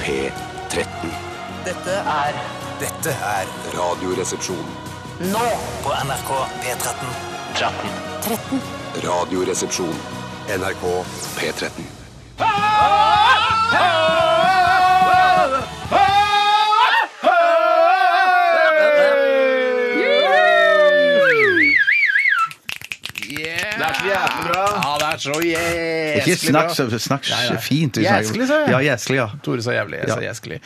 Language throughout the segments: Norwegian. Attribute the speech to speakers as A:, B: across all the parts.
A: P13.
B: Dette er
C: Dette er
A: Radioresepsjon.
B: nå
C: på NRK P13.
A: Radioresepsjon. NRK P13.
D: Ja, det er så jæsklig
E: Oh, Ikke snakk,
D: bra.
E: så- snakk
D: Nei, nei.
E: fint. du sa jo.
D: Jæsklig, sa jeg.
E: Ja, jæsklig, ja.
D: Tore sa jævlig, jeg sa
E: Ja.
D: jæsklig.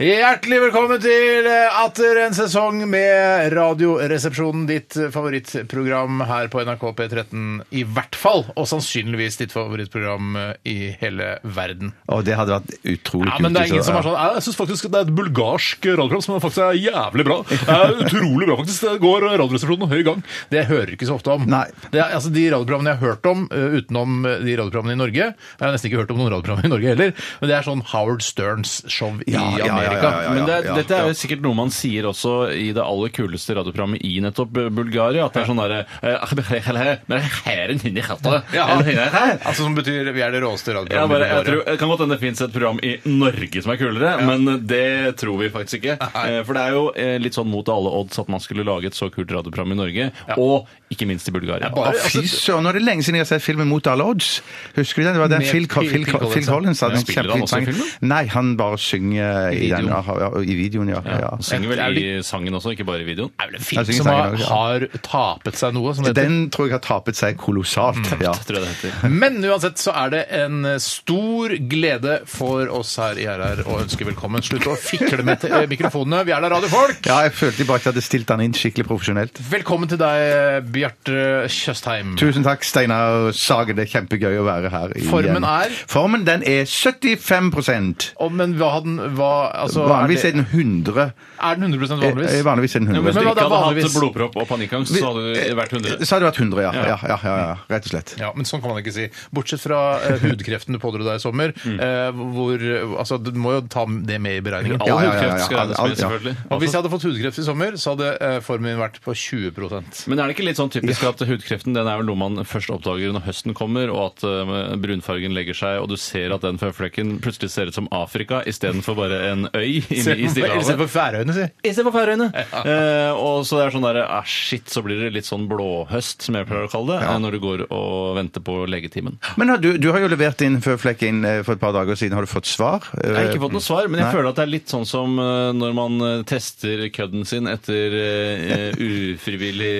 D: Hjertelig velkommen til eh, atter en sesong med Radioresepsjonen, ditt eh, favorittprogram her på NRK P13 i hvert fall, og sannsynligvis ditt favorittprogram eh, i hele verden.
E: Å, det hadde vært utrolig
D: Ja, men det er ingen
E: hvis det
D: som er
E: var-
D: sånn Jeg syns faktisk det er et bulgarsk radioprogram som faktisk er jævlig bra. Det er utrolig bra, faktisk. Det går Radioresepsjonen høy gang. Det hører du ikke så ofte om.
E: Nei.
D: Det er, altså, de radioprogrammene jeg har hørt om, eh, utenom eh, de radioprogrammene i Norge Jeg har nesten ikke hørt om noen radioprogrammer i Norge heller, men det er sånn Howard Sterns show i
E: Ja, ja, ja, ja, ja,
D: Amerika.
E: ja, ja.
F: Men det, er- dette er jo sikkert noe man sier også i det aller kuleste radioprogrammet i nettopp Bulgaria. At det er sånn derre
D: Ja.
F: ja,
D: Altså Som betyr vi er det råeste
F: jeg
D: radioprogrammet.
F: bare,
D: i
F: jeg tror,
D: Norge.
F: det kan godt hende det fins et program i Norge som er kulere, men det tror vi faktisk ikke. Eh, For det er jo eh, litt sånn mot alle odds at man skulle lage et så kult radioprogram i Norge, og ikke minst i Bulgaria.
D: bare-
E: Å, Fy søren, nå er det lenge siden jeg har sett filmen Mot alle odds. Husker du den? Det var den
D: Med
E: Phil,
D: Phil-
E: Phil, Phil,
D: Phil Collins,
E: Phil Collins hadde en
F: Spiller han
E: kjempefin
F: også i
E: sang.
F: filmen?
E: Nei, han bare synger i, den, ja, ja, i videoen, ja. ja.
F: Han synger
D: Er
F: vel i
D: det-
F: sangen også, ikke bare i videoen.
D: Det er vel en film
E: Jeg synger
D: som har,
E: sangen også, ja.
D: har tapet seg noe, som det Mm. heter.
E: Den tror jeg har tapet seg kolossalt. Ja.
F: Tror jeg det heter.
D: Men uansett så er det en stor glede for oss her i RR å ønske velkommen. Slutt å fikle med te- mikrofonene. Vi er da radiofolk!
E: ja, jeg følte bare at jeg hadde stilt den inn skikkelig profesjonelt.
D: Velkommen til deg, Bjarte Tjøstheim.
E: Tusen takk, Steinar Sagen. Det er kjempegøy å være her. igjen.
D: Formen er?
E: Formen den er 75
D: Å, men hva hadde den hva, altså,
E: Vanligvis er
D: er, det,
E: den 100
D: er den 100 vanligvis?
E: Eh, Vanligvis er den
F: Ja,
E: 100
F: men hvis
D: Men
F: du
D: hva da,
F: ikke hadde
D: vanligvis?
F: hatt blodpropp og panikkangst, så hadde det vært 100.
E: Så hadde det vært 100, ja. Ja, ja, ja, ja. Rett og slett.
D: Ja, men sånn kan man ikke si. Bortsett fra eh, hudkreften du pådro deg i sommer, eh, hvor eh, Altså, du må jo ta det med i beregningen.
F: All
E: Ja, ja, ja, ja.
F: hudkreft skal regnes
E: All-
F: med,
E: ja.
F: selvfølgelig.
D: Og hvis jeg hadde fått hudkreft i sommer, så hadde eh, formen min vært på 20
F: Men er det ikke litt sånn typisk at hudkreften den er vel noe man først oppdager når høsten kommer, og at eh, brunfargen legger seg, og du ser at den føflekken plutselig ser ut som Afrika istedenfor bare en øy inne i
D: Eller se
F: Stillehavet?
D: på Færøyene, si.
F: Istedenfor Færøyene! Eh, og så det er sånn derre ah, shit, så blir det litt sånn blåhøst, som jeg pleier å kalle det, eh, når du går og venter på legetimen.
E: Men har du, du har jo levert inn føflekk inn eh, for et par dager siden. Har du fått svar? Eh,
F: Jeg har ikke fått noe svar, men jeg
E: Nei.
F: føler at det er litt sånn som eh, når man eh, tester kødden sin etter eh, ufrivillig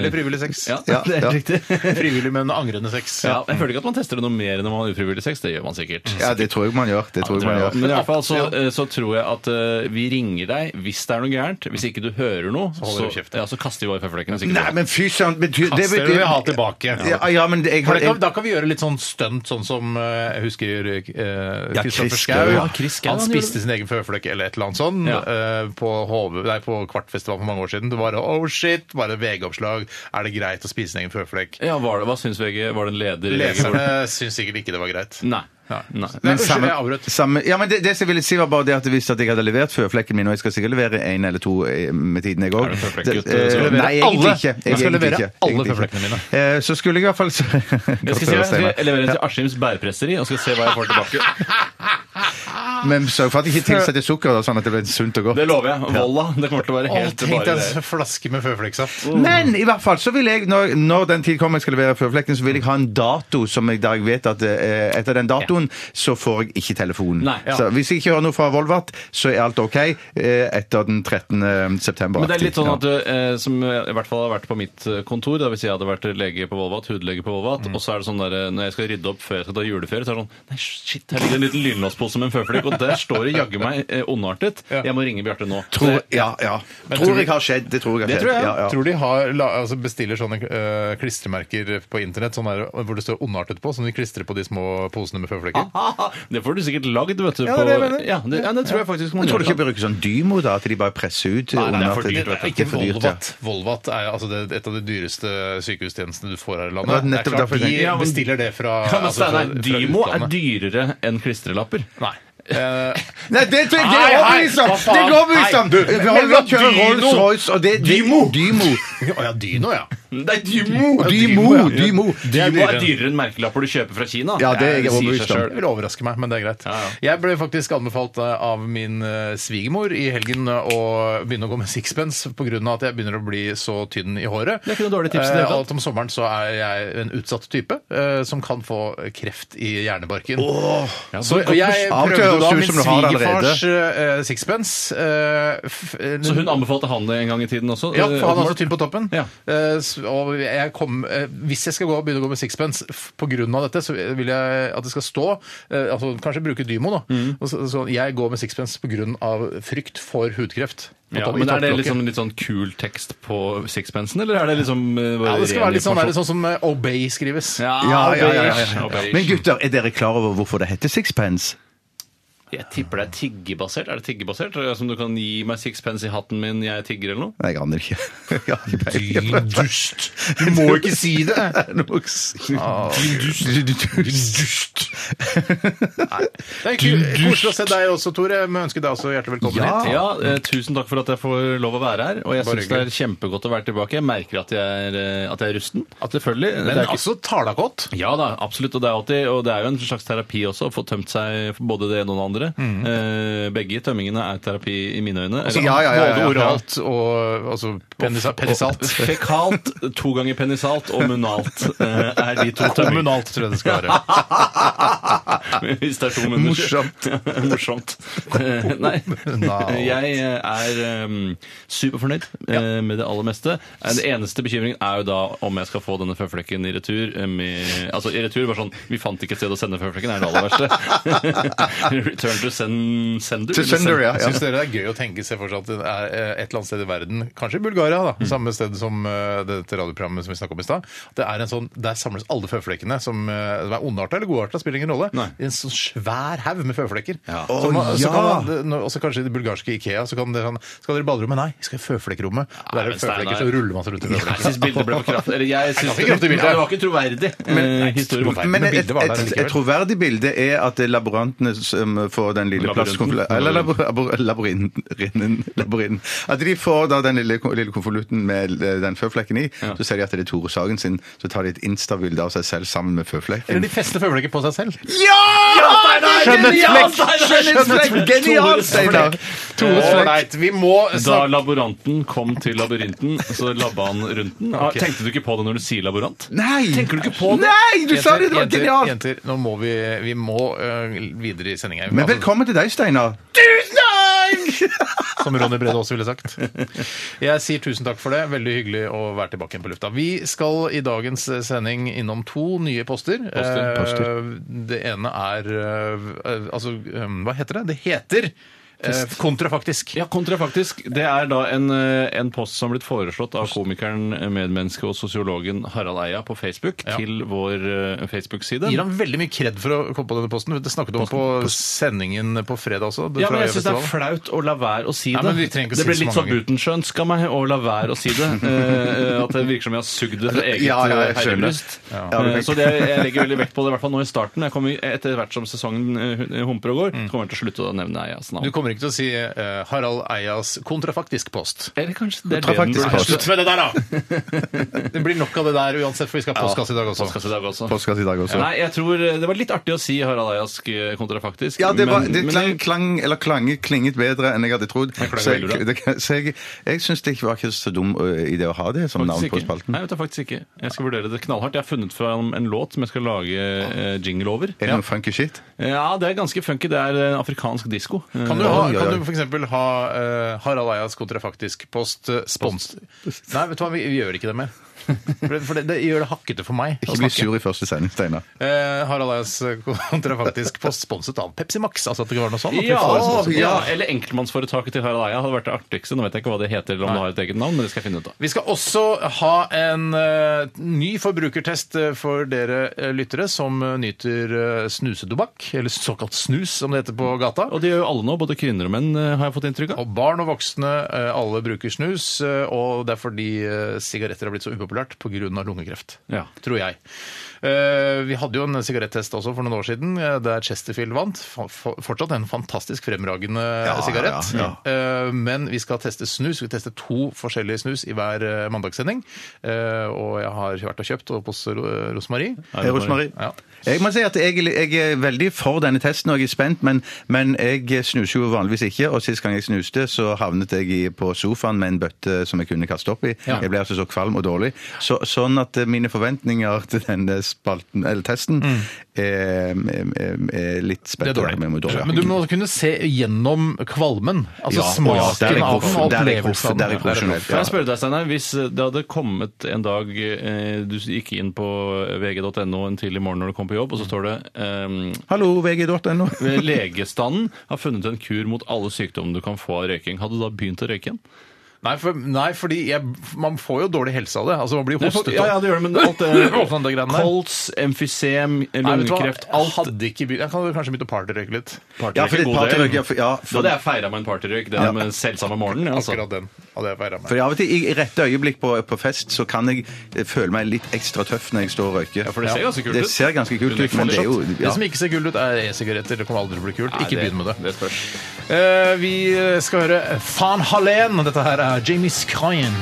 D: Eller frivillig sex.
F: Ja,
E: Ja,
F: det er
E: ja.
F: riktig.
D: Frivillig, men angrende sex.
F: Ja, jeg føler ikke at man tester det noe mer enn om man har ufrivillig sex. Det gjør man sikkert.
E: Ja, det tror jeg man gjør. Det tror jeg man gjør.
F: Men i hvert fall så, så tror jeg at eh, vi ringer deg hvis det er noe gærent. Hvis ikke du hører noe, så,
D: holder du kjeft, ja.
F: ja, så kaster vi bare føflekken. hvis ikke
E: Nei,
F: du-
E: men fy søren betyr,
D: Kaster det vil jeg ha tilbake.
E: Ja, ja, men det- jeg,
D: For
E: har-
D: det kan,
E: jeg,
D: da kan vi gjøre litt sånn stunt, sånn som eh, jeg husker
E: Ja,
D: Kristoffer
E: Chris
D: Schau.
E: Schau, ja.
F: Chris Schau,
D: Han
F: han gjorde
D: spiste sin egen føflekk eller et eller annet sånn
F: Ja.
D: eh, på, HV, nei, på Kvartfestivalen for mange år siden. Det var oh shit, bare VG-oppslag. Er det greit å spise sin egen føflekk?
F: Ja, var det, Hva syns VG? Var det en leder? i VG?
D: Leserne syns sikkert ikke det var greit.
F: Nei. Nei.
D: Nei,
E: men
D: unnskyld,
E: samme,
D: jeg avbrøt.
E: samme, ja, men det, det som jeg ville si var bare det at hvis at jeg hadde levert føflekken min, og jeg skal sikkert levere en eller to eh, med tiden, jeg òg
F: Er du føflekkgutt,
E: Eh,
F: så skal du
D: levere
E: Nei,
D: alle?
E: egentlig ikke.
D: Jeg skal levere
E: egentlig ikke.
D: alle
E: Egentlig ikke.
D: føflekkene mine.
E: Eh, Så skulle jeg i hvert fall
F: Jeg skal, se, jeg skal levere den til Askims bærpresseri og skal se hva jeg får tilbake.
E: Men sørg for at jeg ikke tilsetter sukker, da, sånn at det blir sunt og godt.
F: Det lover jeg. Volla. Det kommer til å være
D: Å,
F: helt
D: tenk
F: bare
D: deg
F: det.
D: en flaske med føflekksaft.
E: Men i hvert fall så vil jeg, når, når den tid kommer jeg skal levere føflekken, så vil jeg ha en dato som jeg, der jeg vet at eh, etter den datoen så får jeg ikke telefonen.
F: Nei, ja.
E: Så hvis jeg ikke hører noe fra Volvat, så er alt ok eh, etter den 13. september.
F: Men det er litt sånn at du, eh, som i hvert fall har vært på mitt eh, kontor, da hvis jeg hadde vært lege på Volvat, hudlege på Volvat,
E: Mm.
F: og så er det sånn der, eh, når jeg skal rydde opp før jeg skal ta juleferie, så er det sånn, nei shit, her ligger det en liten lynlåspose med en føflekk, og der står det jaggu meg eh, ondartet. Jeg må ringe Bjarte nå.
E: Tror, ja, ja. Tror jeg har skjedd. Det tror jeg har
D: Det
E: skjedd.
D: tror jeg.
E: Ja, ja.
D: Tror de har, la, altså bestiller sånne øh, klistremerker på internett sånne der, hvor det står ondartet på, som de klistrer på de små posene med føflekker.
F: Det får du sikkert lagd, vet du.
D: Ja, det er det jeg
F: på-
D: mener.
F: ja, det, ja, det tror jeg faktisk man
E: Men tror du
F: gjør.
E: ikke bruker sånn Dymo, da? At de bare presser ut?
F: Nei, det er
E: under
F: for
E: at-
F: dyrt, vet du.
E: Det
D: Ikke
E: er for dyrt, ja.
D: Volvat. Volvat er altså det, et av de dyreste sykehustjenestene du får her i
E: Ja,
D: landet. Det er
E: nettopp
D: klart,
E: derfor jeg
D: de
E: tenker-
F: Ja, men-
D: bestiller det fra,
F: Ja, men
D: altså, fra,
F: Steinar,
D: fra
F: Dymo er
D: utlandet.
F: dyrere enn klistrelapper.
D: Nei. Eh,
E: Nei, det tror jeg
D: Hei,
E: det er
D: hei,
E: overbevist om!
D: hva faen?
E: Det går overbevist
D: Hei,
E: om!
D: du,
E: Vi
D: men
E: holder
D: hva
E: å kjøre
D: Dyno?
E: Rolls-Royce og det det-
D: Dymo?
E: Dymo.
D: Å ja, Dyno, ja.
F: Nei, Dymo!
D: Ja,
E: Dymo,
D: Dymo, ja.
E: Dymo.
D: Det er
F: Dymo er
D: dyrere.
F: dyrere enn merkelapper du kjøper fra Kina.
E: Ja, det er jeg
F: sier seg
E: overbevist om.
F: selv.
D: Det vil overraske meg, men det er greit.
F: Ja, ja.
D: Jeg ble faktisk anbefalt eh, av min eh, svigermor i helgen eh, å begynne å gå med sixpence pga. at jeg begynner å bli så tynn i håret.
F: Det er ikke noe dårlig tips i det
D: Eh,
F: hele tatt.
D: Alt om sommeren så er jeg en utsatt type eh, som kan få kreft i hjernebarken.
F: Ja,
D: Så
F: godt
D: jeg
E: beskjed.
D: prøvde da
E: Avtøres ut
D: min
E: som du har allerede.
D: svigerfars eh, sixpence. eh, f-
F: Så hun anbefalte han det en gang i tiden også?
D: ja, for han er så
F: Eh, Åpenbart.
D: tynn på toppen.
F: Ja.
D: Eh, s- og jeg kom, eh, hvis jeg skal gå og begynne å gå med sixpence f- på grunn av dette, så vil jeg at det skal stå eh, altså Kanskje bruke Dymo, da.
F: Mm.
D: Og Så, så jeg går med sixpence på grunn av frykt for hudkreft. på
F: Ja,
D: topp- i
F: men Er det
D: topplokket.
F: liksom litt sånn kul tekst på sixpensen, eller er det liksom eh,
D: ja,
F: bare
D: det skal være litt sånn,
F: ren
D: er det sånn som eh, Obey skrives.
F: sånn- Ja,
E: Ja, ja, ja, ja,
F: beige,
E: ja.
F: beige.
E: Men gutter, er dere klar over hvorfor det heter sixpence?
F: Jeg tipper det er tiggebasert. Er det tiggebasert? Er det Som du kan gi meg sixpence i hatten min, jeg tigger eller noe?
E: Nei, jeg aner ikke. Jeg har ikke peiling.
D: Din dust! Ah. Du må ikke si det!
E: Det er noe sykt. Du- du-
D: Dust! Det er kul- koselig å se deg også, Tore. Vi ønsker deg også hjertelig velkommen
E: Ja.
D: hit.
F: Ja, eh, Tusen takk for at jeg får lov å være her. Og jeg
D: Bare
F: syns det er kjempegodt å være tilbake. Jeg merker at jeg er, eh, at jeg er rusten. Selvfølgelig. det
D: Men
F: er ikke-
D: altså, tala godt.
F: Ja da, absolutt. Og det er, alltid, og det er jo en slags terapi også, å få tømt seg for både det ene og det andre. Eh, begge tømmingene er terapi i mine øyne. Eller-
E: Ja, ja, ja, ja, ja.
D: Både oralt og altså, penisa- penisalt.
F: Fekalt, to ganger penisalt og munalt eh, er de to tømmingene.
D: Kommunalt, tror jeg det skal være.
F: Hvis det er to munner.
E: Morsomt.
F: Morsomt. Eh, Nei.
D: Kommunalt.
F: Jeg eh, er eh, superfornøyd eh, med det aller meste. Eh, Den eneste bekymringen er jo da om jeg skal få denne føflekken i retur. eh, Med, altså i retur var sånn Vi fant ikke et sted å sende føflekken, er det aller verste. Return to send, sender.
E: To sender, ja.
D: Syns dere det er gøy å tenke seg for seg at det er eh, et eller annet sted i verden, kanskje i Bulgaria, da,
F: Mm.
D: samme sted som eh, dette radioprogrammet som vi snakket om i stad, at det er en sånn, der samles alle føflekkene, som, eh, som er ondarta eller godarta, spiller ingen rolle,
F: Nei.
D: i en sånn svær haug med føflekker.
F: Ja.
D: Så man,
E: Å,
D: så kan
E: ja!
D: man, det- nå- også kanskje i det bulgarske Ikea, så kan det sånn Skal dere i baderommet? Nei, vi skal i føflekkrommet. Der er
F: men
D: det føflekker,
F: Steinar-
D: så ruller man seg rundt i
F: Jeg
D: føflekker.
F: syns bildet ble for kraftig. Eller jeg
D: Det er
F: synes
D: ganske kraftig bilde.
F: Ja, det var ikke troverdig. eh, historie.
D: troverdig.
E: Men
D: Men
E: et,
D: bildet var der
E: et,
D: likevel.
E: et troverdig bilde er at det er laborantene som får den lille
F: Labyrinten.
E: plastkonvolutten Eller labo- labo- labyrinten. labyrinten. At de får da den lille, lille konvolutten med eh, den føflekken i. Så ser de at det er Tore Sagen sin. Så tar de et Insta-bilde av seg selv sammen med
D: Eller
E: føflekken.
D: de fester føflekker på seg selv.
E: Ja!
D: Skjønnhetsflekk!
E: Skjønnhetsflekk! Genialt, Steinar! Tores flekk.
D: Ålreit, vi må
F: Da
D: snakke
F: laboranten kom til labyrinten, så labba han rundt den. Ah, Tenkte du ikke på det når du sier laborant?
E: Nei!
F: Tenker du ikke på det?
E: Nei, du sa det! Det var
D: Jenter,
E: genialt!
D: Jenter, nå må vi, vi må øh, videre i sendinga.
E: Men velkommen til deg, Steinar.
D: Som Ronny Brede også ville sagt. Jeg sier tusen takk for det. Veldig hyggelig å være tilbake igjen på lufta. Vi skal i dagens eh, sending innom to nye poster.
F: Poster,
D: Eh, Det ene er eh, Altså, eh, hva heter det? Det heter eh, kontrafaktisk.
F: Ja, kontrafaktisk. Det er da en, eh, en post som har blitt foreslått av komikeren, medmenneske og sosiologen Harald Eia på Facebook til vår eh, Facebook-side.
D: Gir han veldig mye kred for å komme på denne posten. Det snakket du om på sendingen på fredag også.
F: Ja, men
D: fra
F: jeg syns det er
D: Øyafestivalen.
F: flaut å la være å si det.
D: Nei, men vi trenger ikke
F: det
D: si det
F: ble
D: så
F: litt sånn
D: mange
F: Butenschønsk av meg å la være å si det. Eh, at det virker som jeg har sugd det fra eget ja,
E: Altså, Ja, ja, jeg skjønner.
F: herrebryst.
E: Ja.
F: Eh, så det, jeg legger veldig vekt på det, i hvert fall nå i starten. Jeg kommer, etter hvert som sesongen eh, humper og går,
E: Mm.
F: så kommer jeg til å slutte å nevne Eias
D: Du
F: navn.
D: kommer ikke til å si eh, Harald Eias kontrafaktisk post.
F: Eller kanskje det er det den
E: Kontrafaktisk
F: burde
E: post.
F: slutte
D: Slutt med det der, da! Det blir nok av det der uansett, for vi skal ha postkasse i dag også.
F: Postkasse i dag også.
E: Postkasse i dag også.
F: Nei, jeg tror eh, Det var litt artig å si Harald Eias eh, kontrafaktisk.
E: Ja, det, var,
F: men-
E: det
F: men
E: klang, klang, eller klange klinget bedre enn jeg hadde trodd.
F: klang
E: Så jeg,
F: veldig
E: det, så jeg, jeg syns det ikke var ikke så dum ø, idé å ha det som navn
F: Faktisk
E: på
F: ikke.
E: spalten.
F: Nei, vet du, faktisk ikke. Jeg skal vurdere det knallhardt. Jeg har funnet fram en låt som jeg skal lage eh, jingle over.
E: Er det noe funky shit?
F: Ja, det er ganske funky. Det er eh, afrikansk disko.
D: Kan du, ha,
E: Oi, oi, oi.
D: kan du for eksempel ha eh, Harald Eias kontrafaktisk post eh, spons... Nei, vet du hva, vi, vi gjør ikke det mer. For det, for det, det gjør det hakkete for meg. å
E: Ikke bli
D: snakke.
E: sur i første sending, Steinar.
D: Eh, Harald Eias kontrafaktisk post sponset av Pepsi Max. Altså at det var noe sånt. at vi
F: Ja,
D: får det som-
F: ja, eller enkeltmannsforetaket til Harald Eia hadde vært det artigste. Nå vet jeg ikke hva det heter, eller om det har et eget navn, men det skal jeg finne ut av.
D: Vi skal også ha en eh, ny forbrukertest eh, for dere eh, lyttere som eh, nyter eh, snusetobakk, eller såkalt snus, som det heter på gata.
F: Og det gjør jo alle nå, både kvinner og menn, eh, har jeg fått inntrykk av.
D: Og barn og voksne, eh, alle bruker snus, eh, og det er fordi eh, sigaretter har blitt så upopulært pga. lungekreft.
F: Ja.
D: Tror jeg. Eh, Eh, Vi hadde jo en sigarettest også for noen år siden, eh, der Chesterfield vant. Fa- fa- Fortsatt en fantastisk fremragende
E: Ja,
D: sigarett.
E: ja,
D: Eh, Men vi skal teste snus. Vi skal teste to forskjellige snus i hver eh, mandagssending. Eh, Og jeg har vært og kjøpt opp hos Ro- Rosmarie.
E: Hei, Rosemarie.
D: Ja.
E: Jeg må si at jeg, jeg er veldig for denne testen, og jeg er spent, men, men jeg snuser jo vanligvis ikke. Og sist gang jeg snuste, så havnet jeg i- på sofaen med en bøtte som jeg kunne kaste opp i.
D: Ja.
E: Jeg ble altså så kvalm og dårlig. Så, sånn at eh, mine forventninger til denne spalten, eller testen, er, er, er litt spent.
D: Mm. Det er dårlig.
E: Men, men dårlig. ja.
D: Men du må kunne se gjennom kvalmen. Altså
E: Ja, og ja, der
D: smaken
E: er jeg
D: av
E: proff.
D: den og
E: Der er
D: opplevelsen.
E: jeg proff. Der er jeg
D: Ja,
E: profesjonell.
D: proff.
F: Kan jeg spørre deg, Steinar, hvis det hadde kommet en dag eh, du gikk inn på vg.no en tidlig morgen når du kom på jobb, og så står det ehm,
E: Hallo, vg.no.
F: Legestanden har funnet en kur mot alle sykdommer du kan få av røyking. Hadde du da begynt å røyke igjen?
D: Nei, for, nei, fordi jeg, man får jo dårlig helse av det. Altså, man blir
F: Nei, for-
D: hostet
F: ja, ja, det gjør det, men alt det-
D: Åpne det greiene der.
F: Kols, emfysem,
D: Nei, vet du hva?
F: lungekreft
D: Jeg hadde ikke begynt. Jeg kan jo kanskje begynne å partyrøyke litt.
F: Partyrøyk
E: Ja, for
F: er
E: det-
F: god del.
E: partyrøyk, ja, for- ja, for-
F: Da hadde jeg feira med en partyrøyk den med selvsamme morgenen. Altså.
D: Akkurat den hadde jeg feira med.
E: For av og til, i rette øyeblikk på, på fest, så kan jeg eh, føle meg litt ekstra tøff når jeg står og røyker.
F: Ja, for det ser ganske kult
E: Det
F: ut.
E: ser ganske kult
F: Du
E: ut, men det er jo
F: fortsatt.
E: ja.
D: Det som ikke ser kult ut, er e-sigaretter. Det kommer aldri til å bli kult.
F: Nei,
D: Ikke begynn med det.
F: Det spørs.
D: Eh, vi skal høre Van Halen. Dette her er Jamie Skyen.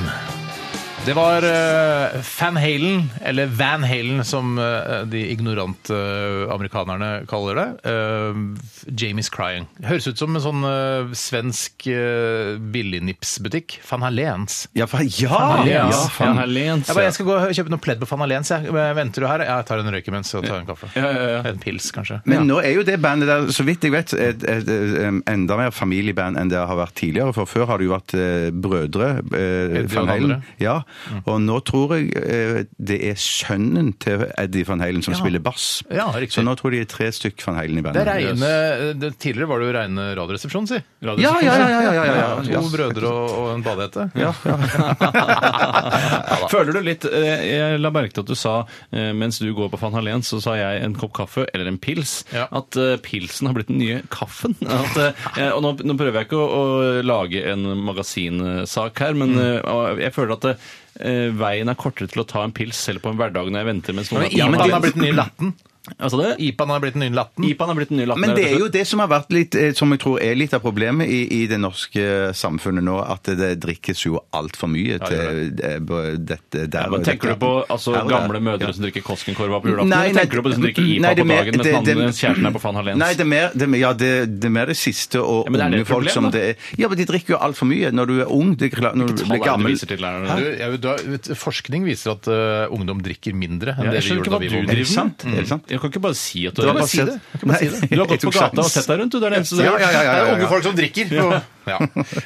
D: Det var eh, Van Halen, eller Van Halen som eh, de ignorante amerikanerne kaller det. Eh, Jamie's Crying. Høres ut som en sånn eh, svensk eh, billignipsbutikk. Van Halens.
E: Ja, for, ja, ja,
F: Allians,
E: faen.
F: Van Halens,
D: Jeg, bare, jeg skal gå og kjøpe noe pledd på Van Halens. Jeg Men venter du her? Jeg tar en røyk imens og tar en kaffe.
F: Ja, ja, ja.
D: En pils, kanskje.
E: Men nå er jo det bandet der, så vidt jeg vet, et, et, et, enda mer familieband enn det har vært tidligere. For før har det jo vært eh, brødre. Eh,
D: Eddie
E: van
D: og
E: Halen.
D: andre.
E: Ja.
F: Mm.
E: Og nå tror jeg eh, det er sønnen til Eddie van Halen som spiller bass.
D: Ja, riktig.
E: så nå tror jeg de er tre stykk van Halen i
D: Det er
E: bandet.
D: reine, det, tidligere var det jo reine radioresepsjon, si.
E: Ja, ja, ja, ja, ja, ja, ja, ja.
D: To brødre og, og en badehette.
F: Føler du litt eh, Jeg la merke til at du sa eh, mens du går på Van Halen, så sa jeg en kopp kaffe eller en pils.
D: Ja.
F: At eh, pilsen har blitt den nye kaffen. At, eh, og nå, nå prøver jeg ikke å, å lage en magasinsak her, men eh, og jeg føler at eh, veien er kortere til å ta en pils selv på en hverdag når jeg venter mens noen
D: Ja, men
F: det-
D: Ipan har blitt den nye latten.
F: Hva sa du?
D: Ipan har blitt den nye latten.
F: Ipan har blitt den nye latten.
E: Men
F: rett og
E: det er
F: slett.
E: jo det som har vært litt, eh, som jeg tror er litt av problemet i, i det norske samfunnet nå, at det drikkes jo altfor mye til eh, b- dette der.
F: Men
E: og
F: tenker du
E: dette.
F: på altså,
E: Her og der.
F: gamle mødre
E: Ja.
F: som drikker Koskenkorva på julaften?
E: Nei,
F: eller
E: nei,
F: tenker du på de som drikker IPA
E: nei, det er
F: på
E: mer-
F: dagen mens
E: det-
F: den andre
E: det-
F: kjæresten er på Van Halens?
E: Nei, det er mer det, er mer- ja, det, det er mer det siste og
F: Ja, men det er det
E: unge
F: et
E: folk
F: problem,
E: som
F: da.
E: det er Ja, men de drikker jo altfor mye når du er ung. Det, er klart- når du
F: Tall er
E: blir
F: det du
E: gammel
F: viser til, er det?
D: Du, jeg, vet- da, vet du, forskning viser at eh, ungdom drikker mindre enn
F: Ja,
D: det
F: jeg
D: vi
F: skjønner
D: gjorde
F: ikke
D: da
F: hva
D: vi
F: du
D: var
E: Er
D: unge.
E: det
F: driver med.
E: sant? Er det sant?
F: Mm. Jeg kan ikke bare si at du
D: Du
F: har
D: kan bare si
F: passert-
D: det. Du kan bare si
E: Nei.
D: det.
F: Du har gått
E: Jeg
F: på
E: tok
F: gata og
E: sjansen.
F: sett deg rundt, du. Det er det eneste du
E: Ja,
F: gjør.
E: ja, ja, ja,
D: Det
E: ja,
D: er
E: ja.
D: unge folk som drikker. Ja.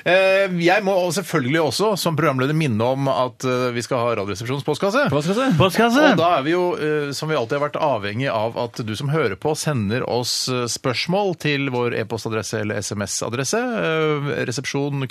D: Eh, Jeg må selvfølgelig også som programleder minne om at eh, vi skal ha Radioresepsjonens postkasse.
F: Hva skal jeg si?
D: Og da er vi jo, eh, som vi alltid har vært avhengig av at du som hører på, sender oss eh, spørsmål til vår e-postadresse eller SMS-adresse. eh, Resepsjon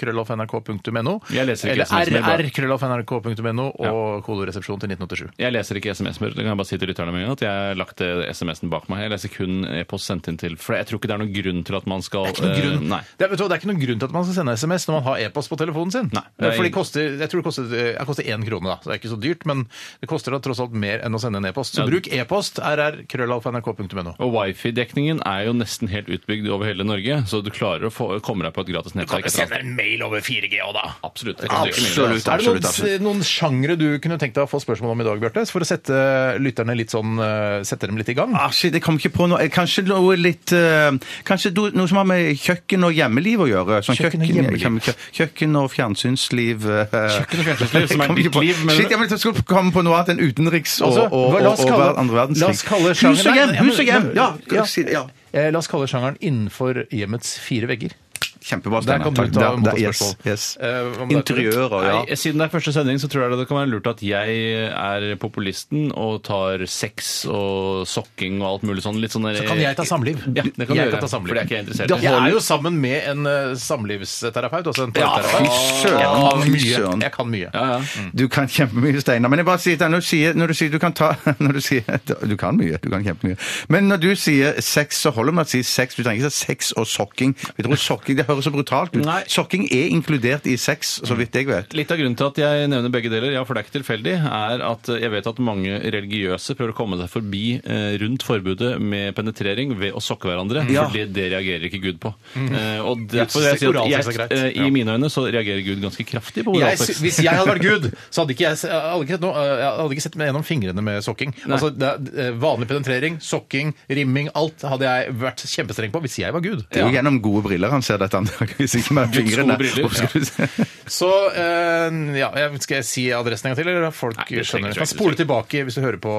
D: krølloff.nrk.no.
F: Jeg leser ikke
D: Eller
F: SMS, men bare-
D: rr krølloff.nrk.no og kodoresepsjon til 1987.
F: Jeg leser ikke SMS-er. Det kan jeg bare si til lytterne mine at jeg har lagt eh, SMS-en bak meg. Jeg leser kun e-post sendt inn til For jeg tror ikke det er noen grunn til at man skal
D: Det er, ikke noen
F: eh,
D: grunn,
F: Nei.
D: det, er, vet du, hva, det er ikke noen grunn til at man skal sende SMS når man har e-post på telefonen sin.
F: Nei, det er
D: For det
F: ingen-
D: koster, jeg tror det koster, det koster én krone, da. Så det er ikke så dyrt, men det koster da tross alt mer enn å sende en e-post. Så
F: Ja.
D: bruk e-post rr.krøllalfa.nrk.no.
F: Og wifi-dekningen er jo nesten helt utbygd over hele Norge, så du klarer å få, komme deg på et gratis nettverk. etter alt.
D: en mail over 4G òg, da.
F: Absolutt. Jeg kan drikke mye.
D: Er
E: Absolutt,
D: det
E: absolutt,
D: noen,
E: absolutt.
D: noen sjangre du kunne tenkt deg å få spørsmål om i dag, Bjarte? For å sette lytterne litt sånn eh, Sette dem litt i gang?
E: Ah, shit, jeg kom ikke på noe. Eh, Kanskje noe litt eh, Kanskje do- noe som har med kjøkken og hjemmeliv å gjøre. Sånn
D: Kjøkken og hjemmeliv.
E: kjø- kjøkken og fjernsynsliv. Kjøkken
F: og fjernsynsliv, som er ditt liv, mener du?
E: Shit, jeg, men, jeg skulle komme på noe annet enn utenriks og,
D: Altså,
E: og,
D: hva-
E: og,
D: la oss
E: og,
D: kalle-
E: hver- andre verdenskrig.
D: la oss kalle
E: hus og
D: sjangeren-
E: hjem!
D: Nei,
E: Hus og hjem! Ja,
D: ja.
E: si det, ja.
D: Eh, La oss kalle sjangeren innenfor hjemmets fire vegger.
E: Kjempebra,
D: Der
E: Steinar.
D: kan du
E: Takk.
D: ta
E: Der- der-
D: imot
E: yes,
D: spørsmål.
E: yes.
D: Eh, hva med deg,
E: Interiører, ja.
F: Nei, siden det er første sending, så tror jeg det kan være lurt at jeg er populisten og tar sex og sokking og alt mulig sånn. Litt sånn der,
D: Kan jeg ta samliv?
F: Ja, det kan du
D: jeg
F: gjøre,
D: kan ta samliv.
F: for det er ikke jeg interessert i.
D: Jeg er jo sammen med en eh, samlivsterapeut, altså en parterapeut.
E: fy søren,
D: Jeg kan
E: fy
D: mye.
E: søren.
D: Jeg kan mye.
F: Ja, ja.
E: Mm. Du kan kjempemye, Steinar. Men jeg bare sier, at når, du sier, når du sier du kan ta når du, sier, du kan mye. Du kan kjempemye. Men når du sier sex, så holder det med å si sex. Du trenger ikke si sex og sokking. Vi tror sokking, Det høres høres så brutalt ut.
F: Nei.
E: Sokking er inkludert i sex, så vidt jeg vet.
F: Litt av grunnen til at jeg nevner begge deler, ja, for det er ikke tilfeldig, er at jeg vet at mange religiøse prøver å komme seg forbi eh, rundt forbudet med penetrering ved å sokke hverandre, fordi det reagerer ikke Gud på. Eh, og derfor vil jeg si
D: Oralsex Mm.
F: at
D: er greit.
F: jeg, eh, i mine øyne så reagerer Gud ganske kraftig på
D: Jeg,
F: oralsex.
D: sy- hvis jeg hadde vært Gud, så hadde ikke jeg, s- jeg hadde ikke sett, noe, eh, jeg hadde ikke sett meg gjennom fingrene med sokking. Altså, det, er- eh, vanlig penetrering, sokking, rimming, alt hadde jeg vært kjempestreng på hvis jeg var Gud.
E: Det er jo gjennom gode briller han ser dette antakeligvis ikke med
F: Guds gode
E: fingrene.
F: briller,
E: Hvorfor skulle du se-
D: Så eh, ja, jeg- skal jeg si adressen en gang til, eller folk
F: Nei, det trenger
D: skjønner?
F: du
D: Du kan
F: ikke,
D: spole
F: det
D: tilbake hvis du hører på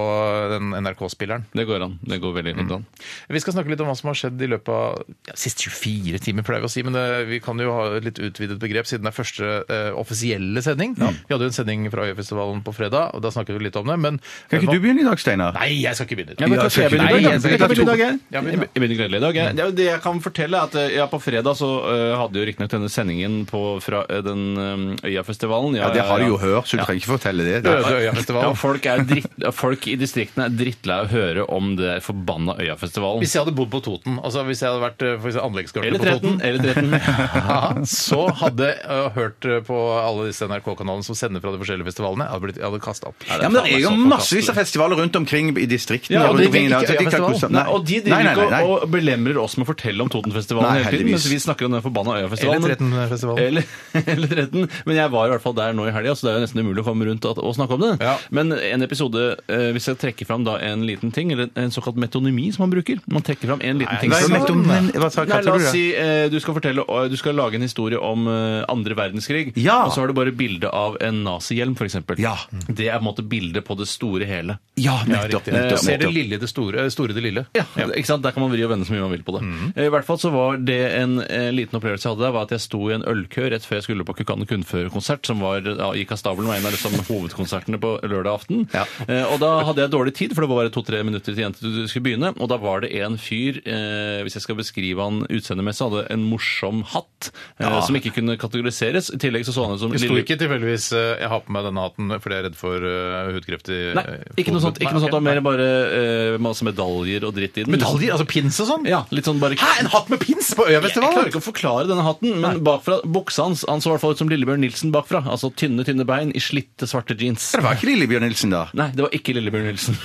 D: den NRK-spilleren.
F: Det går an. Det går veldig fint an.
D: Vi skal snakke litt om hva som har skjedd i løpet av ja, sist 24 timer, pleier vi å si. Men det, vi kan jo ha et litt utvidet begrep siden det er første eh, offisielle sending. Vi hadde jo en sending fra Øyafestivalen på fredag, og da snakket vi litt om det. Men
E: Kan ikke du begynne i dag, Steinar?
D: Nei, jeg skal ikke begynne.
F: Ja, men
E: Ja,
F: kanskje jeg
E: kanskje ikke.
F: begynner i dag,
E: Nei,
F: jeg.
E: jeg
F: Skal jeg
E: begynner
F: begynne i dag, jeg?
D: Ja,
F: Jeg
D: begynn da.
F: begynner gledelig i dag. Jeg. Det, er jo det jeg kan fortelle, er at eh, ja, På fredag så eh, hadde jo riktignok denne sendingen på, fra eh, den eh, Øyafestivalen.
E: Ja, det har du jo
F: ja.
E: hørt, så du trenger ikke fortelle det.
D: Døde
F: Ja,
D: Øyafestivalen.
F: folk, er dritt, folk i distriktene er drittlei av å høre om det forbanna Øyafestivalen.
D: Hvis jeg hadde bodd på Toten, altså hvis jeg hadde vært eh, for eksempel anleggsgartner
F: Eller
D: på
F: 13.
D: Toten
F: Eller 13.
D: ja, så hadde jeg hørt eh, på alle disse NRK-kanalene som sender fra de forskjellige festivalene. Jeg hadde, blitt- jeg hadde kasta opp.
E: Ja, men det er jo massevis av festivaler rundt omkring i distriktene.
F: Ja, og
E: rundt
F: de
E: omkring i
D: drikker ikke
E: landet, så de kan
D: Øyafestivalen.
E: kose seg.
F: Nei, og de driver
E: Nei, nei, nei,
F: ikke
E: nei.
F: og og belemrer oss med å fortelle om Totenfestivalen
E: Nei,
F: hele tiden,
E: heldigvis.
F: mens vi snakker om den forbanna Øyafestivalen.
D: Eller 13-festivalen.
F: sånn? Eller, eller 13. Men jeg var i hvert fall der nå i helga, så det er jo nesten umulig å komme rundt at- og snakke om det.
D: Ja.
F: Men en episode, eh, hvis jeg trekker fram da en liten ting, eller en såkalt metonymi som man bruker Man trekker fram en liten ting.
E: Hva er
F: som-
E: metonym- Hva sa
F: Nei, la
E: kaller du
F: oss
E: det?
F: si eh, du, skal fortelle, og du skal lage en historie om eh, andre verdenskrig,
E: Ja.
F: og så har du bare bilde av en nazihjelm, f.eks.
E: Ja.
F: Det er på en måte bildet på det store hele.
E: Ja, nettopp.
D: Riktig.
E: nettopp,
D: Du Eh, ser det
E: nettopp.
D: lille i det store, eh, store i det lille. Mhm.
F: Ja, ikke sant? Der kan man vri og vende så mye man vil på det. Eh, I hvert fall så var det en, eh, liten opplevelse jeg hadde der, var at jeg sto i en ølkø rett før jeg skulle på Kukan Kunnfører-konsert, som var, ja, gikk av stabelen, var en av liksom, hovedkonsertene på lørdag aften.
E: Ja.
F: Eh, og da hadde jeg dårlig tid, for det var bare to-tre minutter til jente du skulle begynne, og da var det en fyr, eh, hvis jeg skal beskrive han utseendemessig, hadde en morsom hatt, eh, som ikke kunne kategoriseres. I tillegg så så han ut som...
D: Det sto
F: lille-
D: ikke tilfeldigvis eh, 'jeg har på meg denne hatten fordi jeg er redd for eh, hudkreft' i eh,
F: Nei, ikke noe sånt. Ikke noe sånt, det var mer
D: Nei.
F: bare eh, masse medaljer og dritt i den.
D: Medaljer? Altså pins og sånn?
F: Ja, litt sånn bare...
D: Hæ, en hatt med pins på
F: Jeg klarer
D: Øyafestivalen?
F: ikke å forklare denne hatten, men bakfra, buksa hans Han så i hvert fall ut som Lillebjørn Nilsen bakfra. Altså tynne, tynne bein i slitte, svarte jeans.
E: Det var ikke Lillebjørn Nilsen, da.
F: Nei, det var ikke Lillebjørn Nilsen.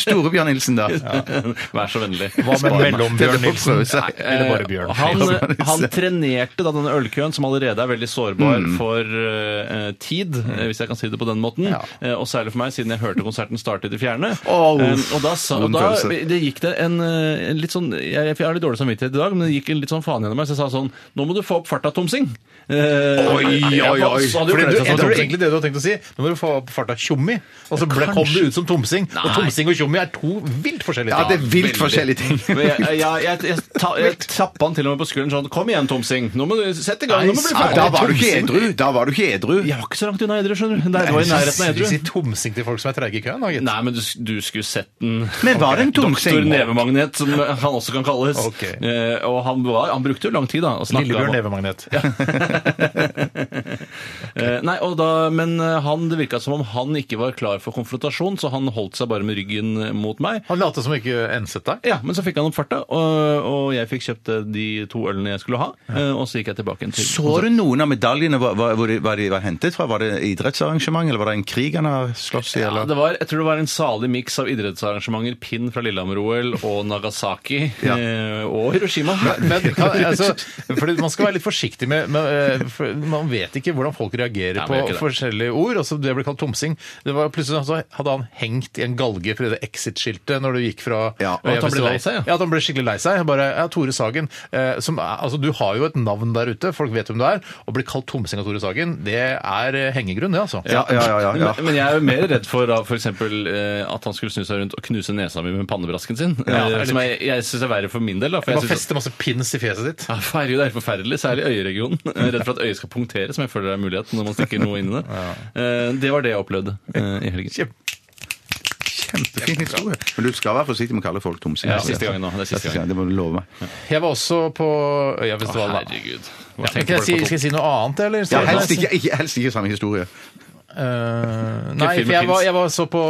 E: Store Bjørn Nilsen, da.
F: Vær så vennlig.
D: Hva med
F: Spar meg.
E: Det er
D: Mellombjørn
E: det å
D: Nilsen?
E: prøve seg.
D: Eller bare Bjørn?
F: Eh, Han,
E: Nilsen.
F: han trenerte da denne ølkøen, som allerede er veldig sårbar
E: Mm.
F: for eh, tid, eh, hvis jeg kan si det på den måten. Eh, og særlig for meg, siden jeg hørte konserten starte i det fjerne.
E: Åh,
F: Eh, og da, sa, og
E: vond
F: da
E: følelse.
F: det gikk det en, eh, en litt sånn jeg, jeg har litt dårlig samvittighet i dag, men det gikk en litt sånn faen gjennom meg, så jeg sa sånn Nå må du få opp farta, Tomsing. Eh,
E: Oi, oi, oi.
F: så
D: For det
F: hadde jo kledd
D: du-
F: seg som
D: det var
F: Tomsing.
D: egentlig det du hadde tenkt å si. Nå må du få opp farta tjommi. Og så ble, kom det ut som tomsing. Og tomsing og tjommi er to vilt forskjellige
E: Ja, det er vilt
F: Veldig.
E: forskjellige ting.
F: Men jeg, jeg, jeg, jeg, ta, jeg tappa han til og med på skulderen sånn Kom igjen, Tomsing. Nå må du sette i gang. Nå må du bli
E: Ja,
F: ferdig.
E: Da var du ikke edru! Da var du ikke edru.
F: Jeg var ikke så langt unna edru, skjønner du. Nei, det var i nærheten av
D: Du sier
F: edru.
D: tomsing til folk som er treige i køen? da, gitt.
F: Nei, men du, du skulle sett den.
E: Men var det en
F: Stor
E: tomsing?
F: nevemagnet, som han også kan kalles.
D: Ok.
F: Eh, og han, var, han brukte jo lang tid, da. og snakket
D: Lillebjørn
F: om-
D: nevemagnet.
F: Eh, Nei, og da, men eh, han, det virka som om han ikke var klar for konfrontasjon, så han holdt seg bare med ryggen eh, mot meg.
D: Han lot som ikke enset deg.
F: Ja, Men så fikk han opp farta, og, og jeg fikk kjøpt eh, de to ølene jeg skulle ha. eh, Og så gikk jeg tilbake igjen til
E: Så du noen av medaljene hva- hva- hvor de, hva de var hentet fra? Var det idrettsarrangement, eller var det en krig han har slåss i?
F: Ja,
E: Eller?
F: det var, jeg tror det var en salig miks av idrettsarrangementer, pinn fra Lillehammer-OL og Nagasaki
E: Ja.
F: eh, og Hiroshima.
D: Men, kan, altså, fordi man skal være litt forsiktig med, med eh, for Man vet ikke hvordan folk reagerer
F: Nei, man
D: på
F: gjør ikke det.
D: forskjellige ord. Altså, det ble kalt tomsing. Det var plutselig altså, hadde han hengt i en galge fra det Exit-skiltet når du gikk fra
E: Ja, og
F: at han ble
D: Festival.
F: lei seg, ja.
D: ja. at han ble skikkelig lei seg. Bare, ja, Tore Sagen eh, som, er- altså, Du har jo et navn der ute, folk vet hvem du er. Å bli kalt tomsing av Tore Sagen, det er eh, hengegrunn, det, altså.
E: Ja, ja, ja, ja, ja.
F: Men, men jeg er jo mer redd for da, for eksempel, eh, at han skulle snu seg rundt og knuse nesa mi med pannebrasken sin.
D: Ja,
F: eh,
D: eller-
F: som jeg, jeg syns er verre for min del. Da, for
D: Bare
F: jeg synes,
D: feste masse pins i fjeset ditt.
F: ja, herregud, det er helt forferdelig, særlig i øyeregionen. Jeg er Redd for at øyet skal punktere, som jeg føler er mulighet når man stikker noe inn i det. Eh, Det var det jeg opplevde eh, i helgen.
E: Kjempefin historie. Men du skal være forsiktig med å kalle folk tomsinger.
F: Ja, siste gangen nå. Det er siste gangen.
E: Det må du love meg.
D: Jeg var også på
F: Å,
D: Øyafestivalen. da.
F: herregud. Hva
D: Ja, men
F: tenker
D: skal, jeg
F: folk
D: si,
F: på
D: skal jeg si noe annet, eller?
E: Ja, helst ikke, ikke, helst ikke samme historie.
D: Eh, nei,
F: film
D: for jeg
F: finnes.
D: var, jeg var så på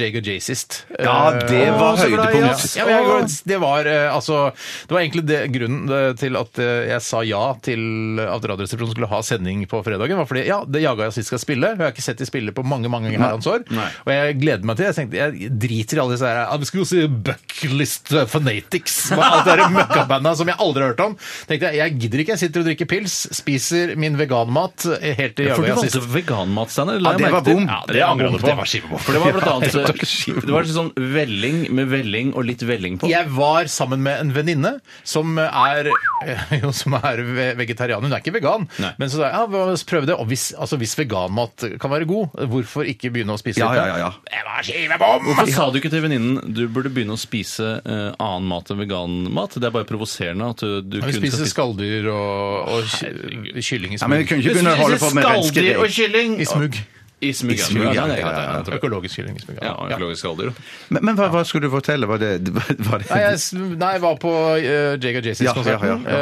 D: Jager Jay sist.
E: Ja, det
D: Eh,
E: var
D: og-
E: høydepunkt.
D: Ja, men jeg, går- det var eh, altså Det var egentlig det, grunnen eh, til at eh, jeg sa ja til at Radioresepsjonen skulle ha sending på fredagen. var fordi, ja, Det jaga jeg sist skal spille. Jeg har ikke sett de spille på mange mange herrens år. Og jeg gleder meg til det. Jeg tenkte, jeg driter i alle disse her ja, Vi skulle jo si Bucklist eh, Fanatics. hva Alt det der møkkabanda som jeg aldri har hørt om. tenkte Jeg jeg gidder ikke. Jeg sitter og drikker pils, spiser min veganmat eh, helt til jaga
F: For du
D: jeg sist.
F: valgte veganmat, Steinar.
E: Ja, det var bom.
F: Ja, det angrer jeg på.
D: Det var skivebom.
F: For det var blant
D: Ja, det var
F: annet
D: skivebom.
F: Det var sånn velling med velling og litt velling på.
D: Jeg var sammen med en venninne som er, eh, jo, som er ve- vegetarianer. Hun er ikke vegan.
F: Nei.
D: Men så sa jeg ja, la oss prøve det. Og hvis, altså, hvis veganmat kan være god, hvorfor ikke begynne å spise
E: Ja,
D: litt?
E: ja, ja, ja.
D: Det var skivebom!
F: Hvorfor sa du ikke til venninnen du burde begynne å spise eh, annen mat enn veganmat? Det er bare provoserende at eh, du, du
D: Vi
F: kun
D: spiser
F: skal spise
D: skalldyr og, og ky- kylling i
E: Ja, men vi
D: smug.
E: kunne ikke begynne å holde på med renske
F: skalldyr og
E: deg.
F: kylling
D: I smug.
F: I smug,
E: I smug,
F: ja.
E: ja,
F: det er
E: ja, ja,
F: greit,
E: ja.
F: det er greit.
D: Økologisk kylling i smug.
F: Ja,
D: ja.
F: økologisk skalldyr.
E: Men, men hva, hva skulle du fortelle? Var det, var det
D: Nei, jeg, s- nei, jeg var på uh, Jaga
E: Ja,
D: Jaycees-konserten,
E: ja, ja,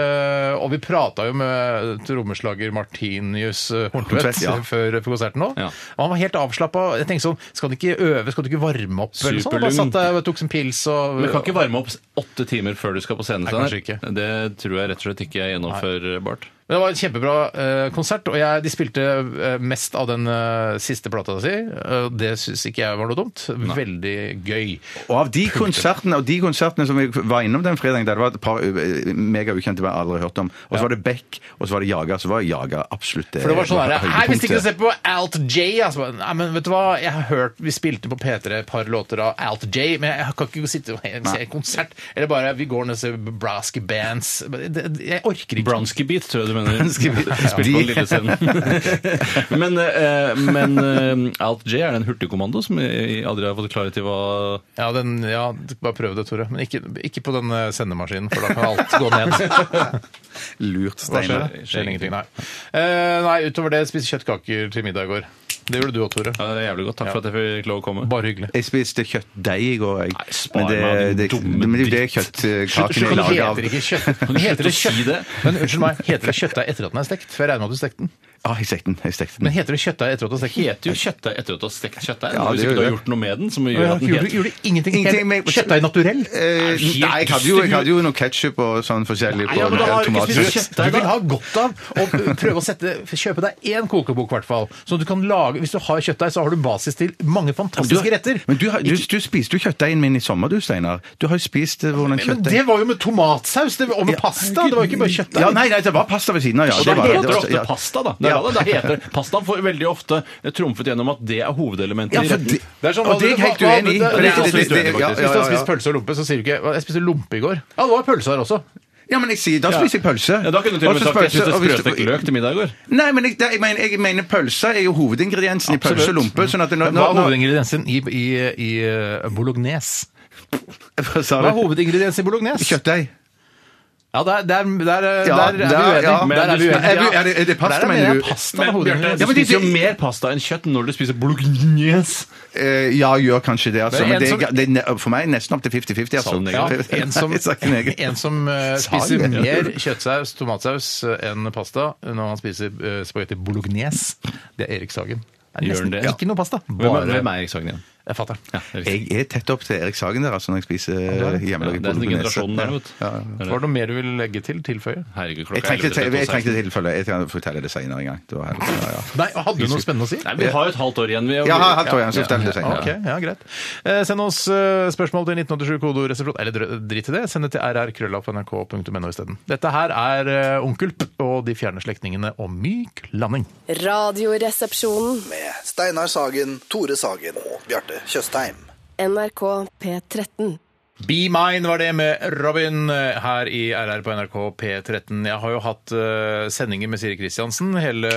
D: eh, og vi prata jo med trommeslager Martinius eh, Horntvedt
E: Horntvedt, ja.
D: før før konserten nå.
F: Ja.
D: Og han var helt avslappa. Jeg tenkte sånn, skal du ikke øve, skal du ikke varme opp? Eller sånn? Han
F: Superlung.
D: bare satt der og tok sin pils og
F: Men kan ikke varme opp åtte timer før du skal på scenen.
D: Nei,
F: Steinar.
D: kanskje ikke.
F: Det tror jeg rett og slett ikke er gjennomførbart.
D: Men det var en kjempebra eh, konsert, og jeg, de spilte eh, mest av den eh, siste plata si. eh, det syns ikke jeg var noe dumt. Veldig gøy.
E: Og av de konsertene, og de konsertene som vi var innom den fredagen, der det var et par eh, megaukjente jeg aldri har hørt om, og så var det Beck, og så var det Jaga, så var Jaga absolutt det
D: For det var sånn der, Hei, hvis ikke du
E: høydepunktet.
D: ser på Alt J altså, bare, Nei, men vet du hva, jeg har hørt Vi spilte på P3 et par låter av Alt J, men jeg kan ikke sitte og se en konsert. Eller bare Vi går ned og ser Brasky Bands. Det- det- Jeg orker ikke.
F: Bronski Beat, tror jeg du mener.
E: Bronski Beat.
F: Spilt på en lille scene. men eh, men eh, Alt J er det en hurtigkommando som jeg aldri har fått klarhet i hva
D: Ja, den, ja, bare prøv det, Tore. Men ikke, ikke på den eh, sendemaskinen, for da kan alt gå ned.
E: Lurt,
D: Hva skjer?
E: Steinar.
D: Det Skjer ingenting, nei. Eh, nei, utover det spise kjøttkaker til middag i går. Det gjorde du òg, Tore.
F: ja, det er Jævlig godt. Takk for at jeg fikk lov å komme.
D: Bare hyggelig.
E: Jeg spiste kjøttdeig i går, jeg.
F: Nei, spar
E: men det,
F: meg, din
E: det,
F: dumme
E: men det er jo det
F: dritt.
E: kjøttkaken
D: Kjøtt-
E: er laget
D: heter
E: av.
D: ikke kjøtt.
F: Kan du
D: Heter det
F: slutte å si
D: kjøtt?
F: det?
D: Men unnskyld meg, heter det kjøttdeig etter at den er stekt? For jeg regner med at du stekte den.
E: Ah, jeg stekte den. Jeg stekte
D: Men
E: den.
D: heter det kjøttdeig etter at du har stekt den?
F: heter jo kjøttdeig etter at du har stekt kjøttdeig.
E: Ja,
F: Hvis
E: det
F: ikke du
E: gjør
F: har
E: det.
F: gjort noe med den, som gjør
D: Ja,
F: at den
D: Gjorde,
F: heter
D: gjorde ingenting.
E: Ingenting med-
D: helt- Kjøttdeig naturell?
E: Eh, nei, jeg hadde jo, jeg hadde jo noe ketsjup og sånn forskjellig på
D: Ja, men da har du ikke spist
E: tomatsaus.
D: kjøttdeig. Du vil ha godt av å prøve å sette, kjøpe deg én kokebok, i hvert fall. Så du kan lage, hvis du har kjøttdeig, så har du basis til mange fantastiske retter.
E: Men du, har- du, du spiste jo kjøttdeigen min i sommer, du, Steinar. Du har jo spist eh, hvordan
D: Men
E: kjøttdeig
D: det var jo med tomatsaus det, og med pasta! Det var jo ikke bare kjøttdeig.
E: Ja, nei, nei, det var pasta ved siden av, ja.
F: Og da
E: var,
F: heter det
E: var-
F: ofte
E: ja.
F: pasta, da. Det er
E: Ja.
F: da det. Da heter Pastaen får veldig ofte trumfet gjennom at det er hovedelementet
E: Ja,
F: i
E: for
F: retten.
E: det,
D: Det er sånn,
E: og det er jeg helt uenig i.
D: hva- hva-
E: for
D: det er
E: det- det- det- ja,
D: Hvis du
E: ja,
D: har
E: ja,
D: spist
E: ja.
D: pølse og lompe, så sier du ikke 'jeg spiste lompe i går'. Ja, det var pølse her også.
E: Ja, men jeg sier, da spiser jeg pølse.
F: Ja, da kunne du til og med
E: Også
F: sagt jeg
E: pølse,
F: synes det
E: og hvis du-
F: sprøstekt løk til middag i går.
E: Nei, men jeg, jeg, mener, jeg mener pølse er jo hovedingrediensen i pølse og lompe. Sånn at når,
D: Hva er
E: når, når,
D: hovedingrediensen i, i, i eh, bolognese?
E: Hva sa
D: Hva er
E: du?
D: hovedingrediensen i bolognese?
E: Kjøttdeig.
D: Ja, der, der, eh, der,
E: Ja,
D: der er vi
E: der-
D: uenige. der
E: ja.
D: er vi uenige.
E: Er du- er det- er det pasta,
D: Der
E: mener
D: jeg
E: du?
D: Pasta med
F: Men
D: hodet.
F: Bjarte, du
E: Ja, men de-
F: spiser jo
E: de-
F: mer pasta enn kjøtt når du spiser bolognese.
E: Eh, ja, gjør kanskje det, altså.
D: Men en
E: Men det,
D: som-
E: er- det er ne- for meg er nesten opp til 50-50, altså.
F: Sa du
D: Ja,
F: negativt?
D: en som,
E: Jeg sa ikke negativt.
D: en som eh,
E: Sa jeg
D: spiser
E: det?
D: mer kjøttsaus, tomatsaus eh, enn pasta når han spiser uh, spagetti bolognese, det er Erik Sagen. Det er
F: Gjør
D: nesten
F: han det?
D: ikke noe pasta.
F: Hvem
D: Bare
F: er, hvem er Erik Sagen igjen?
D: Jeg fatter.
F: Ja, det er riktig.
E: Jeg er tett opp til Erik Sagen der, altså, når jeg spiser
D: er det.
F: Ja,
E: hjemmelaget
F: det er den
E: bolognese.
F: generasjonen der, vet du.
E: Ja, ja.
F: Det er
D: Var det
F: det.
D: noe mer du ville legge til? Tilføye?
F: Herregud,
E: Jeg
F: klokka er
E: trengte, til-
F: 11.30,
E: jeg trengte tilfelle. Jeg kan fortelle det senere en gang. Det var her. Ja, ja.
D: Nei, hadde du noe spennende å si?
F: Nei, vi har jo et halvt år igjen. Vi,
E: Ja, her- her tror jeg han skal fortelle det senere.
D: Ok, ja, greit. Eh, send oss eh, spørsmål til 1987kodoresepsjon, eller dr- drit i det. Send det til rrkrøllalfa.nrk.no isteden. Dette her er eh, Onkel P og De fjerne slektningene og Myk landing.
G: Radioresepsjonen.
H: med Steinar Sagen, Tore Sagen og Bjarte Tjøstheim.
G: NRK P13.
D: Be Mine var det med Robin eh, her i RR på NRK P13. Jeg har jo hatt eh, sendinger med Siri Kristiansen hele,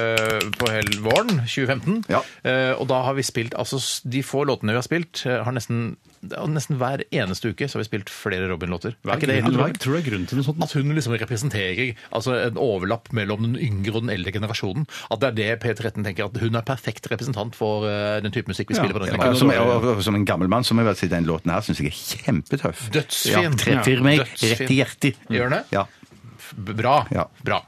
D: på hele våren 2015.
E: Ja.
D: Eh, og da har vi spilt altså s- de få låtene vi har spilt, eh, har nesten, det er nesten hver eneste uke så har vi spilt flere Robin-låter. Er ikke det helt utrolig?
F: tror det er grunnen til noe sånt.
D: at hun liksom representerer altså en overlapp mellom den yngre og den eldre generasjonen. At det er det P13 tenker, at hun er perfekt representant for eh, den type musikk vi spiller på den
E: Ja,
D: kanalen.
E: som, og- og- som en gammel mann så må jeg bare si den låten her syns jeg er kjempetøff.
D: Dødsfin.
E: Ja, treffer meg
D: Dødsfin.
E: rett i hjertet.
D: Gjør den det?
E: Ja.
D: F- Bra.
E: Ja.
D: Bra.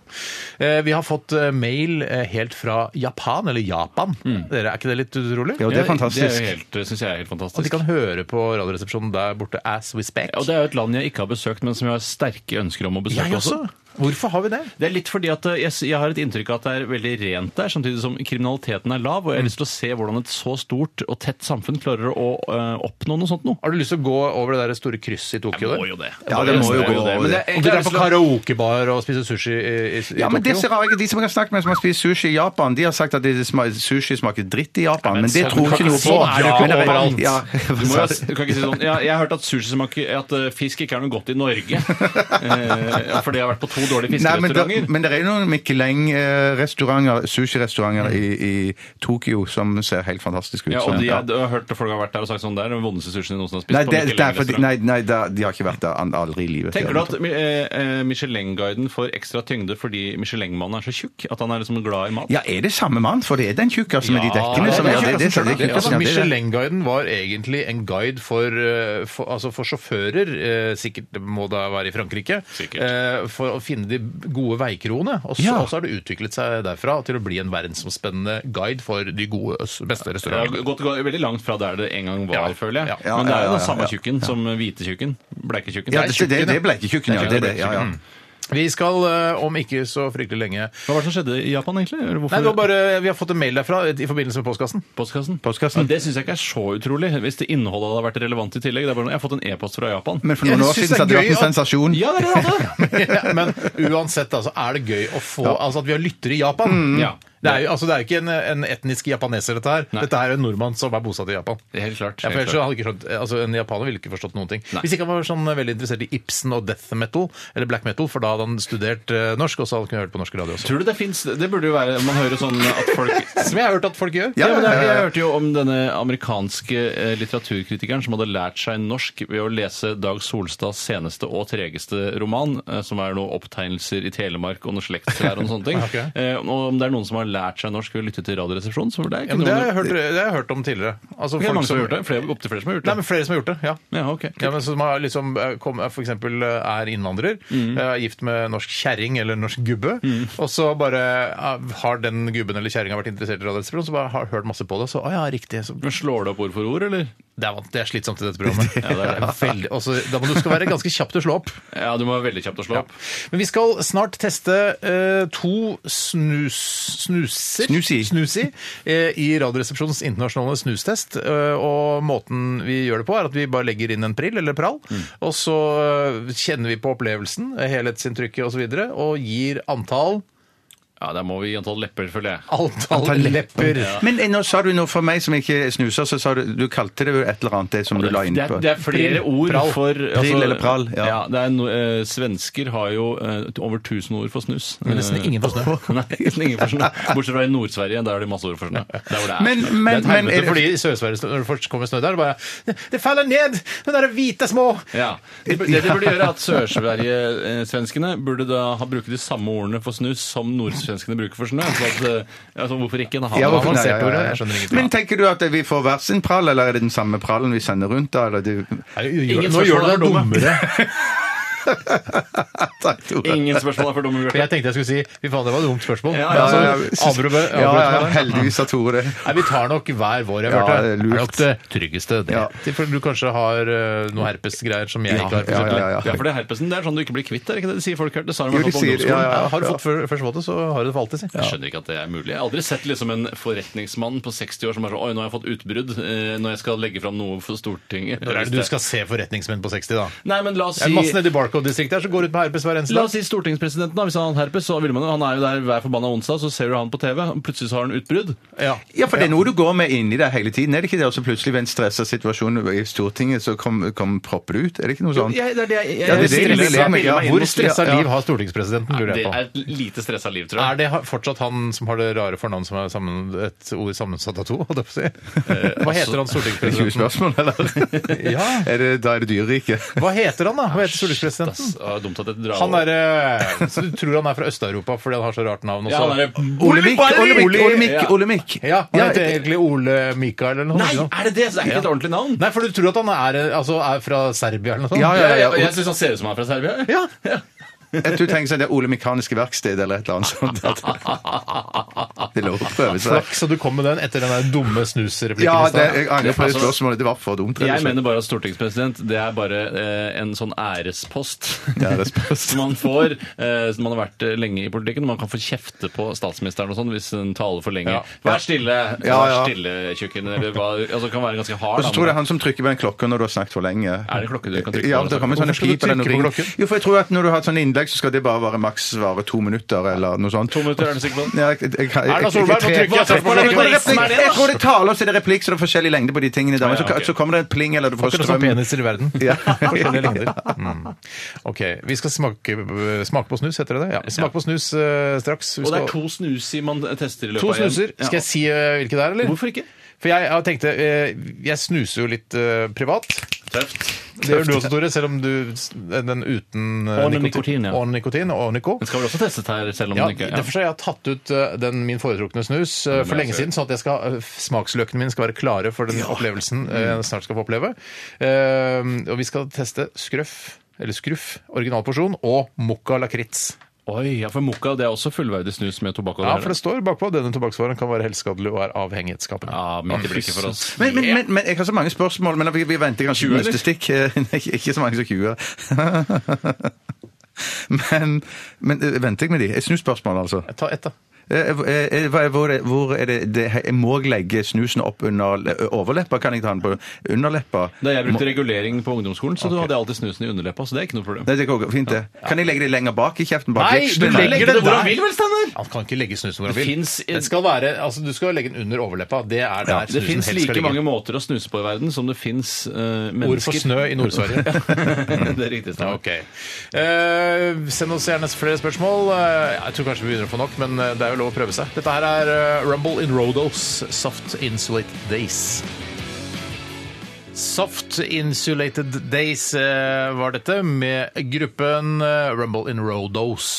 D: Eh, Vi har fått eh, mail eh, helt fra Japan, eller Japan. Dere, er ikke det litt utrolig?
E: Jo, det er fantastisk.
F: Det er jo helt- det syns jeg er helt fantastisk.
D: At de kan høre på Radioresepsjonen der borte as we speak.
F: Ja, Og det er jo et land jeg ikke har besøkt, men som jeg har sterke ønsker om å besøke
D: jeg også. Hvorfor har vi det?
F: Det er litt fordi at eh, jeg, s- jeg har et inntrykk av at det er veldig rent der, samtidig som kriminaliteten er lav, og jeg har lyst til å se hvordan et så stort og tett samfunn klarer å eh, oppnå noe sånt noe.
D: Har du lyst til å gå over det der store krysset i Tokyo?
F: Jeg må
D: der?
F: jo det.
E: Ja, det må jo gå over
F: Men
E: det.
F: det er,
D: Og dra
F: jeg har
D: på
F: lyst til å-
D: karaokebar og spise sushi i, i, i
E: Ja, men
D: Tokyo?
E: disse rare, De som jeg har snakket med som har spist sushi i Japan, de har sagt at det sma- sushi smaker dritt i Japan. men, det
F: sånn
E: tror
F: kan-
E: ikke noe på.
F: sånn er det jo ikke
E: Men
F: overalt.
E: Ja,
F: Du, må, jo- du kan ikke si sånn ja, Jeg har hørt at sushi smaker At eh, fisk ikke er noe godt i Norge. Eh, fordi jeg har vært på to
E: Nei,
F: dårlige
E: men, det,
F: fiskerestauranter.
E: men det er jo noen Michelin-restauranter, sushirestauranter i, i Tokyo som ser helt fantastisk ut.
F: Ja,
E: sånn,
F: og de,
E: ja.
F: jeg, har hørt folk har vært der og sagt sånn Det er den vondeste sushien jeg noensinne har spist.
E: Nei,
F: på
E: det,
F: Michelin
E: det er fordi,
F: restaurant».
E: nei, nei da, de har ikke vært der an- aldri i livet.
F: Tenker du at eh, eh, Michelin-guiden får ekstra tyngde fordi Michelin-mannen er så tjukk? At han er liksom glad i mat?
E: Ja, er det samme mann? For det er den tjukkasen med de
F: Ja,
E: dekkene som
D: det
E: er
D: er
E: det. det, det, det, det,
D: Altså,
E: det, det, det.
D: Michelin-guiden var egentlig en guide for, eh, for, altså for sjåfører, eh, sikkert det må da være i Frankrike,
F: Sikkert.
D: eh, for å finne de gode veikroene. Og så,
E: Ja.
D: og så har det utviklet seg derfra til å bli en verdensomspennende guide for de gode, øst- beste
F: Det har
D: restaurantene.
F: gått gått veldig langt fra der det en gang var,
D: Ja.
F: føler jeg.
E: Ja,
F: Men det er jo
E: ja,
F: den
E: ja,
F: samme
E: ja.
F: tjukken som hvite-tjukken. Bleike-tjukken.
E: Ja,
F: Det er
E: det, det,
F: tjukken,
E: det er bleiketjukken, ja. Det, er det, ja, ja.
D: Vi skal eh, om ikke så fryktelig lenge
F: Hva var det som skjedde i Japan, egentlig? Eller Hvorfor
D: Nei, det var bare, Vi har fått en mail derfra i forbindelse med postkassen.
F: postkassen? Ja, det syns jeg ikke er så utrolig, hvis det innholdet hadde vært relevant i tillegg. Det er bare, sånn, jeg har fått en e-post fra Japan.
E: Men for noen
D: Jeg
E: år
D: synes
E: siden så hadde
D: det er
E: det vært en
D: gøy
E: sensasjon.
F: Ja, det er det, det! er det.
D: Men uansett altså, er det gøy å få altså, at vi har lyttere i Japan.
F: Ja.
D: Det er jo altså, det er jo ikke en, en etnisk japaneser, dette her.
F: Nei.
D: Dette er en nordmann som er bosatt i Japan.
F: Det er helt klart.
D: Ja, for
F: Helt
D: ellers så
F: klart.
D: hadde ikke skjønt, altså En japaner ville ikke forstått noen ting.
F: Nei.
D: Hvis ikke han var sånn veldig interessert i Ibsen og death metal, eller black metal, for da hadde han studert eh, norsk, og så hadde han kunnet høre på norsk radio også.
F: Tror du det fins Det burde jo være Man hører sånn at folk
D: Som jeg har hørt at folk gjør.
F: Ja, men jeg, jeg hørte jo om denne amerikanske eh, litteraturkritikeren som hadde lært seg norsk ved å lese Dag Solstads seneste og tregeste roman, eh, som er noen opptegnelser i Telemark og noe slektslære og noen sånne ting.
D: Ok.
F: Eh, og om det er noen som har lært seg norsk ved å lytte til Radioresepsjonen, så det
D: Ja,
F: er ikke
D: men det har
F: noe...
D: jeg hørt, det har jeg hørt om tidligere. Altså,
F: Det er
D: folk
F: mange som har gjort det. Flere, opp til flere som har gjort
D: Nei,
F: det.
D: men Flere som har gjort det, ja.
F: Ja, ok.
D: Ja, men Som har liksom, eh, kom- for eksempel eh, er innvandrer,
F: Mm.
D: eh, er gift med norsk kjerring eller norsk gubbe, og så bare eh, har den gubben eller kjerringa vært interessert i radioresepsjon, så bare har hørt masse på det, og så å ja, riktig. Så,
F: Men slår det opp ord for ord, eller?
D: det, er, vant- det er slitsomt i dette programmet.
F: Ja, det er det.
D: Veldig, også, da må du skal være ganske kjapp til å slå opp.
F: Ja, du må være veldig kjapt å slå opp.
D: Men vi skal snart teste eh, to snus, snuser
E: Snusi.
D: snusi, eh, i Radioresepsjonens internasjonale snustest. Eh, og måten vi gjør det på, er at vi bare legger inn en prill eller prall,
F: Mm.
D: og så eh, kjenner vi på opplevelsen, eh, helhetsinntrykket osv., og, så videre, og gir antall
F: Ja, der må vi gi antall lepper, føler jeg.
D: Antall, lepper.
E: Men eh, nå sa du noe for meg som ikke snuser, så sa du du kalte det jo et eller annet det som du la inn
F: Det er,
E: på.
F: det er flere ord
D: Prall.
F: for altså,
E: Prill eller prall, ja.
F: det er no, eh, svensker har jo eh, over 1000 ord for snus.
D: Men nesten ingen for snø.
F: Nei, nesten ingen for snø. Bortsett fra i Nord-Sverige, der har de masse ord for snø. Der hvor det er.
E: Men-
F: snø.
E: men-
F: det er et helvete.
E: men- er-
D: Fordi i Sør-Sverige, når det først kommer snø der, er det bare Det faller ned! Den derre hvite små!
F: ja. Det det de burde gjøre, er at Sør-Sverige-svenskene burde da ha bruke de samme ordene for snus som nordsvenskene bruker for snø. Så at, eh, altså, hvorfor ikke? Da har
E: Ja,
F: man-
E: hvorfor-
D: man
E: nei,
D: ser
E: ja,
D: på
E: ja,
D: det,
E: ja.
D: jeg skjønner ingenting.
E: Men tenker du at vi får hver sin prall, eller er det den samme prallen vi sender rundt? da? Eller det...
D: Nei, gjør-
F: Ingen
D: Nå gjør du
F: spørsmål
D: deg
F: er dumme.
D: dummere.
E: Takk, Tore.
F: Ingen spørsmål er for dumme,
D: For
F: Bjarte.
D: jeg tenkte jeg skulle si Fy faen, det var et dumt spørsmål.
F: Ja, ja,
D: Altså,
E: ja, ja.
D: avbrøt meg-
E: Ja,
D: avbrøt
E: ja,
D: meg.
E: heldigvis sa Tore det.
D: Nei, vi tar nok hver vår, jeg
E: Ja,
D: hørte.
E: det
D: Det
E: er
D: er
E: lurt.
D: nok det tryggeste. det.
E: Ja.
D: For du kanskje har eh, noe herpesgreier som jeg ikke har. For
E: ja,
D: eksempel.
E: ja, ja.
F: Ja, for det er herpesen. Det er sånn du ikke blir kvitt, er det ikke det de sier folk her? Det sa de i
E: Jo,
F: hvert
E: de
F: fall på
E: sier- ja,
F: ungdomsskolen.
E: ja, ja.
D: Har du fått før- først våte, så har du det for alltid, si.
F: Jeg skjønner ikke at det er mulig. Jeg har aldri sett liksom en forretningsmann på 60 år som bare sånn Oi, nå har jeg fått utbrudd eh, når jeg skal legge fram noe for Stortinget.
D: Når er det du skal se forretningsmenn på 60, da?
F: Nei, men la oss
D: Det er masse
F: si
D: nede i Barcode-distriktet her som går ut med herpes hver eneste
F: La
D: dag.
F: oss si stortingspresidenten, da, hvis han har herpes, så vil man jo Han er jo der hver forbanna onsdag, så ser du han på TV, og plutselig så har han utbrudd.
D: Ja.
E: Ja, for det er noe du går med inni deg hele tiden. Er det ikke det? Og så plutselig ved en stressa situasjon i Stortinget, så kom, kom propper det ut? Er det ikke noe sånt?
F: Jeg, det er det jeg, jeg,
E: Ja, det er det
F: stresser-
E: jeg leker meg, ja.
F: meg inn
D: Hvor
F: mot-
D: stressa
E: Ja, ja.
D: liv har stortingspresidenten, lurer
F: Det
D: jeg
F: er
D: på.
F: et lite stressa liv, tror
D: Er
F: jeg.
D: det ha- fortsatt han som har det rare fornavnet som er sammen, et ord sammensatt av to? holdt jeg på å si? Hva heter han
E: Er det
D: stortingspresidenten?
E: 20 spørsmål, eller?
D: Ja.
E: Er det, da er det dyreriket.
D: Hva heter han, da?
E: Ah,
D: Hva heter stortingspresidenten?
F: Ass, ah, dumt at jeg drar
D: Han er, eh, så du tror han er fra Øst-Europa fordi han har så rart navn også?
F: ja, han er
E: Olemikk, Olemikk,
D: Ole-
E: Olemikk!
F: Ja.
E: Olemikk.
D: Ja, han
E: Ja,
D: heter
E: et-
D: egentlig Ole Mikael eller noe
F: Nei,
D: sånt.
F: er det det? Så det er ikke et ordentlig navn?
D: Nei, for du tror at han er, eh, altså, er fra Serbia eller noe sånt?
E: Ja, ja,
F: Jeg,
E: ja.
F: jeg, syns han ser ut som han er fra Serbia. jeg.
D: Ja.
E: Jeg tror tenker sånn, det er Ole Mekaniske Verksted eller et eller annet sånt. at- Det er lov å prøve seg.
D: Flaks at du kom med den etter den der dumme snusreplikken.
E: Ja,
D: i
E: det,
D: stad.
E: jeg angrer på det
F: Altså,
E: spørsmålet. Det var for dumt. rett og
F: Jeg
E: slett.
F: mener bare at stortingspresident det er bare eh, en sånn ærespost
E: Ærespost.
F: som man får eh, når man har vært eh, lenge i politikken. og Man kan få kjefte på statsministeren og sånn hvis en taler for lenge.
D: Ja.
F: Vær stille,
E: Ja, ja.
F: vær stille, tjukken. Eller hva Altså kan være ganske hard.
E: Og så tror jeg det er
F: da, men-
E: han som trykker på den klokken når du har snakket for lenge.
F: Er det klokke du kan trykke på?
E: ja, det kommer
D: Hvorfor
E: sånne
D: skal du
E: pip eller noe
D: trykke på
E: ring.
D: klokken?
E: Jo, for jeg tror at når du har et sånt innlegg, så skal det bare være maks vare to minutter eller noe sånt.
F: To minutter, er du sikker på det?
E: Ja, jeg, jeg, jeg, jeg,
D: Erna Solberg, nå
E: tre-
D: trykker jeg
E: tre-
D: på
E: Jeg tror det er
F: klokken.
E: replikk. Jeg tror det er tale, og så er det replikk, så det er forskjellig lengde på de tingene. Der. Men
F: Ja, ja,
E: så,
F: ok.
E: så kommer det en pling, eller du får
D: Akkurat som
E: strøm.
D: peniser i verden.
E: Ja.
D: Forskjellige lengder. Mm. Ok, vi skal smake, smake på snus, heter det det? Ja, smake på snus eh, straks. Vi
F: Og det er
D: skal-
F: to snuser man tester i løpet
D: to
F: av en-
D: snuser.
F: Ja.
D: Skal jeg si eh, hvilke det er, eller?
F: Hvorfor ikke?
D: For jeg, jeg tenkte, eh, jeg snuser jo litt eh, privat.
F: Tøft.
D: Det gjør du også, Tore, selv om du s- den uten eh,
F: Og med nikotin, ja.
D: Og nikotin, og nico.
F: Den skal vel også testes her, selv om
D: Ja,
F: den ikke ja.
D: derfor så har jeg tatt ut eh, den min foretrukne snus eh, for
F: men
D: lenge
F: altså-
D: siden, sånn at jeg skal, eh, smaksløkene mine skal være klare for den opplevelsen eh,
F: Mm.
D: jeg snart skal få oppleve. Eh, og vi skal teste skrøff, eller skruff, originalporsjon, og mokka lakrits.
F: Oi, ja, for mokka det er også fullverdig snus med tobakk og
D: Ja,
F: det
D: for det står bakpå at denne tobakksvaren kan være helseskadelig og er avhengighetsskapende.
F: Ja, midt i blikket for oss.
E: Men, men, men, men jeg har så mange spørsmål, men vi, vi venter kanskje
F: 20,
E: på neste stikk. Eh, Nei, ikke så mange som 20. Men, men eh, venter jeg med de? Jeg snur spørsmålet, altså.
D: Ta ett, da.
E: Eh, eh, eh, hva er- Hvor er, hvor er det, det Jeg må legge snusen opp under le- eh, overleppa? Kan jeg ta den på underleppa?
F: Da jeg brukte
E: Må-
F: regulering på ungdomsskolen, så du hadde alltid snusen i underleppa, så det er ikke noe problem.
E: Nei, det går fint, det. Kan jeg legge det lenger bak i kjeften? Bak
D: Nei,
E: vekslen?
D: du legger det
F: hvor
D: der.
F: han vil, vel, Steinar?
D: Han kan ikke legge snusen hvor han
F: Det
D: vil.
F: finnes-
D: Den skal være, altså, du skal legge den under overleppa. Det er der
F: Det
D: snusen
F: fins
D: helst
F: like
D: skal
F: mange
D: ligge.
F: måter å snuse på i verden som det fins
D: Ord for
F: mennesker
D: snø i Nord-Sverige.
F: det er riktig.
D: Ja,
F: Steinar.
D: Ok. Eh, send oss gjerne flere spørsmål. Eh, jeg tror kanskje vi begynner å få nok, men eh, det er jo lov å prøve seg. Dette her er eh, Rumble in Rodos, Soft Insulate Days. Soft Insulated Days eh, var dette, med gruppen eh, Rumble in Rodos.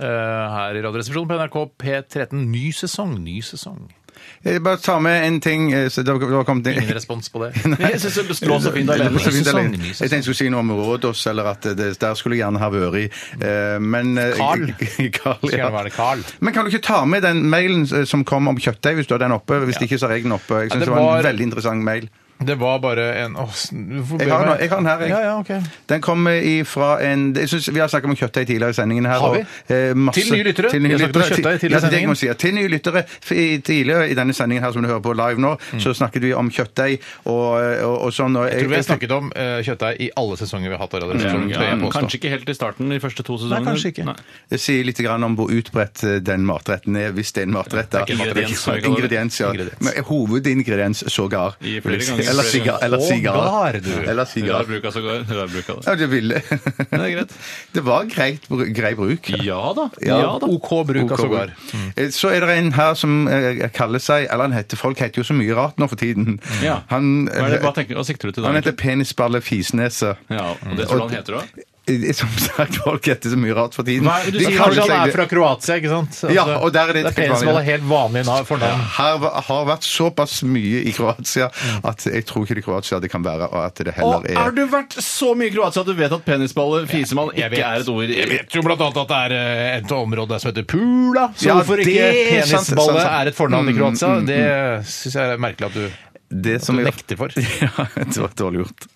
D: eh, her i Radioresepsjonen på NRK P13. Ny sesong, ny sesong.
E: Jeg Eh, bare ta med en ting eh, så det var- det var kommet
D: Ingen respons på det.
F: Jeg syns det lå så fint
E: Det
F: alene.
E: var så fint
D: Ny sesong,
E: alene.
D: ny
E: Jeg
D: sesong.
E: tenkte jeg skulle si noe om Rådås, eller at det, der skulle jeg gjerne ha vært. eh, Men eh,
D: Carl.
E: Carl,
D: Skal gjerne
E: ja.
D: være det, Carl.
E: Men kan du ikke ta med den mailen eh, som kom om kjøttdeig, hvis du har den oppe? Hvis ikke, så har jeg den oppe. Jeg
D: Ja,
E: synes
D: det
E: det var en
D: var-
E: veldig interessant mail.
D: Det var bare en Åh, hvorfor
E: Jeg
D: ber
E: har,
D: du
E: den,
D: meg-
E: jeg har den her, jeg.
D: Ja, ja, ok.
E: Den kom fra en jeg synes, Vi har snakket om kjøttdeig tidligere i sendingen. her.
D: Har vi?
E: Og, eh, masse,
D: Til nye lyttere?
E: Til
D: Vi
E: nye
D: har snakket om
E: lyttere.
D: kjøttdeig tidligere i
E: Ja, det er det jeg
D: sendingen.
E: må si, ja. Til nye lyttere. For i- Tidligere i denne sendingen her, som du hører på live nå, så snakket vi om kjøttdeig og, og, og sånn. Og,
D: Mm. Jeg tror vi har snakket om eh, kjøttdeig i alle sesonger vi har hatt av Radioresepsjonen.
F: Ja,
D: tør jeg påstå.
F: Mm, kanskje ikke helt i starten, de første to sesongene.
D: kanskje ikke.
E: Det sier litt grann om hvor utbredt eh, den matretten er, hvis det er en matrett. da.
F: Det er ikke en matrett.
E: Ingrediens, Ingrediens, ja.
D: Ingrediens.
E: Men Hovedingrediens sågar.
F: I flere
E: vil jeg si.
F: ganger
E: Eller
F: flere
E: sigar. Eller
D: ganger.
E: sigar.
D: Sågar, du.
E: Eller
F: Rar
E: sigar.
F: bruk av sågar. Rar bruk av det.
E: Ja, det ville.
F: Det er greit.
E: Det var greit, bru- grei bruk.
F: Ja da.
E: Ja.
F: Ja da.
D: OK bruk altså. Mm. av
E: Ok,
D: sågar.
E: bruk. Eh, Så er det en her som eh, kaller seg Eller han heter Folk heter jo så mye rart nå for tiden.
D: Mm.
F: Ja.
E: Han, eh,
F: Hva, er det, hva, tenker, hva sikter du til da?
E: han heter
F: egentlig?
E: Penisballe Fisnese.
F: Ja, og
D: Mm.
F: det tror du han heter da?
E: Eh, Som sagt, folk heter så mye rart for tiden.
F: Hva er det du
E: De
F: sier?
E: kaller
D: Kanskje han
E: seg
D: er fra Kroatia, ikke sant? Altså,
E: Ja, og der er det
D: det er penis som
E: tilfellet, ja.
D: har helt vanlig nav- fornavn.
E: Her var- har vært såpass mye i Kroatia at jeg tror ikke det er Kroatia det kan være, og at det heller
F: Og
E: er
F: har du vært så mye i Kroatia at du vet at penisballe, fisemann,
D: Jeg
F: ikke
D: vet.
F: er et ord?
D: Jeg vet jo blant annet at det er eh, et område som heter Pula, så
E: Ja,
D: hvorfor
E: det
D: ikke
E: er sant,
D: penisballe
E: sant,
D: er
E: sant.
D: et fornavn i
E: Mm,
D: Kroatia?
E: mm, mm.
D: Det syns jeg er merkelig at du,
E: det
D: du
E: som jeg-
D: nekter for.
E: Ja, det var dårlig gjort.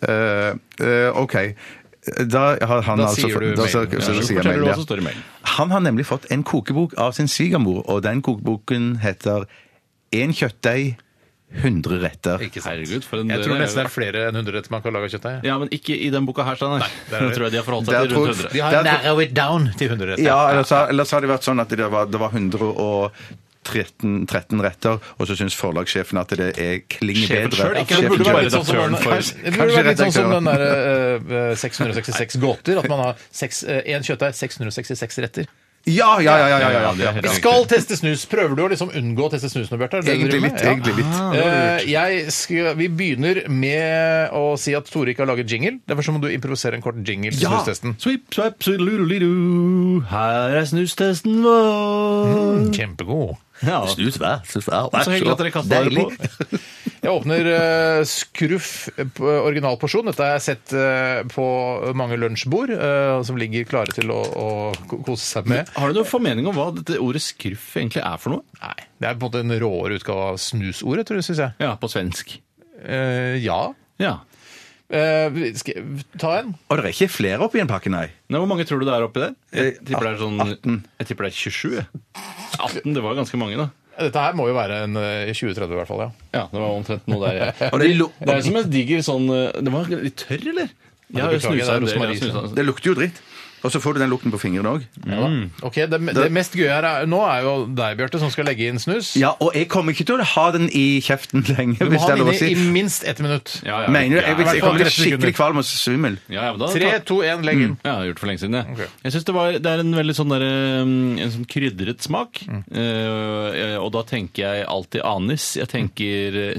E: Eh, eh, OK. Da har han
D: Da
E: altså
D: sier du
E: da, så,
D: mailen.
E: så,
F: Ja,
E: så,
F: så
E: sier jeg
F: forteller du
E: mailen,
F: hva
E: ja.
F: som står i mailen.
E: Han har nemlig fått en kokebok av sin svigermor, og den kokeboken heter En kjøttdeig, 100 retter.
D: Ikke sant.
F: Herregud, for en
D: Jeg tror
F: det er-
D: nesten det er flere enn 100 retter man kan lage av kjøttdeig.
F: Ja, men ikke i den boka her, Steinar.
D: der er
F: Da
D: det.
F: tror jeg de har forholdt
E: Der
F: seg til
E: tror-
F: rundt 100.
D: De har
E: Der-
D: narrow it down til 100 retter.
E: Ja, ellers, har- ellers har det vært sånn at det var, det var 113 13 retter, og så syns forlagssjefen at det er klinger bedre.
F: Sjefen selv, ikke?
E: Sjefen
F: Det burde
E: selv.
F: være sånn som han-
E: Kanskje-
D: Det burde
E: kanskje
D: vært litt sånn som
E: redaktøren.
D: den der eh, eh, 666 gåter, at man har seks, eh, en kjøttdeig, 666 retter.
E: Ja, ja, ja. ja, ja,
F: Ja,
E: ja,
F: det er helt
D: Vi skal teste snus. Prøver du å liksom unngå å teste snus nå, Bjarte? Er det det du
E: Egentlig
D: driver
E: litt.
D: med? Ja.
E: egentlig litt.
D: Eh, jeg skal, vi begynner med å si at Tore ikke har laget jingle. Derfor så må du improvisere en kort jingle til snustesten.
F: Sweep, sweep, sweep-lulidu. Her er snustesten vår.
D: Kjempegod.
F: Ja.
E: Mm. Snus hver, snus hver.
F: Så hyggelig at dere kastet dere på.
D: Jeg åpner eh, skruff eh, på- originalporsjon. Dette har jeg sett eh, på mange lunsjbord, eh, som ligger klare til å, å ko- kose seg med.
F: Har du noen formening om hva dette ordet skruff egentlig er for noe?
D: Nei, det er på en måte en råere utgave av snusordet, tror jeg, syns jeg.
F: Ja, på svensk.
D: Eh, ja.
F: Ja.
D: Eh, skal jeg ta en?
E: Og det er ikke flere oppi en pakke, nei.
F: Nei, hvor mange tror du det er oppi der? Jeg
E: Eh,
F: tipper det er sånn Jeg tipper det er 27. jeg. 18, det var ganske mange, da.
D: Dette her må jo være en eh, 2030 i hvert fall, ja.
F: Ja, det var omtrent noe der. jeg-
E: Og det, lu
F: Det er jo som en diger sånn eh, Den var litt tørr, eller? Jeg har jo
D: beklager, det er
F: snusa en del.
D: rosmarin.
F: jeg har snuset-
E: det lukter jo dritt. Og så får du den lukten på fingrene òg. Mm.
D: Ok, det, det mest gøye her er, nå er jo deg, Bjarte, som skal legge inn snus.
E: Ja, og jeg kommer ikke til å ha den i kjeften lenge.
D: Du må
E: hvis
D: ha
E: det er
D: den
E: lov å
D: inne i
E: si.
D: minst ett minutt.
F: Ja, ja,
E: Mener du? Jeg,
F: ja,
E: jeg, jeg kommer til å bli skikkelig kvalm og svimmel.
F: ja, ja, men da,
D: Tre,
F: ta-
D: to, én, legg
E: Mm.
D: inn.
F: Ja, jeg har gjort det for lenge siden. Jeg,
D: Ok.
F: jeg synes det, var, det er en veldig sånn der, um, en sånn krydret smak. Eh, og da tenker jeg alltid anis. Jeg tenker eh,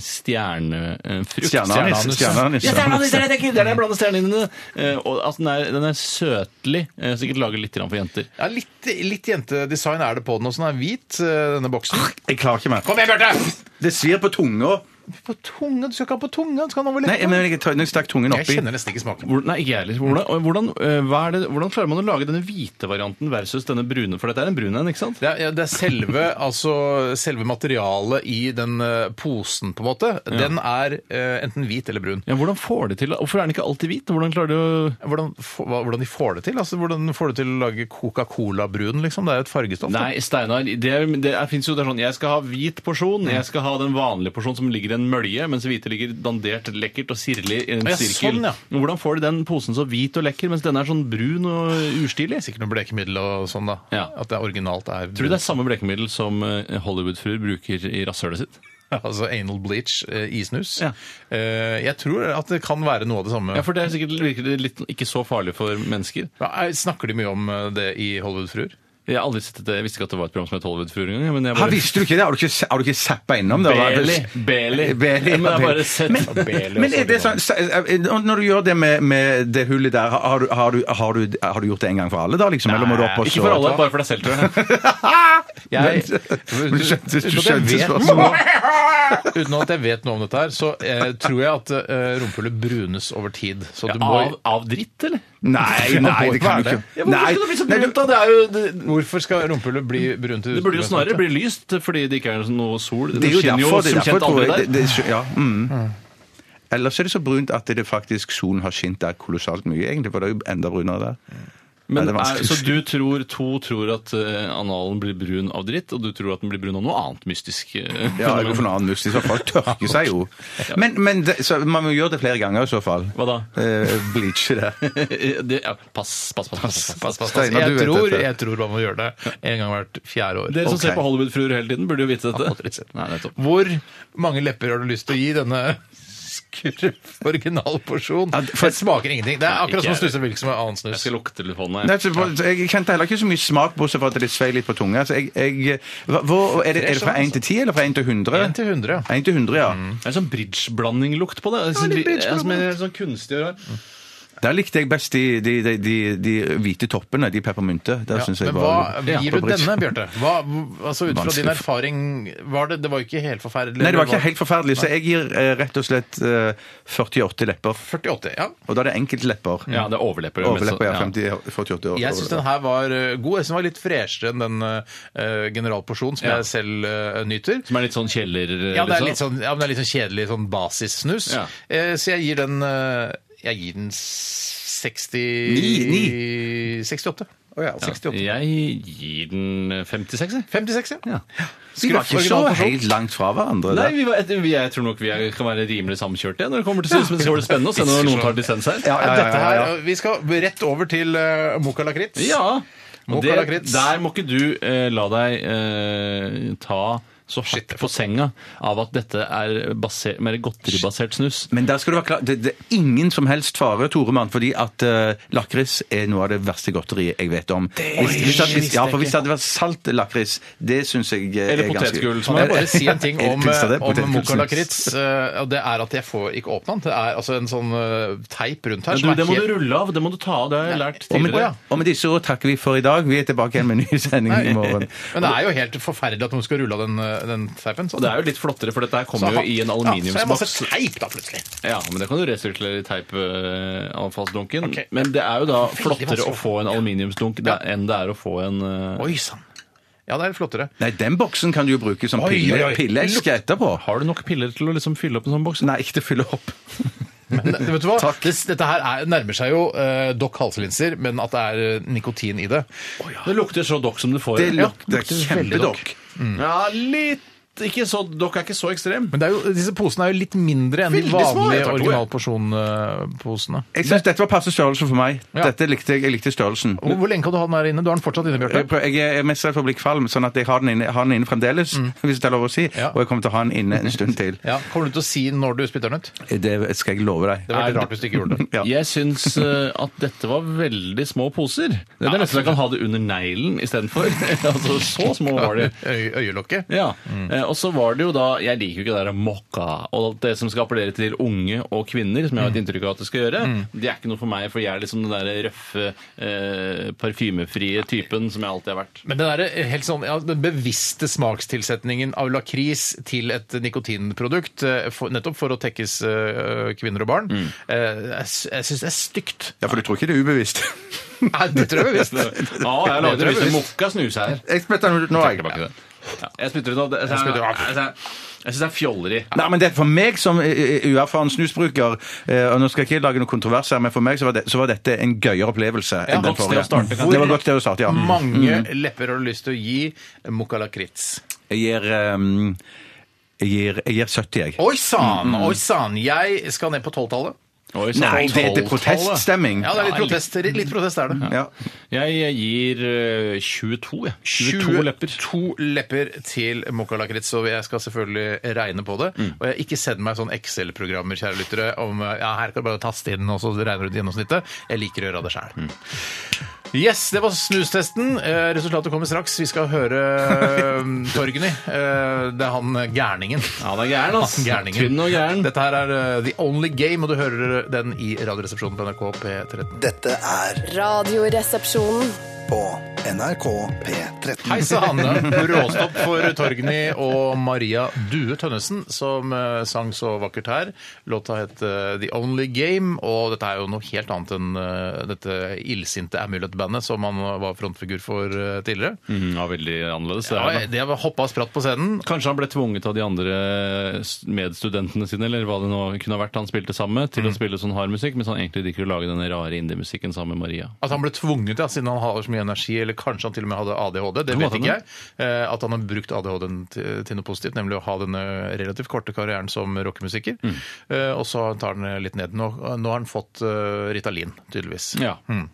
F: stjernefrukt.
E: Stjerneanis. Stjerneanis.
F: Ja, stjerneanis er det jeg tenker! Det er det jeg blander stjernene inn i. Eh, og at den er, den er søtlig. Eh, sikkert lager litt grann for jenter.
D: Ja, litt, litt jentedesign er det på den også. Den er hvit, eh, denne boksen.
E: Jeg klarer ikke mer.
D: Kom igjen, Bjarte!
E: Det svir på tunga.
D: På tunga? Du skal ikke ha på tunga. Du skal ha den over
E: Nei,
D: leppa.
E: men jeg, tar- når jeg stakk tungen
D: Jeg
E: oppi
D: kjenner nesten ikke smaken.
F: Hvordan, nei, ikke jeg heller. Hvordan, og hvordan, eh, hva er det, hvordan klarer man å lage denne hvite varianten versus denne brune? For dette er en brun en, ikke sant?
D: Det er, ja, det er selve, altså, selve materialet i den eh, posen, på en måte. Den er eh, enten hvit eller brun.
F: Ja, hvordan får de til Hvorfor er den ikke alltid hvit? Hvordan klarer de å
D: Hvordan, få- hva- hvordan de får det til? Altså, hvordan får du til å lage Coca-Cola-brun? Liksom? Det er jo et fargestoff. da.
F: Nei, Steinar, det, er- det er- finnes jo det er sånn Jeg skal ha hvit
E: Mm.
F: porsjon, jeg skal ha den vanlige porsjonen som ligger i en mølje, mens hvite ligger dandert lekkert og sirlig i en
D: Å, ja,
F: sirkel.
D: sånn, ja.
F: Men Hvordan får de den posen så hvit og lekker, mens denne er sånn brun og urstilig?
D: Sikkert noe blekemiddel og sånn, da.
F: Ja.
D: At det er originalt er
F: Tror du det er samme blekemiddel som eh, Hollywood-fruer bruker i rasshølet sitt?
D: Altså anal bleach eh, i snus.
F: Ja.
D: Eh, jeg tror at det kan være noe av det samme.
F: Ja, for det er sikkert virker det litt ikke så farlig for mennesker.
D: Ja, Snakker de mye om eh, det i Hollywood-fruer?
F: Jeg, har aldri sett det, jeg visste ikke at det var et program som het Hollywood-fruer engang. men jeg
E: Har
F: bare-
E: visste du ikke det? Har du ikke, har du ikke zappa innom det?
F: Beli. Beli.
E: Beli, ja,
F: Men jeg har
E: Beli.
F: bare sett
E: Men,
F: Beli
E: men er det
F: også.
E: sånn, når du gjør det med, med det hullet der, har du, har, du, har, du, har du gjort det en gang for alle da, liksom? Eller må du opp og
F: Ikke
E: så-
F: for alle, bare for deg selv, tror jeg.
D: Jeg-
E: Men du skjønte, du
D: Uten at jeg
E: skjønte
D: vet
E: spørsmålet.
D: noe- Uten at jeg vet noe om dette her, så eh, tror jeg at eh, rumpehullet brunes over tid. Så du må
F: Av, av dritt, eller?
E: Nei, nei, det kan du
D: Hvorfor er det?
E: ikke. Mm. Nei, nei, du-
F: da? Det er jo...
D: Hvorfor skal rumpehullet bli brunt? i
F: Det burde jo
D: utgangspunktet?
F: snarere bli lyst, fordi det ikke er noe sol.
E: Det er jo derfor, det er
F: som
E: derfor
F: kjent
E: tror jeg
F: aldri der.
E: det, det, er- ja, mm. Ellers er det så brunt at det faktisk solen har skint der kolossalt mye, egentlig, for det er jo enda brunere der. Nei,
F: Men,
E: det er
F: er,
E: vanskelig
F: så
E: å si.
F: du tror, to tror at eh, analen blir brun av dritt, og du tror at den blir brun av noe annet mystisk? eh,
E: Ja, jeg
F: fenomen.
E: går for noe annet muskel. I så fall tørker seg jo. Men, men det, så man må gjøre det flere ganger i så fall.
F: Hva da?
E: Eh, bleache det.
F: det, ja, pass, pass, pass, pass, pass, pass, pass.
E: Steinar,
D: Altså, Jeg
E: du vet
D: tror,
E: dette.
D: jeg tror man må gjøre det en gang hvert fjerde år.
F: Dere som
E: Ok.
F: ser på Hollywood-fruer hele tiden, burde jo
D: Jeg
F: vite
D: har aldri
F: dette.
D: sett
F: Nei, nettopp.
D: Hvor mange lepper har du lyst til å gi denne skurv originalporsjon?
E: Ja, for-
D: det smaker ingenting. Det er akkurat som
F: ikke
D: å
F: jeg.
D: snuse hvilken som er annen
F: Jeg
D: snus.
F: skal lukte telefonen.
E: Nei,
F: jeg.
E: så, jeg kjente heller ikke så mye smak, bortsett fra at det svei litt på tunga. Så jeg, jeg, hva, hvor, er, det, er det fra 1 til 10, eller fra 1 til 100?
D: 1 sånn- til 100, ja. Mm.
E: 1 til 100, ja.
F: Det er sånn bridgeblanding-lukt på det. Det er sånn,
D: litt
F: ja, som er sånn kunstig å gjøre.
E: Mm. Der likte jeg best de, de, de, de, de hvite toppene, de peppermynte. Der
D: Ja,
E: synes jeg
D: men
E: var...
D: hva gir du
E: Favorit.
D: denne, Bjarte? Hva, altså Ut fra din
E: Vanskelig.
D: erfaring, var det, det var jo ikke helt forferdelig?
E: Nei, det var
D: eller
E: ikke helt forferdelig, så jeg gir eh, rett og slett eh, 48 lepper.
D: 48, ja.
E: Og da er det enkeltlepper.
F: Ja, det er overlepper.
E: Overlepper, ja.
F: Ja.
E: 50, 48 år.
D: Jeg syns den her var eh, god. Jeg synes den var litt freshere enn den eh, generalporsjonen som
F: Ja.
D: jeg selv eh, nyter.
F: Som er litt sånn kjeller...
D: Ja, det er litt sånn, ja, men det er litt sånn kjedelig sånn basissnus.
F: Ja.
D: Eh, så jeg gir den eh, Jeg gir den 60
E: Ni,
D: 68.
E: Å ja, 68.
F: Jeg gir den 56, jeg.
D: 56, ja.
E: Vi var ikke så
D: originalperson.
E: helt langt fra hverandre.
F: Nei,
E: der.
F: vi var et, vi, jeg tror nok vi er, kan være rimelig samkjørte ja, når det kommer til snus, men det skal bli spennende å se når noen tar dissens her.
E: Ja, ja, ja,
D: Dette her,
E: ja, ja.
D: eh, Vi skal rett over til uh, Moka Lakritz.
F: Ja,
D: Mokka
F: og det,
D: lakrits.
F: der må ikke du eh, la deg eh, ta så hardt på senga av at dette er baser, mer godteribasert snus.
E: Men der skal du være klar. Det, det er ingen som helst fare, Toremann, fordi at eh, lakris er noe av det verste godteriet jeg vet om. Hvis, hvis, at, hvis, ja, for hvis det hadde vært salt lakris, det syns jeg eh, er
F: Eller
E: ganske
F: potetgull, som
D: Må jeg bare
E: Eller-
D: si en ting
E: eller
D: om,
E: kunst av
D: eh,
E: det,
D: om
E: potetgull
D: Moka
E: snus.
D: Lakritz. eh, og det er at jeg får ikke åpna den. Det er altså en sånn eh, teip rundt her
F: Men du,
D: som er
F: det må du
D: helt
F: rulle av, det må du ta av, det har jeg lært
E: Og med,
F: tidligere.
E: og med disse ord takker vi for i dag. Vi er tilbake igjen med en ny sending i morgen.
D: Men det er jo helt forferdelig at noen skal rulle av den eh, den teipen. Så
F: Og det er jo litt flottere, for dette her
D: så
F: kommer jo
D: han-
F: i en
D: Ja, så er det masse
F: aluminiumsboks.
D: teip, da, plutselig.
F: Ja, men det kan du resirkulere i teipavfallsdunken.
D: Ok.
F: Men det er jo da
D: Veldig
F: flottere å
D: vanskelig.
F: få en aluminiumsdunk det- enn det er å få en eh,
D: Oi sann. Ja, det er flottere.
E: Nei, den boksen kan du jo bruke som
D: Oi,
E: pille,
D: oi, oi.
E: pilleeske etterpå.
F: Har du nok piller til å liksom fylle opp en sånn boks?
E: Nei, ikke til å fylle opp.
D: Men vet du hva? Det, dette her er, nærmer seg jo uh, Doc halselinser, men at det er eh, nikotin i det.
F: Det lukter så dokk som du får.
E: Det
F: Ja,
E: lukter
F: veldig
E: kjempedokk.
F: dokk. Mm. Ja, litt ikke så, Dokk er ikke så ekstrem.
D: Men det er jo, disse posene er jo litt mindre enn de
F: Veldig små, jeg
D: vanlige eh,
F: tar to, jeg.
D: originalporsjonposene.
E: Jeg syns dette var passe størrelse for meg.
D: Ja.
E: Dette likte jeg. Jeg likte størrelsen.
D: Hvor, hvor lenge kan du ha den her inne? Du har den fortsatt inne,
E: Jeg,
F: Eh,
D: Bjarte.
E: prøver, jeg er- jeg er mest redd for å bli kvalm, sånn at jeg har den inne, har den inne fremdeles. Hvis det er lov å si.
D: Ja.
E: Og jeg kommer til å ha den inne en stund til.
D: Ja, Kommer du til å si når du spytter den ut? Det
E: Det skal jeg love deg.
D: var veldig rart hvis du ikke gjorde det.
E: Ja.
F: Jeg syns eh, at dette var veldig små poser. Det er nesten så jeg kan ha det under neglen istedenfor. altså, så små var de.
D: Øy, øyelokket.
F: Ja, eh, Og så var det jo da Jeg liker jo ikke det der mokka og alt det som skal appellere til unge og kvinner, som jeg har et inntrykk av at det skal gjøre. Det er ikke noe for meg, for jeg er liksom den der røffe, eh, parfymefrie typen som jeg alltid har vært.
D: Men den, der, helt sånn, ja, den bevisste smakstilsetningen av lakris til et nikotinprodukt, eh, for, nettopp for å tekkes eh, kvinner og barn, eh, jeg, sy- jeg syns det er stygt.
E: ja, for du tror ikke det er ubevisst?
D: Nei, det tror jeg
F: Ja,
D: visst.
F: jeg lagde visst mokka snus her.
E: Jeg spytter den ut nå,
F: Jeg
E: jeg.
F: bakker det. Ja, jeg spytter ut av det. Jeg,
D: spytter ut av-
F: jeg, jeg, jeg syns det er fjolleri.
E: Nei, men det, For meg som eh, eh, uerfaren snusbruker, eh, og nå skal jeg ikke lage noen kontrovers her, men for meg så var, det, så var dette en gøyere opplevelse enn den
F: godt sted å
E: forrige.
F: starte, kanskje.
E: det var godt sted å starte, ja. Mm.
D: Mange lepper har du lyst til å gi mokka lakris.
E: Jeg gir, ehm, jeg gir, jeg gir 70, jeg.
D: Oi sann, oi sann. Jeg skal ned på tolvtallet.
F: Oi, så-
E: Nei, det er det proteststemming.
D: Ja, det er litt protest. Litt protest er det.
E: Ja.
F: Jeg gir eh, 22, jeg. 22, lepper.
D: 22 lepper til mokka lakris, og jeg skal selvfølgelig regne på det.
F: Mm.
D: Og jeg har ikke sett meg sånn Excel-programmer, kjære lyttere, om eh, ja, her kan du bare taste inn, og så regner du ut gjennomsnittet. Jeg liker å gjøre det
F: Mm.
D: sjæl. Yes, det var snustesten. Eh, Resultatet kommer straks. Vi skal høre eh, Torgny. Eh, Det er han eh, gærningen.
F: Ja, det er gæren, ass.
D: Gærningen.
F: Tynn og gæren.
D: Dette her er eh, The Only Game, og du hører den i Radioresepsjonen på NRK P13.
H: Dette er
G: Radioresepsjonen.
H: på NRK P13.
D: Hei sann! Råstopp for Torgny og Maria Due Tønnesen, som eh, sang så vakkert her. Låta het eh, The Only Game, og dette er jo noe helt annet enn eh, dette illsinte Amulet-bandet som han var frontfigur for eh, tidligere.
F: Mm, ja, veldig annerledes. Det
D: Ja,
F: er, det.
D: de har hoppa spratt på scenen.
F: Kanskje han ble tvunget av de andre s- medstudentene sine, eller hva det nå kunne ha vært han spilte sammen med, til
D: Mm.
F: å spille sånn hard musikk, mens han egentlig liker å lage denne rare indie-musikken sammen med Maria.
D: At han ble tvunget, ja, siden han har så mye energi, eller kanskje han til og med hadde ADHD, det
F: Kan
D: vet
F: være
D: ikke jeg. Eh, At han har brukt ADHD-en til til noe positivt, nemlig å ha denne relativt korte karrieren som rockemusiker.
F: Mm.
D: Eh, Og så tar han litt ned. Nå, nå har han fått eh, Ritalin, tydeligvis.
F: Ja.
D: Mm.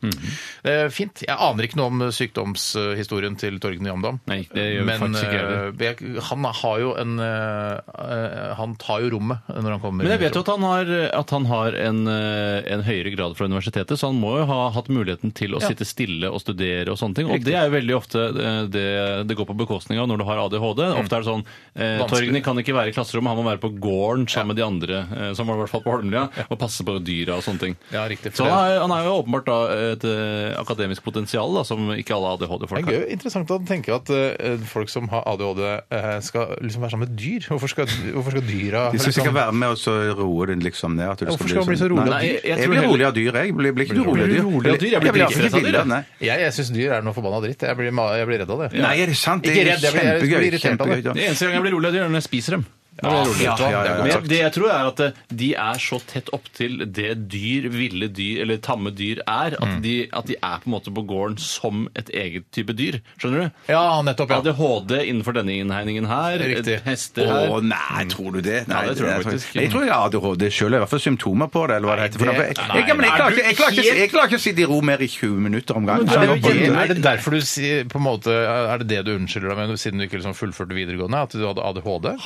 D: Eh, Fint. Jeg aner ikke noe om sykdomshistorien til Torgny Amdam.
F: Nei, det gjør vi
D: Men
F: faktisk ikke heller.
D: eh, jeg- han har jo en eh, eh, Han tar jo rommet når han kommer
F: Men
D: inn
F: jeg
D: i
F: vet jo at han har, at han har en, eh, en høyere grad fra universitetet, så han må jo ha hatt muligheten til å sitte stille og studere og sånne ting. Og det er jo veldig ofte eh, det det går på bekostning av når du har ADHD. Ofte er det sånn eh,
D: Mm. Vanskelig.
F: Torgny kan ikke være i klasserommet, han må være på gården sammen med de andre, eh, som var i hvert fall på Holmlia, og passe på dyra og sånne ting.
D: Ja, riktig.
F: Så han er, han er jo åpenbart da et eh, akademisk potensial da, som ikke alle
D: Det
F: ADHD-folk
D: er
F: har.
D: gøy, interessant å tenke at eh, folk som har ADHD, eh, skal liksom være sammen med dyr. Hvorfor skal, hvorfor skal dyra
E: De som skal
D: liksom-
E: være med og så roe den liksom ned. At du
D: Hvorfor skal man bli så rolig av
E: Nei,
F: dyr?
E: Jeg,
F: Jeg
E: jeg
F: tror
E: blir
F: heller-
E: rolig av dyr, jeg. Blir, blir ikke du rolig av dyr?
F: rolig av dyr? Jeg blir
E: blir
F: dritstressa av
E: ikke
F: dyr,
E: ville,
F: jeg.
E: nei.
D: Jeg, jeg syns dyr er noe forbanna dritt. Jeg blir, ma- jeg blir redd av det.
E: Nei, er det sant? Det
D: Ikke
E: er
D: redd, jeg blir- jeg blir
E: kjempegøy.
D: irritert av det.
E: kjempegøy, ja.
F: Det eneste gang jeg blir rolig av dyr, er når jeg spiser dem. Da blir jeg rolig.
E: Ja, ja, ja, ja.
F: Men jeg- det jeg tror er at eh, de er så tett opp til det dyr, ville dyr eller tamme dyr er, at,
D: Mm.
F: de, at de er på en måte på gården som et eget type dyr. Skjønner du?
D: Ja, nettopp. Ja.
F: ADHD innenfor denne innhegningen her,
D: Riktig.
F: eh, hester her.
E: Å nei, tror du det? Nei,
F: Ja, det tror jeg faktisk.
E: Jeg tror jeg har ADHD sjøl, i hvert fall symptomer på det. eller hva det heter. For
D: det-
E: da- jeg-
D: nei,
E: jeg- men jeg
D: nei,
E: klarer
D: er du
E: ikke- jeg klarer ikke-
D: helt-
E: jeg klarer ikke å sitte i ro mer i 20 minutter om gangen.
D: Er det,
E: Jeg- jeg-
D: er det derfor du sier- på en måte, er det det du unnskylder deg med, siden du ikke liksom fullførte videregående? At du hadde ADHD?
E: Nei,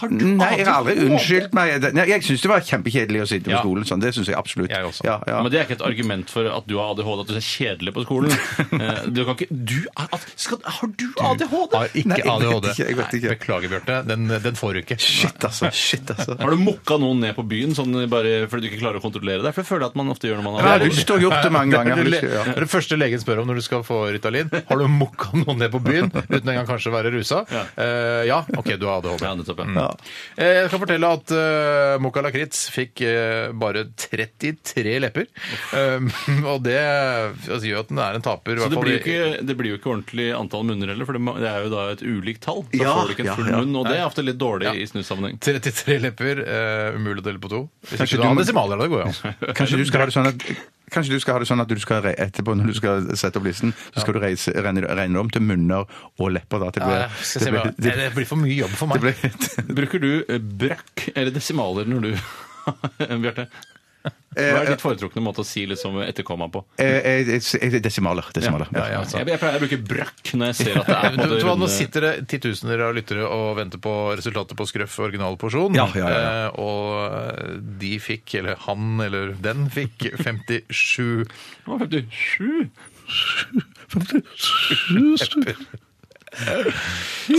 E: jeg jeg har aldri unnskyldt meg. Det- Nei, Jeg syns det var kjempekjedelig å sitte på
F: Ja.
E: skolen sånn. Det syns jeg absolutt.
D: Jeg også.
E: Ja, ja.
F: Men det er ikke et argument for at du har ADHD, at du er kjedelig på skolen. Eh, du kan ikke Du er at, skal, Har du ADHD?
D: Har ikke
E: Nei, jeg vet
D: ADHD.
E: ikke, jeg vet
D: Nei,
E: ikke.
D: Beklager, Bjarte. Den, den får du ikke.
E: Shit, altså. Shit, altså.
F: Har du mokka noen ned på byen sånn bare fordi du ikke klarer å kontrollere deg? For det føler jeg at man ofte gjør når man
E: Jeg har
F: har ADHD.
E: lyst til å ha gjort det mange ganger.
D: Det
E: Jeg
D: er
E: har
D: det
E: lyst
D: le-
E: til, ja.
D: det er det første legen spør om når du skal få Ritalin. Har du mokka noen ned på byen uten engang kanskje å være rusa? Ja. ja, OK, du har ADHD.
F: Ja, nettopp, ja.
D: Eh, Jeg kan fortelle at uh, Mokka Lakritz fikk eh, bare 33 lepper. Um, og det altså, gjør at den er en taper. i
F: Så
D: hvert
F: det
D: fall
F: blir, jo
D: i-
F: ikke, det blir jo ikke ordentlig antall munner heller, for det må- det er jo da et ulikt tall. Da
E: Ja,
F: får du ikke en
E: ja,
F: full
E: ja.
F: munn, og det er ofte litt dårlig
D: Ja.
F: i snussammenheng.
D: 33 lepper, eh, umulig å dele på to. Hvis
E: Kanskje
D: ikke du
E: du
D: har
E: må-
D: desimaler, da det går jo an.
E: Kanskje du skal ha det sånn at Kanskje du skal ha det sånn at du skal re etterpå når du skal sette opp listen, så skal du reise, regne, regne om til munner og lepper. da. at Det blir,
D: Nei, skal jeg si hva-
E: det
D: Nei,
E: blir,
D: det blir for mye jobb for
E: det
D: meg.
E: blir,
F: Bruker du eh, brakk eller desimaler når du Bjarte? Hva
D: Eh,
F: er ditt foretrukne måte å si liksom etterkomma på?
E: Eh, eh, eh, Desimaler. Desimaler.
D: Ja, ja,
F: Jeg, jeg pleier å bruke brakk når jeg ser at det er
D: Nei,
F: på
D: men du,
F: det
D: vet du hva, nå
F: runde-
D: sitter det eh, titusener av lyttere og venter på resultatet på Skrøff original porsjon.
E: Ja, ja, ja, ja.
D: Eh, og de fikk, eller han eller den fikk, 57
F: Det var 57.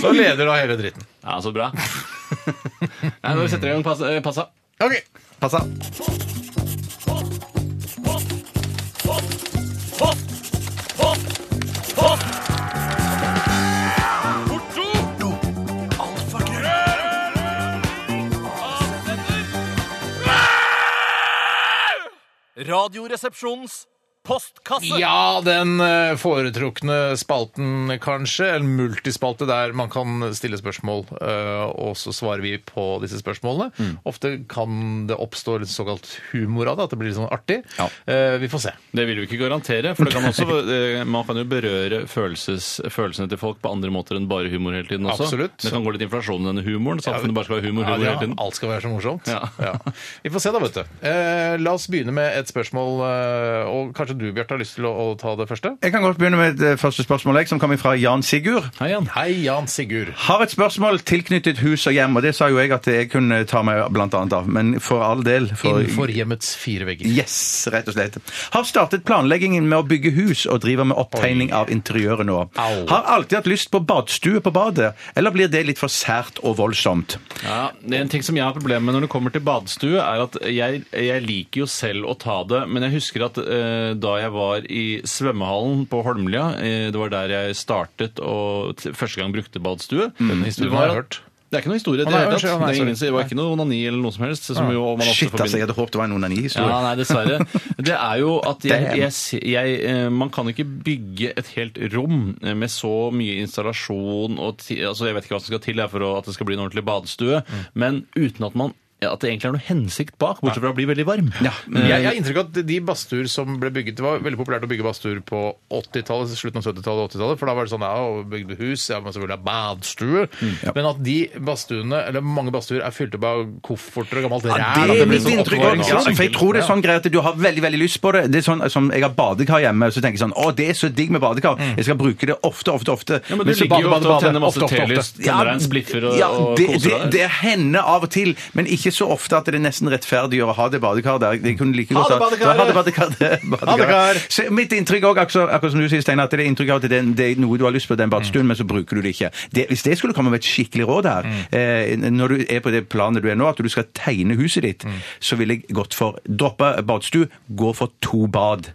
D: Så leder da hele dritten.
F: Ja, så bra. Nei, nå setter jeg i gang pass- eh, passa.
D: Ok,
E: Passa.
B: Radioresepsjonens postkasse.
D: Ja, den eh, foretrukne spalten, kanskje. En multispalte der man kan stille spørsmål, eh, og så svarer vi på disse spørsmålene. Ofte kan det oppstå litt såkalt humor av det, at det blir litt sånn artig.
E: Ja.
D: Eh, Vi får se.
F: Det vil vi ikke garantere, for det kan også, eh, man kan jo berøre følelses, følelsene til folk på andre måter enn bare humor hele tiden også.
D: Absolutt.
F: Det kan gå litt inflasjon i denne humoren. Samfunnet bare skal ha humor, humor
D: Ja,
F: hele tiden.
D: Alt skal være så morsomt.
F: Ja.
D: Vi får se, da, vet du. Eh, la oss begynne med et spørsmål, eh, og kanskje du, Bjarte, har lyst til å, å ta det første?
E: Jeg kan godt begynne med det første spørsmålet, jeg, som kommer fra Jan Sigurd.
F: Hei, Jan.
D: Hei, Jan Sigurd.
E: Har et spørsmål tilknyttet hus og hjem, og det sa jo jeg at jeg kunne ta meg blant annet av, men for all del for,
D: Innenfor hjemmets fire vegger.
E: Yes, rett og slett. Har startet planleggingen med å bygge hus og driver med opptegning av interiøret nå.
D: Au.
E: Har alltid hatt lyst på badstue på badet, eller blir det litt for sært og voldsomt?
F: Ja, det er En ting som jeg har problemer med når det kommer til badstue, er at jeg, jeg liker jo selv å ta det, men jeg husker at eh, da jeg var i svømmehallen på Holmlia, eh, det var der jeg startet og t første gang brukte badstue
D: Denne Mm. historien
F: Det var
D: har jeg
F: at-
D: hørt.
F: Det er ikke noe historie.
D: Å,
F: Det,
D: nei,
F: er helt
D: unnskyld,
F: tatt.
D: å, nei,
F: det, er ingen,
D: sorry.
F: det var ikke noe onani eller noe som helst. Som jo man
E: Shit,
F: ofte
E: altså,
F: forbinder-
E: jeg hadde håpet det var en
F: ja,
E: onani-historie.
F: nei, dessverre. Det er jo at jeg,
E: Damn.
F: jeg, se- jeg, eh, Man kan ikke bygge et helt rom eh, med så mye installasjon og ti, altså Jeg vet ikke hva som skal til jeg, for å- at det skal bli en ordentlig badstue,
E: Mm.
F: men uten at man at det egentlig er noe hensikt bak, bortsett fra å bli veldig varm.
D: Jeg, jeg har inntrykk av at de badstuer som ble bygget Det var veldig populært å bygge badstuer på 80-tallet, slutten av 70-tallet og 80-tallet. For da var det sånn ja, og bygde hus, ja, men selvfølgelig ha badstue. Men at de badstuene, eller mange badstuer, er fylt opp av kofferter og gammelt ræl. at
E: det er
D: blir
E: mitt
D: sånn
E: inntrykk
D: oppbevaring
E: også.
D: av
E: for jeg
D: sykler.
E: tror det er
D: Ja.
E: sånn greier at du har veldig veldig lyst på det. Det er sånn som Jeg har badekar hjemme, så tenker jeg sånn Å, det er så digg med badekar. Jeg skal bruke det ofte, ofte, ofte.
F: Mm. Ja, men du
E: Mens
F: ligger jo
E: bader,
F: ofte
E: bader,
F: og
E: bader.
F: tenner masse
E: Ofte, ofte, ofte.
F: telys, tenner deg en spliffer og,
E: Ja, det,
F: og
E: det,
F: koser deg.
E: det hender av og til, men ikke så ofte at det nesten rettferdiggjør å ha det badekar der. De kunne like godt
D: det badekaret!
E: Ha det badekar! det badekaret.
D: Badekar!
E: Så mitt inntrykk òg, akkurat som du sier, Steinar, at det er inntrykk av at det er, det er noe du har lyst på den badstuen, men så bruker du det ikke. Det, hvis det skulle komme med et skikkelig råd her,
F: Mm.
E: eh, når du er på det planet du er nå, at du skal tegne huset
F: Mm.
E: ditt, så ville jeg gått for droppe badstue, gå for to bad.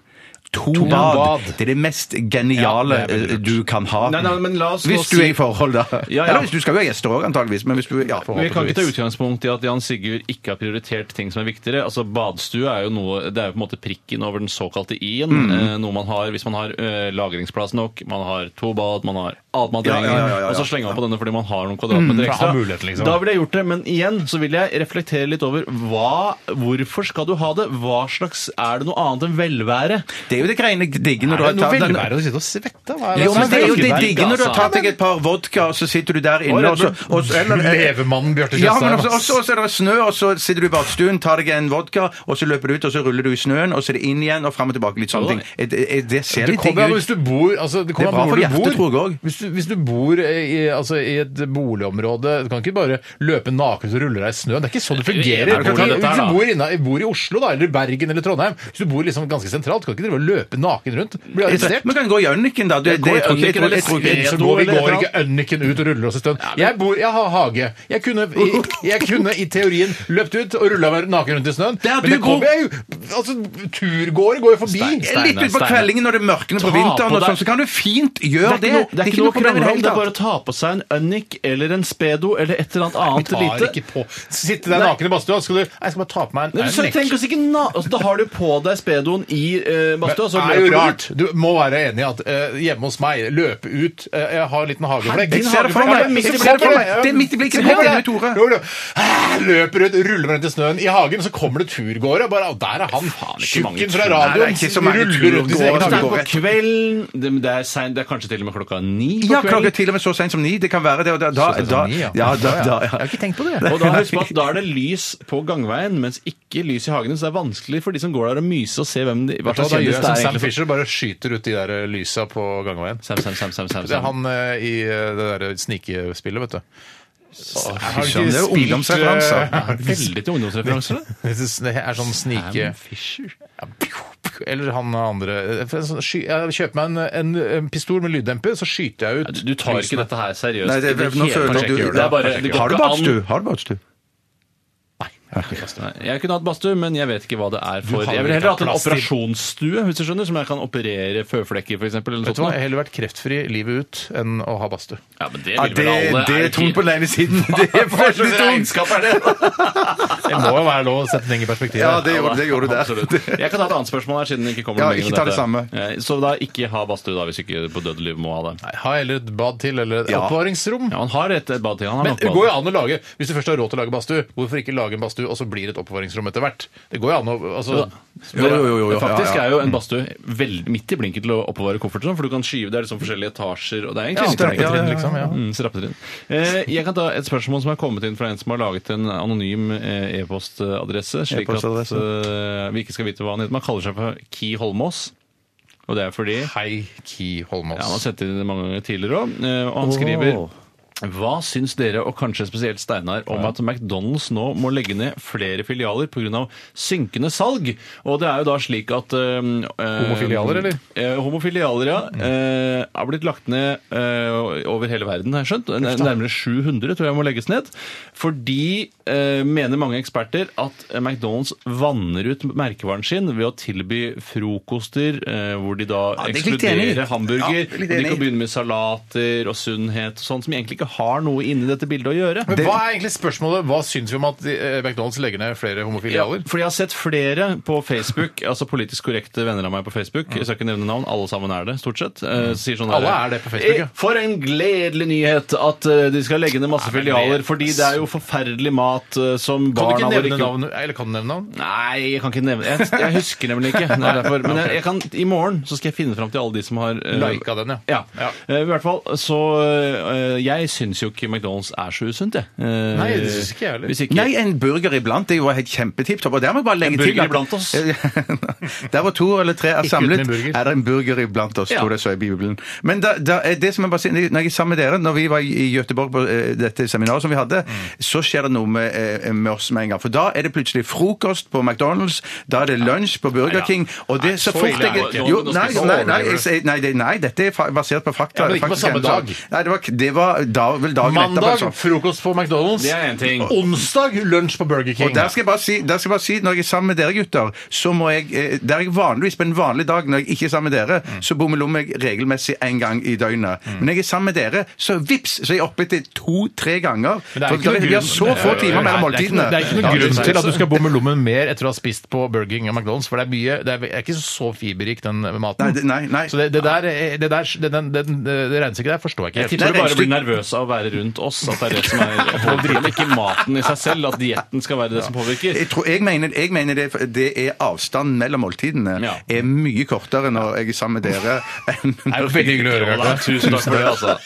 E: To, bad.
D: bad.
E: Det er det mest geniale
D: Ja, det er veldig
E: eh, du kan ha.
F: Nei, nei, men la oss nå
E: hvis du
F: si-
E: er i forhold, da.
F: Ja, ja.
E: Eller hvis du skal jo ha gjester òg, antageligvis. Men hvis du, ja,
F: Men Vi kan ikke ta utgangspunkt i at Jan Sigurd ikke har prioritert ting som er viktigere. Altså Badstue er jo noe, det er jo på en måte prikken over den såkalte i-en.
E: Mm.
F: Eh, Noe man har hvis man har eh, lagringsplass nok, man har to bad, man har alt man
E: Ja,
F: trenger.
E: ja, ja, ja, Mm. ja.
F: Og så slenger man på denne fordi man har noen
D: for
F: kvadratmeter
D: å ha
F: ekstra.
D: muligheten, liksom.
F: Da ville jeg gjort det, men igjen så vil jeg reflektere litt over hva, hvorfor skal du ha det? Hva slags Er det noe annet enn velvære?
E: Det er jo det greiene digge når
D: Er
E: du
D: det
E: har
D: noe
E: tatt den-
D: velvære å sitte og svette? Hva
E: Jo, men det er jo det
F: ganske
E: digge når du har
F: altså.
E: tatt deg et par vodka, og så sitter du der inne, og så altså, og så- eller-
D: Levemannen Bjarte
E: Ja,
D: Tjøstheim,
E: men også,
D: ass.
E: også, også er det snø, og så sitter du i badstuen, tar deg en vodka, og så løper du ut, og så ruller du i snøen, og så er det inn igjen, og fram og tilbake, litt sånne ting. Er- er- er- Det ser
D: Det
E: litt digg
D: kommer an
E: ut.
D: hvis du bor altså, Det
E: Det
D: kommer
E: er bra
D: an på hvor
E: for
D: du
E: hjertet, tror jeg
D: bor.
E: også.
D: Hvis hvis, du- hvis du bor i, altså, i et boligområde Du kan ikke bare løpe naken og rulle deg i snøen. Det er ikke sånn det fungerer.
F: Ja, det er klart dette er,
D: Hvis
F: da.
D: du bor, inna, bor i Oslo, da, eller i Bergen eller Trondheim, hvis du bor liksom ganske sentralt, kan du ikke drive og løpe naken rundt. Bli arrestert.
E: Men kan gå i Jønniken, da. Du, det,
F: går i
E: jeg tror ikke- jeg tror-
F: Jønniken,
E: jeg tror
F: eller
E: ikke-
D: Så
F: Svedo,
D: går vi
F: eller
D: går
F: et
D: ikke ønniken ut og ruller oss en stund. Jeg, bor, jeg har hage. Jeg kunne, i, jeg kunne i teorien løpt ut og rulla meg naken rundt i snøen.
E: Der du
D: Men det
E: går-
D: kommer jeg jo Altså, turgåere går jo forbi.
F: Stein,
E: Litt utpå
F: Steinar.
E: kveldingen når det mørkner på
F: Ta
E: vinteren,
F: på
E: og
F: deg-
E: sånn, så kan du fint gjøre det.
F: Det er ikke noe, det er ikke noe
E: problem i
F: krangel om,
E: hele
F: det er
E: tatt.
F: bare å ta på seg en ønnik eller en spedo eller et eller annet annet
D: Tar
F: lite.
D: ikke på. Sitte der naken i badstua, skal du Nei, Jeg skal bare ta på meg en
F: Nei, men så
D: nekk.
F: tenk oss ikke na altså, Da har du på deg spedoen i eh, badstua. så
D: Det er
F: løper
D: jo
F: du
D: rart.
F: ut.
D: Du må være enig i at eh, hjemme hos meg, løpe ut eh, Jeg har en liten hageflekk.
E: Jeg ser det for meg. Jeg ser det for meg. Det er midt i blikket.
D: Så kommer
E: Jeg er
D: det.
E: enig med Tore.
D: Jo, jo. Ah, Løper ut, ruller rundt i snøen i hagen, så kommer det turgåere. og Bare, «Å, der er han
F: ikke mange
D: tjukken fra
F: tur-
E: Nei, det er
D: radioen.
E: ikke så mange
D: Ruller rundt i sin egen
E: turgåere.
F: Det er
D: hage.
F: på
E: går.
F: kvelden, det, det, er sein, det er kanskje til og med klokka ni på
E: Ja, klokka
F: kvelden.
E: til og med så sent som ni. Det kan være det. Og da, da,
D: Så sent som
E: da,
D: ni, ja.
E: ja, da, da, ja.
D: Jeg har ikke tenkt på det.
F: Og da, husk på at da er det lys på gangveien, mens ikke lys i hagene. Så det er vanskelig for de som går der og myser og ser hvem de, hva
D: Da,
F: slags
D: da gjør
F: kjendis
D: jeg sånn
F: det
D: som
F: er.
D: Sam
F: egentlig.
D: Fisher, bare skyter ut de der eh, lysa på gangveien.
F: Sam, Sam, Sam, Sam, Sam,
D: Det er
F: Sam.
D: han eh, i eh, det der snikespillet, vet du. Har
E: fy søren, det er jo
D: eh,
E: ungdomsreferanser.
F: Veldig til ungdomsreferanser. det.
D: Det er sånn snike...
F: Sam Fisher.
D: Ja, pju, pju, Eller han andre For en sånn sky- Jeg kjøper meg en, en, en pistol med lyddemper, så skyter jeg
F: Nei,
D: ut
F: Du, du tar ikke dette her seriøst.
E: Nei, det,
F: i det
E: nå
F: hele
E: føler
F: tatt.
E: du
F: Det er bare- det går
E: Har du
F: ikke an-
E: badstue? Har du badstue?
F: Nei, Jeg kunne hatt badstue, men jeg vet ikke hva det er for
D: har
F: Jeg
D: vel
F: ville heller
D: ikke
F: hatt en
D: plass til-
F: operasjonsstue, hvis du skjønner, som jeg kan operere føflekker, for eksempel. Eller
D: Vet du hva, Jeg
F: noe sånt.
D: har heller vært kreftfri livet ut enn å ha badstue.
F: Ja, men det
E: Ja,
F: vil vel alle.
E: det er
F: ikke-
E: tungt på den ene siden. Det er
F: Hva
E: veldig
F: slags
E: tungt.
F: regnskap er det?
D: Det må jo være lov å sette ting i perspektiv.
E: Ja, det gjorde, det gjorde du der.
F: Absolutt. Jeg kan ta et annet spørsmål her, siden det ikke kommer
E: Ja,
F: noe lenger
E: ikke
F: med
E: ta det
F: dette.
E: samme.
F: Eh, Så da ikke ha badstue, da, hvis ikke på dødelig må ha det.
D: Nei, Ha heller et bad til, eller et
E: Ja.
D: oppvaringsrom.
F: Ja, han har et bad til. Han har
D: Men
F: nok
D: det går jo
F: bad.
D: an å lage Hvis du først har råd til å lage badstue, hvorfor ikke lage en badstue, og så blir det et oppbevaringsrom etter hvert? Det går jo an å altså,
E: Jo, jo, jo, jo, jo.
F: Faktisk
E: Ja, ja.
F: er jo en badstue vel- midt i blinken til å oppbevare kofferten, for du kan skyve det er liksom forskjellige etasjer og det er egentlig
D: Ja,
F: ikke så
D: trappetrinn,
F: enkelt.
D: liksom, ja.
F: Mm, så rappetrinn. Eh, jeg kan ta et spørsmål som er kommet inn fra en som har laget en anonym eh, e-postadresse, slik at
E: E-postadresse.
F: eh, vi ikke skal vite hva han heter. Man kaller seg for Ki Holmås, og det er fordi
D: Hei, Ki
F: Ja, han har
D: Holmås.
F: sendt inn det mange ganger tidligere òg, og han skriver hva syns dere, og kanskje spesielt Steinar, om at McDonald's nå må legge ned flere filialer pga. synkende salg? Og det er jo da slik at um,
D: Homofilialer, eller? Mm.
F: homofilialer, ja. eh, har blitt lagt ned eh, over hele verden, har jeg skjønt. N- Nærmere 700 tror jeg må legges ned. Fordi, eh, mener mange eksperter, at McDonald's vanner ut merkevaren sin ved å tilby frokoster eh, hvor de da
E: det er jeg litt enig i.
F: ekskluderer hamburger.
E: Ja, litt
F: og de
E: enig i.
F: kan begynne med salater og sunnhet og sånn, som egentlig ikke har noe inni dette bildet å gjøre.
D: Men hva er egentlig spørsmålet? Hå syns vi om at eh, McDonald's legger ned flere
F: Ja,
D: homofilialer?
F: for jeg har sett flere på Facebook, altså politisk korrekte venner av meg på Facebook, jeg skal ikke nevne navn, alle sammen er det, stort sett. eh, sier sånn
D: Mm. Alle
F: der,
D: er det på Facebook, ja.
F: «Eh, For en gledelig nyhet at eh, de skal legge ned masse filialer, fordi det er jo forferdelig mat eh, som
D: Kan du
F: barna
D: ikke
F: våre
D: nevne navn? Eller kan du nevne navn?
F: Nei, jeg kan ikke nevne Jeg, jeg husker nemlig ikke. Det er derfor. Men jeg, jeg kan, i morgen så skal jeg finne fram til alle de som har eh,
D: Lika den, ja.
F: Ja.
D: Ja.
F: Eh, I hvert fall, så eh, Jeg syns jo ikke McDonald's er så usunt, jeg. Eh,
D: Nei, det synes ikke jeg heller.
F: Hvis ikke
E: Nei, en burger iblant det er jo helt kjempetipp topp. Og der må jeg bare legge
F: En burger
E: til at-
F: iblant oss?
E: der var to eller tre er samlet.
D: uten en burger.
E: Er det en burger iblant oss,
F: Ja.
E: tror jeg så i Bibelen. Men da, da, er det som jeg bare sier, når jeg er sammen med dere, når vi var i Gøteborg på eh, dette seminaret som vi hadde,
D: Mm.
E: så skjer det noe med, eh, med oss med en gang. For da er det plutselig frokost på McDonald's, da er det lunsj på Burger King, og det så
D: så
E: fort
D: ille er
E: jeg
D: det ikke.
E: jo, nei,
D: Nå- nå
E: nei, nei,
D: overdriver
E: jeg sier- nei, det- nei, dette er fa- basert på fakta.
D: Ja, men ikke på
E: faktisk
D: samme
E: en
D: dag.
E: Nei, det var, det var da, vel dagen etterpå, altså.
D: Mandag frokost på McDonald's.
F: Det er en ting.
D: Onsdag lunsj på Burger King.
E: Og der skal, jeg bare si, der skal jeg bare si, når jeg er sammen med dere gutter, så må jeg eh, Der jeg vanligvis på en vanlig dag, når jeg ikke er sammen med dere,
D: Mm.
E: så bommelommer jeg regelmessig én gang i døgnet. Men når jeg er sammen med dere, så vips, så er jeg oppe til to-tre ganger.
D: Men det er
E: For
D: ikke noe
E: dere- Vi har
D: grunn-
E: så få timer
D: Nei,
E: mellom
D: det er ikke
E: måltidene.
D: noe- Det er ikke noen
E: Ja,
D: grunn
E: det-
D: til at du skal bomme lommen mer etter å ha spist på Burger King og McDonald's, for det er mye Det er, det er ikke så fiberrik, den maten.
E: Nei, det- nei, nei.
D: Så det, det der, eh, det der den, den, den, det regnestykket der forstår jeg ikke
F: Jeg
D: helt.
E: Nei,
F: tipper du
E: nei,
F: bare
E: styr-
F: blir nervøs av å være rundt oss. At det er det som er hovedproblemet, ikke maten i seg selv. At dietten skal være det som påvirker.
E: Jeg, tror, jeg mener, jeg mener det, det er avstanden mellom måltidene
F: Ja.
E: er mye kortere når jeg er sammen med dere enn
D: Det er jo veldig hyggelig å høre, Bjarte.
F: Tusen takk for det, altså.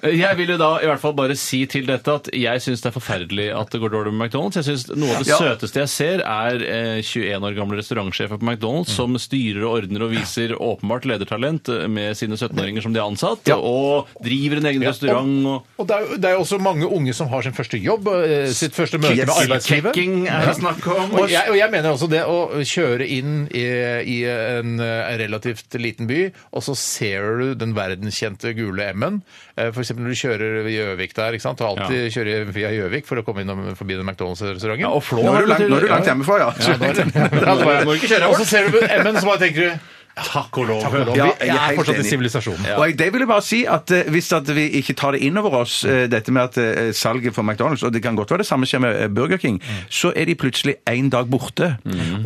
F: Jeg vil jo da i hvert fall bare si til dette at jeg syns det er forferdelig at det går dårlig med McDonald's. Jeg synes Noe av det
E: Ja.
F: søteste jeg ser, er eh, 21 år gamle restaurantsjefer på McDonald's som styrer og ordner og viser åpenbart ledertalent eh, med sine 17-åringer som de har ansatt, og driver en egen restaurant og
D: Og det er, jo- det er jo også mange unge som har sin første jobb, eh, sitt første møte med arbeidslivet.
F: Kicking er det snakk om.
D: Og jeg, og jeg mener også det å kjøre inn i, i en eh, relativt liten by, og så ser du den verdenskjente gule M-en. Eh, For eksempel når du kjører ved Gjøvik der, ikke sant? og alltid kjører via Gjøvik for å komme innom forbi den McDonald's-restauranten.
F: Ja, og Flå
E: Nå er
F: er
E: du langt,
F: det
E: nå er du langt
F: til-
E: hjemmefra, ja.
D: Ja, da er det- Ja, da er det-
F: Må ikke kjøre
D: Og så ser du M-en, så bare tenker du
F: Takk og lov.
E: Ja,
D: Vi
E: jeg er
D: er
E: helt
D: fortsatt i
E: enig.
D: sivilisasjonen.
E: Og jeg, det vil jeg bare si at eh, Hvis at vi ikke tar det inn over oss, eh, dette med at eh, salget for McDonald's Og det kan godt være det samme skjer med eh, Burger King.
D: Mm.
E: Så er de plutselig en dag borte.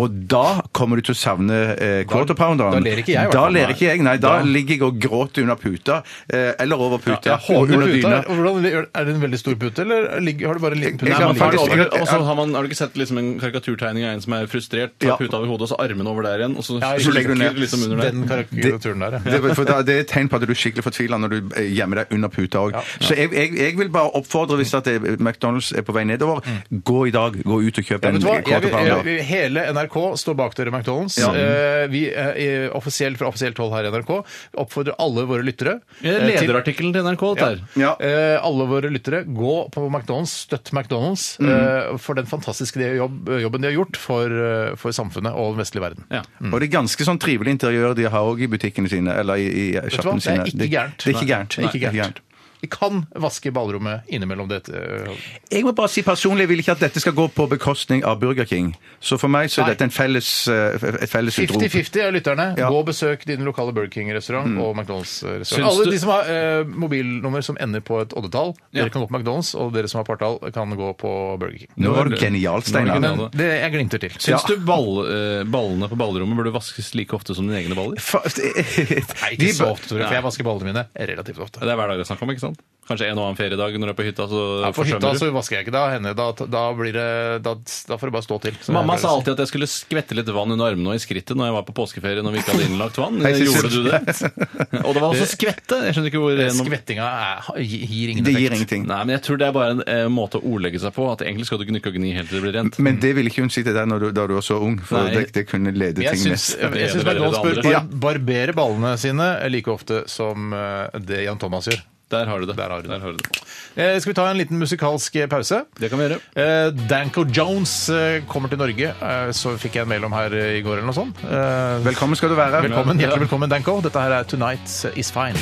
E: Og da kommer du til å savne eh, quarter pounderen.
D: da ler ikke jeg, i hvert
E: Da
D: fall.
E: ler ikke jeg, nei. Da ligger jeg og gråter under puta. eh, Eller over puta.
D: Jeg håper
E: under
D: puta,
E: dyna.
D: er- hvordan, er det en veldig stor pute, eller ligger- har du bare en liten pute?
E: Jeg
F: Nei,
E: kan
F: man
D: som
F: får
E: faktisk-
F: det
D: ligger over?
F: over, og så altså, har, man, har du ikke sett liksom en karikaturtegning av en som er frustrert, tar
E: Ja.
F: puta over hodet og så armene over der igjen, og så,
D: Ja,
E: så legger du ned
F: liksom under der.
D: Den karikaturen der, ja.
E: Det, for da, det er et tegn på at du er skikkelig fortvila når du eh, gjemmer deg under puta òg. Så jeg, jeg, jeg vil bare oppfordre, hvis at det, McDonald's er på vei nedover, gå i dag. Gå ut og kjøp
D: Mm. Ja,
E: en
D: vet du hva?
E: quarter
D: Jeg, vil-
E: pounder.
D: jeg, vil- hele NRK står bak dere, McDonald's.
E: Ja.
D: Eh, vi eh, offisielt fra offisielt hold her i NRK oppfordrer alle våre lyttere eh, til-
F: Lederartikkelen til NRK der.
E: Ja.
D: Eh, alle våre lyttere, gå på McDonald's, støtt McDonald's
E: Mm.
D: eh, for den fantastiske de- jobb, jobben de har gjort for, eh, for samfunnet og den vestlige verden.
F: Ja.
E: Og det er ganske sånn trivelig interiør de har òg i butikkene sine. Eller i, i
D: du hva?
E: sjappene
D: Det er ikke
E: sine.
D: gærent.
E: Det,
D: Nei.
E: det er ikke gærent.
D: Det er ikke
E: Nei, det er
D: gærent. Vi kan vaske ballrommet innimellom det. eh,
E: Jeg må bare si personlig, jeg vil ikke at dette skal gå på bekostning av Burger King. Så for meg så
D: Nei.
E: er dette en felles, eh, et felles utrop.
D: 50-50 av lytterne.
E: Ja.
D: Gå og besøk din lokale Burger King-restaurant og McDonald's-restaurant.
F: Mm. Syns
D: Alle
F: du-
D: de som har eh, mobilnummer som ender på et oddetall,
F: Ja.
D: dere kan gå på McDonald's, og dere som har partall, kan gå på Burger King.
E: Nå var du genial,
F: Nå er
E: Steinar.
F: du
D: Men det jeg glimter til.
F: Syns du ball, eh, ballene på ballrommet burde vaskes like ofte som dine egne baller?
E: Fa-
D: Nei,
E: De
D: ikke så
E: bør-
D: ofte, Tore, for jeg vasker ballene mine relativt ofte.
F: Det er hver dag det er snakk om, ikke sant? Kanskje en og annen feriedag når du er på hytta, altså. så
D: Ja, på hytta
F: forsømmer du.
D: så vasker jeg ikke da henne. Da, da, blir det, da, da får det bare stå til. som
F: Mamma
D: jeg
F: sa
D: pleier å si.
F: alltid at jeg skulle skvette litt vann under armene og i skrittet når jeg var på påskeferie når vi ikke hadde innlagt vann.
E: Jeg synes-
F: Gjorde du det? Og det var også skvette. Jeg skjønner ikke hvor eh,
D: Skvettinga er, gir ingen
E: Det gir
D: effekt.
E: ingenting.
F: Nei, men jeg tror det er bare en eh, måte å ordlegge seg på. At egentlig skal du gnikke og gni helt til det blir rent.
E: Men det ville ikke hun si til deg når du, da du var så ung, for
F: Nei.
E: det, det kunne lede
D: Jeg
E: ting
D: syns,
E: ned.
D: jeg syns
F: Det
D: McDonald's
F: ene eller
D: bør
F: det
D: bar-
F: andre.
D: barbere ballene sine like ofte som eh, det Jan Thomas gjør.
F: Der har du det.
D: Der har du det.
F: du det.
D: Eh, Skal vi ta en liten musikalsk eh, pause?
F: Det kan vi gjøre.
D: Eh, Danko Jones eh, kommer til Norge, eh, så fikk jeg en mail om her eh, i går eller noe sånt. Eh,
E: Velkommen skal du være.
D: velkommen, Hjertelig velkommen, Danko. Dette her er Tonight Is Fine.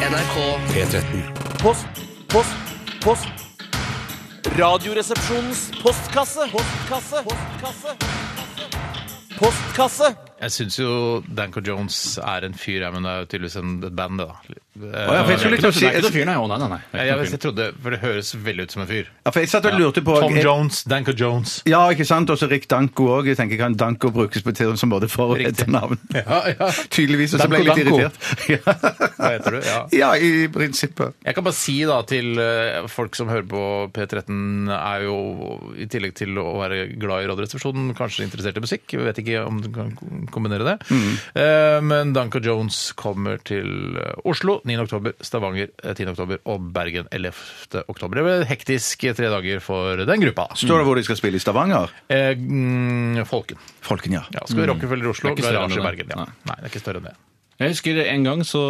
B: NRK
A: P13.
I: Post, post, post. Radioresepsjonens postkasse. Postkasse. Postkasse. Postkasse.
D: Jeg syns jo Danko Jones er en fyr, jeg, men det er jo tydeligvis en, et band, det, da. Eh,
E: Ja, for jeg skulle
F: Det er
E: til å si-
F: ikke noe fyr, nei. Å, nei, nei, nei. Det
D: jeg,
F: er ikke noe
D: jeg,
F: fyr.
D: jeg trodde, for det høres veldig ut som en fyr.
E: Ja, for jeg satt og lurte på
D: Tom Jones, Danko Jones.
E: Ja, ikke sant? Også Rick Danko òg. Jeg tenker kan Danko brukes på til som både for- og
D: Riktig.
E: etternavn.
D: Ja, ja.
E: Tydeligvis. Og så
D: Danko
E: ble jeg litt
D: Danko.
E: irritert.
D: Hva heter du? Ja. Mm.
E: Ja, i prinsippet.
D: Jeg kan bare si da til eh, folk som hører på P13, er jo i tillegg til å være glad i Radioresepsjonen, kanskje interessert i musikk. Vi vet ikke om du kan kombinere det.
F: Mm.
D: Eh, Men Danko Jones kommer til eh, Oslo 9. oktober, Stavanger eh, 10. oktober og Bergen 11. oktober. Det blir hektisk eh, tre dager for den gruppa.
E: Står det hvor de skal spille i Stavanger?
D: Eh, mm, Folken.
E: Folken, ja.
D: Ja, skal vi Rockefeller i Oslo,
F: Mm. Det er ikke større
D: Garasje i
F: enn det.
D: Bergen. Ja.
F: Nei. Mm.
D: Nei, det er ikke større enn det.
F: Jeg husker en gang så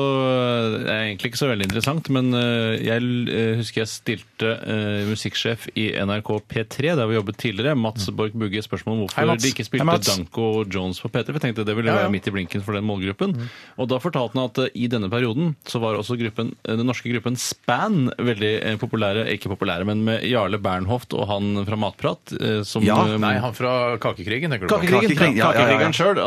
F: Det er egentlig ikke så veldig interessant, men eh, jeg l- eh, husker jeg stilte eh, musikksjef i NRK P3, der vi jobbet tidligere, Mats Borch Bugge, spørsmål om
D: Mm. Hei,
F: hvorfor
D: Mats.
F: de ikke
D: Hei,
F: spilte
D: Mats.
F: Danko Jones på P3. Vi tenkte det ville
D: Ja, Mm. ja.
F: være midt i blinken for den målgruppen. Og da fortalte han at eh, i denne perioden så var også gruppen, eh, den norske gruppen Span veldig eh, populære, ikke populære, men med Jarle Bernhoft og han fra Matprat eh, som
E: Ja,
F: eh,
D: Nei, han fra Kakekrigen, tenker du på.
F: Kakekrigen,
E: Kakekrigen, ja, ja, ja, ja.
F: kakekrigen sjøl,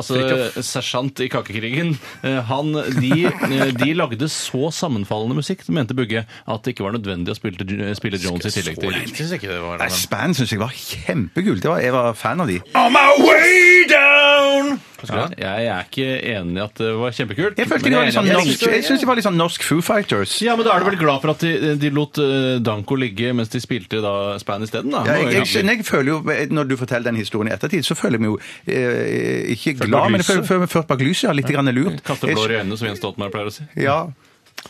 F: altså sersjant i Kakekrigen, eh, han, de, eh, de lagde så sammenfallende musikk, mente Bugge, at det ikke var nødvendig å spille, spille Jones i tillegg til.
D: Jeg synes ikke det var
E: Nei,
D: men-
E: Span syns jeg var kjempekult. Jeg var fan av de.
D: On my way down!
F: Ja, Jeg er ikke enig i at det var kjempekult.
E: Jeg følte
F: men
E: de var
F: jeg
E: litt
F: er
E: sånn
F: enig i at-
E: norsk, jeg synes de var litt sånn norsk Foo Fighters.
F: Ja, men da er du vel glad for at de, de lot eh, Danko ligge mens de spilte da Span isteden, da?
E: Ja, jeg, jeg,
F: Ja.
E: skjønner- jeg føler jo, Når du forteller den historien i ettertid, så føler jeg meg jo eh, ikke
F: bak
E: glad, men jeg
F: lyset.
E: føler, føler meg ført bak lyset. Ja, litt grann lurt.
F: Kaste blår i øynene, som Jens Stoltenberg pleier å si.
E: Ja.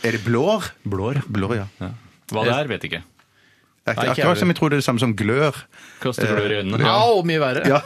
E: Er det blår? Blår, ja.
F: Hva det er, vet jeg ikke.
E: Det er
D: Nei,
E: ikke
D: ikke jeg
E: akkurat som jeg tror det er det samme som glør.
F: Kaster blår i øynene.
D: Au, mye verre.
E: Ja.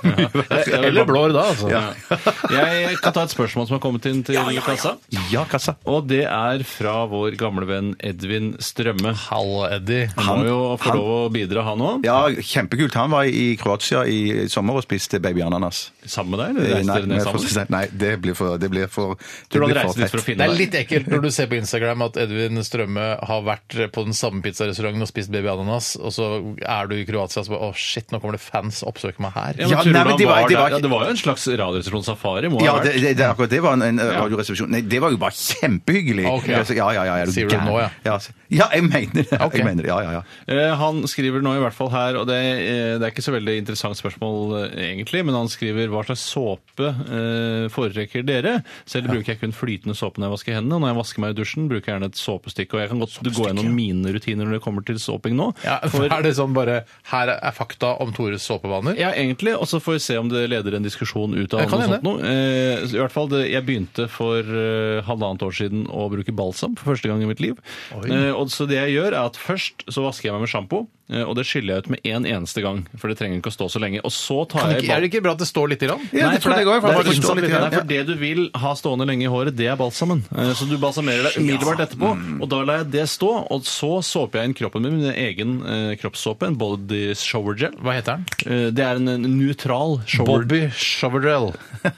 D: Eller blår da, altså.
E: Ja.
F: Jeg kan ta et spørsmål som har kommet inn til kassa.
E: ja, kassa.
F: Og det er fra vår gamle venn Edvin Strømme.
D: Halla, Eddie.
F: Han må jo få
E: han-
F: lov å bidra, han òg.
E: Ja, kjempekult. Han var i Kroatia i sommer og spiste babyananas.
F: Sammen med deg? Eller reiste
E: Nei,
F: dere ned
E: men
F: sammen?
E: for- nei, det blir for det blir for, det
F: Tror du
E: blir
F: han reiste dit
E: fett.
F: for å
D: Det
F: finne
D: er
F: deg?
D: litt ekkelt når du ser på Instagram at Edvin Strømme har vært på den samme pizzarestauranten og spist babyananas, og så er du i Kroatia og så bare Å, shit, nå kommer det fans og oppsøker meg her.
F: Ja, men
E: Ja, nei,
F: tror du
E: men
F: han
E: de var-
F: var
E: de var
F: der?
E: ikke-
F: Ja, det var jo en slags radioresepsjon-safari. må
E: Ja,
F: ha vært.
E: det, det, det, er akkurat det var en, en radioresepsjon. Nei, det var jo bare kjempehyggelig.
D: Ok.
E: Altså, Ja, ja, ja, er
D: Sier du det
E: gæren?
D: nå, ja?
E: ja? Ja, jeg mener det.
D: Ok.
E: Jeg mener det. Ja, ja, ja.
F: Eh, Han skriver nå i hvert fall her, og det, eh, det er ikke så veldig interessant spørsmål eh, egentlig, men han skriver hva slags såpe eh, foretrekker dere? Selv bruker jeg kun flytende såpe når jeg vasker hendene, og når jeg vasker meg i dusjen bruker jeg gjerne et såpestikke, og jeg kan godt gå gjennom mine rutiner når det kommer til såping nå.
D: Ja,
F: for,
D: Er det sånn bare Her er fakta om Tores såpevaner?
F: ja, egentlig, og så får vi se om det leder en diskusjon ut av
D: Det kan
F: noe
D: hende.
F: sånt noe. Eh, I hvert fall, det, jeg begynte for eh, halvannet år siden å bruke balsam for første gang i mitt liv. Eh, og så det jeg gjør er at først så vasker jeg meg med sjampo, eh, og det skyller jeg ut med en eneste gang, for det trenger ikke å stå så lenge. Og så tar
D: Er
F: jeg
D: det ikke- er det ikke bra at det står lite grann?
E: Ja, det tror jeg går, for
F: det
E: det
F: er
E: forstår
F: innsatt
E: litt
F: Sånn litt,
E: grann,
F: nei, for det du vil ha stående lenge i håret, det er balsamen. Eh, Så du balsamerer deg umiddelbart etterpå, og da lar jeg det stå. Og så såper jeg inn kroppen min med min egen eh, kroppssåpe, en body shower gel.
D: Hva heter den?
F: Eh, Det er en, en nøytral shower
D: Bobby Shoverdell.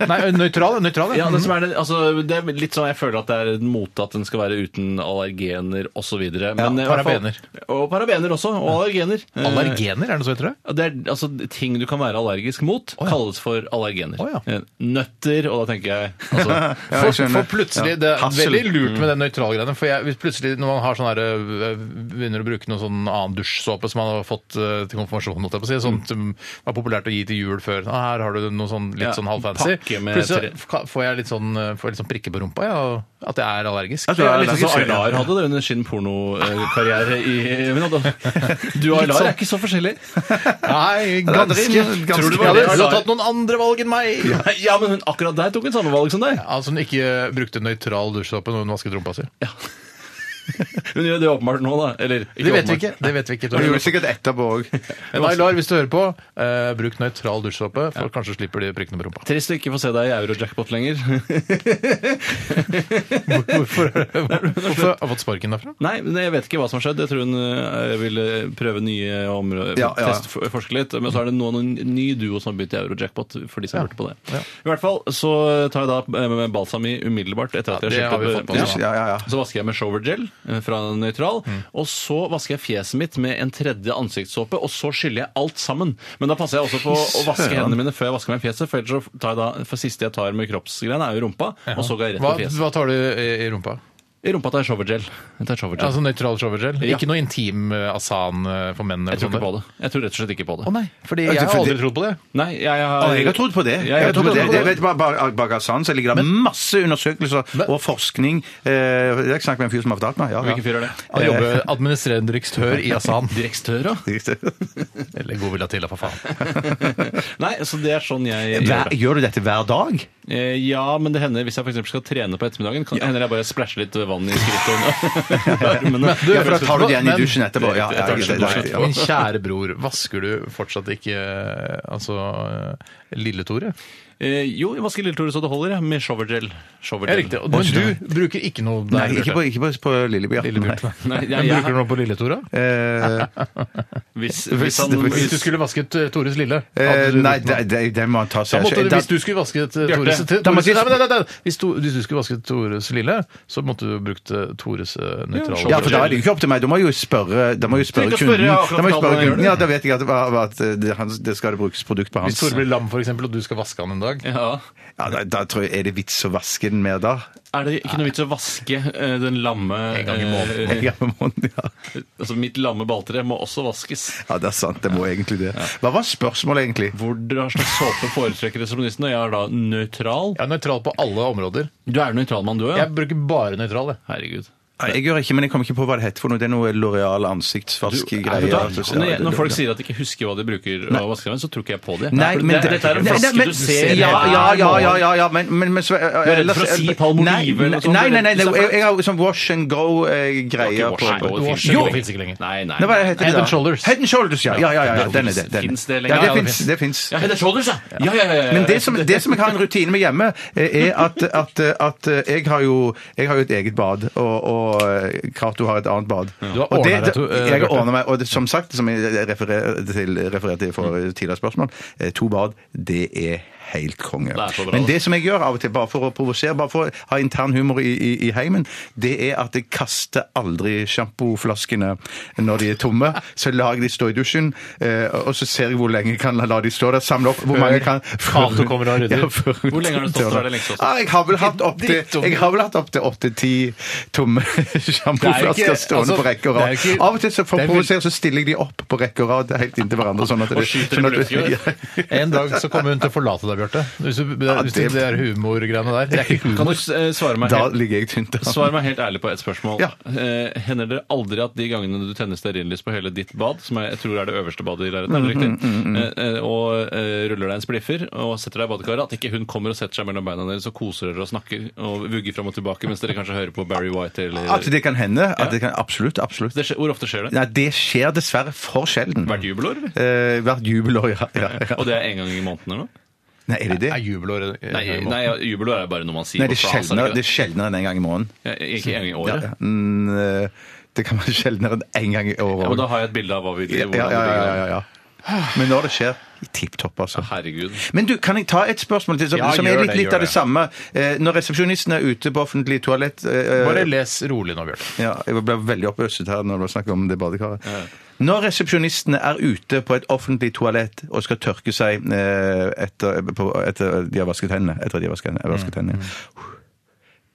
D: Nei, nøytral. nøytral
F: Ja, det, som er det, altså, det er litt sånn jeg føler at det er en mote at den skal være uten allergener osv. Ja,
D: parabener.
F: Og parabener også. Og allergener. Eh,
D: Mm. Allergener, er det så heter det?
F: ja, Det er altså ting du kan være allergisk mot, kalles for allergener.
D: Å, ja.
F: Eh, Nøtter, og da tenker jeg altså,
E: Ja,
D: For,
E: jeg skjønner.
D: for plutselig,
E: Ja.
D: Det er
E: Hassel.
D: veldig lurt med den nøytralgreiene. For jeg, hvis plutselig når man har sånn her, øh, begynner å bruke noen sånn annen dusjsåpe som man har fått øh, til konfirmasjonen, holdt jeg på å si, sånn som var populært å gi til jul før ah, Her har du noe sånn litt
F: Ja,
D: sånn halvfancy.
F: pakke med
D: Plutselig ka- får jeg litt sånn, øh, får jeg litt sånn prikker på rumpa, ja, og at jeg er allergisk.
E: Ja, du
F: Det
E: er
F: er litt sånn som
E: allergisk, ja.
F: Aylar hadde det under sin pornokarriere i men da- Du og
D: Litt
F: Aylar
D: sånn.
F: er ikke så forskjellig.
D: Nei, ganske.
E: ganske-
D: Tror du
E: ganske-
D: bare
F: Ja, det-
D: Hun har tatt noen andre valg enn meg?
F: Ja, men hun, akkurat der tok hun samme valg som deg.
D: Altså hun ikke øh, brukte nøytral dusjsåpe når hun vasket rumpa si.
F: Hun gjør det åpenbart nå, da. Eller
D: Det vet vi
F: åpenbart.
D: ikke. Det vet vi ikke.
E: Og
D: Tore.
E: det gjorde sikkert etterpå òg.
D: Men Aylar, hvis du hører på, øh, bruk nøytral dusjsåpe, for kanskje slipper de prikkene på rumpa.
F: Trist å ikke få se deg i Eurojackpot lenger.
D: Hvorfor, hvorfor har jeg fått sparken derfra?
F: Nei, men jeg vet ikke hva som har skjedd. Jeg tror hun eh, ville prøve nye områder,
E: Ja, ja.
F: test- for- forske litt. Men så er det nå noen ny duo som har begynt i Eurojackpot, for de som hørte på det.
D: Ja.
F: I hvert fall så tar jeg da eh, med balsam i umiddelbart etter at
D: Ja,
F: jeg
D: det har vi
F: sjekket
D: fått
F: opp.
D: med
F: eh,
D: oss.
E: Ja, Mm. ja, ja.
F: Så vasker jeg med showergel eh, fra Nøytral. Og så vasker jeg fjeset mitt med en tredje ansiktssåpe, og så skyller jeg alt sammen. Men da passer jeg også på å vaske hendene mine før jeg vasker meg i fjeset, for ellers så tar jeg da For siste jeg tar med kroppsgreiene, er jo rumpa, og så går jeg rett
D: Hva,
F: på fjeset.
D: hva tar du i i rumpa?
F: I rumpa tar jeg showergel. Jeg tar showergel.
D: Altså nøytral showergel?
F: Ja.
D: Ikke noe intim eh, asan eh, for menn?
F: jeg tror ikke på det. Jeg tror rett og slett ikke på det.
D: Å nei, fordi jeg har
E: fordi-
D: aldri trodd på det.
F: Nei, jeg har,
E: Og jeg har trodd på det.
F: Jeg
E: Jeg
F: har
E: har trodd på det.
F: trodd på det.
E: Jeg vet bare, bare, bak Hassan så ligger det masse undersøkelser og forskning. Eh, Jeg har snakket med en fyr som har fortalt meg. Ja, Eh,
F: Hvilken fyr er det?
D: Han jobber Eh, administrerende direktør i asan.
F: Direktør, da?
D: Eller god vilja til, da, for faen.
F: Nei, så det er sånn
E: Hver,
F: jeg gjør det.
E: gjør du dette hver dag?
F: Eh, Ja, men det hender hvis jeg for eksempel skal trene på ettermiddagen, kan, hender jeg bare splæsjer litt vann i skrittet. Men
D: Du,
E: Ja, for da
F: sånn.
E: tar du det igjen i
D: men-
E: dusjen etterpå. Ja, ja,
F: Etter-
E: ja, ja,
F: etter-
E: ja.
D: Min kjære bror, vasker du fortsatt ikke eh, altså eh, Lille-Tore?
F: Eh, jo, jeg vasker lilletore så det holder, jeg, med showergel. Showergel.
D: Ja, riktig. Og- Men du bruker ikke noe der?
E: Nei, ikke på, ikke på, på Lilleby.
D: Lillebjørn.
F: Nei, jeg-
D: Men
F: jeg-
D: bruker du noe på Lille-Tore?
E: Eh,
F: Hvis, hvis
E: Hvis-
D: Hvis
F: han,
D: du
F: hvis,
D: skulle vasket eh, Tores lille? hadde
E: eh,
D: du
E: nei,
D: brukt noe?
E: det, det, det må han ta
D: Da
E: seg
D: måtte du,
E: Da-
D: hvis du skulle vasket eh,
F: Bjarte,
D: Tores, til-
E: da må
D: Tores
E: jeg-
D: nei, nei, nei, nei. Hvis, to, hvis du skulle vasket Tores lille, så måtte du brukt eh, Tores eh, nøytrale
E: Ja, for da er det jo ikke opp til meg. Da må jeg jo spørre, da må jeg jo
F: Trenger
E: spørre
F: ikke å spørre
E: kunden.
F: akkurat
E: Da må jeg
F: hvordan
E: spørre
F: han gjør
E: kunden.
F: det.
E: Ja, da vet jeg at, at det, han- det skal det brukes produkt på
D: Hvis
E: hans.
D: Tore blir lam, for eksempel, og du skal vaske han en dag
F: ja.
E: Ja, da, da tror jeg, Er det vits å vaske den mer da?
F: Er det ikke noe vits å vaske eh, den lamme
D: En gang i måneden.
F: eh,
E: Ja, må den, ja.
F: Altså, mitt lamme balltre må også vaskes.
E: ja, det er sant. Det må egentlig det. Hva var spørsmålet, egentlig?
F: Hvor dere har slags såpe foretrekker resepsjonisten, og jeg er da nøytral.
D: Jeg er nøytral på alle områder.
F: Du er nøytral mann, du òg? Ja?
D: Jeg bruker bare nøytral. jeg.
F: Herregud.
E: Nei, jeg gjør ikke, men jeg kommer ikke på hva det heter for noe. Det er noe Loreal ansiktsvask
F: Vet du
E: greier.
F: hva?
E: altså, så-
F: Når, jeg, når folk sier at de ikke husker hva de bruker av vaskemaskin, så tror ikke jeg på det.
E: Nei,
F: For
E: men
F: det, dette er en
E: Nei,
F: flaske
E: nei, men-
F: du ser.
E: Ja, ja, ja, ja, ja, ja men, men, men Du er
F: redd for å si palmolive eller noe sånt,
E: Nei, nei, nei,
F: eller?
E: nei, jeg, jeg har sånn wash and
F: Ikke
E: go-greier
F: wash
E: på
F: and go, det
D: Wash and
F: finnes ikke
D: go
F: lenger.
D: finnes ikke lenger.
F: Nei, nei.
E: Nei, hva er det heter det
D: Head
E: da?
D: and Shoulders.
E: Head and Shoulders, ja. ja, ja, ja, ja den er det. Den.
F: Finnes det lenger?
E: ja,
F: Ja,
E: det
F: det
E: fins. Det fins.
F: Ja, Head and Shoulders, ja! Ja, ja, ja, ja, ja.
E: Men det som, det som jeg har en rutine med hjemme, eh, er at, at, at eh, jeg, har jo, jeg har jo et eget bad, og, og eh, Cato har et annet bad.
D: Du har
E: Og det-
D: ordnet deg, to- eh,
E: Jeg har
D: Bjarte.
E: ordnet meg, og det, som sagt, som jeg refererte til, refererte til for tidligere spørsmål, eh, to bad, det er helt konge.
F: er så bra,
E: Men
F: da.
E: det som jeg gjør av og til, bare for å provosere, bare for å ha intern humor i, i, i heimen, det er at jeg kaster aldri sjampoflaskene når de er tomme. Så lar jeg de stå i dusjen, eh, og så ser jeg hvor lenge jeg kan la de stå der, samle opp hvor mange kan
D: Før Cato kommer og rydder.
E: Hvor
F: lenge har det stått der, det lengste også?
E: Ah, jeg har vel hatt opp til- jeg har vel hatt opptil åtte-ti tomme
D: Det er jo
E: sjampoflasker
D: ikke-
E: stående
D: altså,
E: på rekke og
D: det er
E: rad.
D: jo ikke-
E: Av og til så for
D: det
E: å
D: er vel-
E: provosere så stiller jeg de opp på rekke og rad helt inntil hverandre. Sånn at det,
F: Og skyter dem i
E: at-
F: luftgevær.
D: En dag så kommer hun til å forlate deg, Bjarte. Hvis du, det,
E: Ja,
D: hvis det,
E: det-
D: det er humorgreiene der. Det er ikke
F: Kan
D: humor.
F: du eh, svare meg
E: Da
F: helt,
E: ligger jeg tynt altså.
F: svar
E: an.
F: meg helt ærlig på ett spørsmål?
E: Ja.
F: Eh, hender det aldri at de gangene du tenner stearinlys på hele ditt bad, som jeg, jeg tror er det øverste badet i leiligheten, er
E: Mm,
F: det riktig? Eh, eh, og eh, ruller deg en spliffer og setter deg i badekaret, at ikke hun kommer og setter seg mellom beina deres og koser dere og snakker og vugger fram og tilbake mens dere kanskje hører på Barry White eller
E: At det kan hende. At det kan, absolutt. absolutt.
F: det skjer, Hvor ofte skjer det?
E: Nei, det skjer dessverre for sjelden.
F: Hvert jubelår? eller?
E: Eh, hvert jubelår, ja. ja, ja.
F: Og det er en gang i måneden eller noe?
E: Nei, er det
D: Er
E: det?
D: jubelår eh,
F: Nei,
D: humor?
F: nei jubelår er bare noe man sier.
E: Nei, det er
F: på frase,
E: sjeldnere,
F: ikke
E: det
F: det?
E: er sjeldnere enn en gang i måneden.
F: Ja, Ikke en gang i
E: Ja,
F: året.
E: ja. Mm, eh, det kan være sjeldnere enn en gang i året.
F: Ja, og
E: også.
F: da har jeg et bilde av hva vi
E: Ja,
F: hvordan
E: ja,
F: det ligger
E: ja, ja,
F: an.
E: ja, ja. Men når det skjer Tipp topp,
F: Ah,
E: altså.
F: Herregud.
E: Men du, kan jeg ta et spørsmål til som,
D: Ja,
E: som
D: gjør
E: er litt,
D: det,
E: litt
D: gjør
E: av det
D: det.
E: samme? Eh, når resepsjonisten er ute på offentlig toalett eh,
D: Bare les rolig nå, Bjarte.
E: ja, Jeg ble veldig oppøstet her når det var snakk om det badekaret. Når resepsjonisten er ute på et offentlig toalett og skal tørke seg eh, etter, på, etter de har vasket hendene, etter de har vasket hendene, vasket hendene.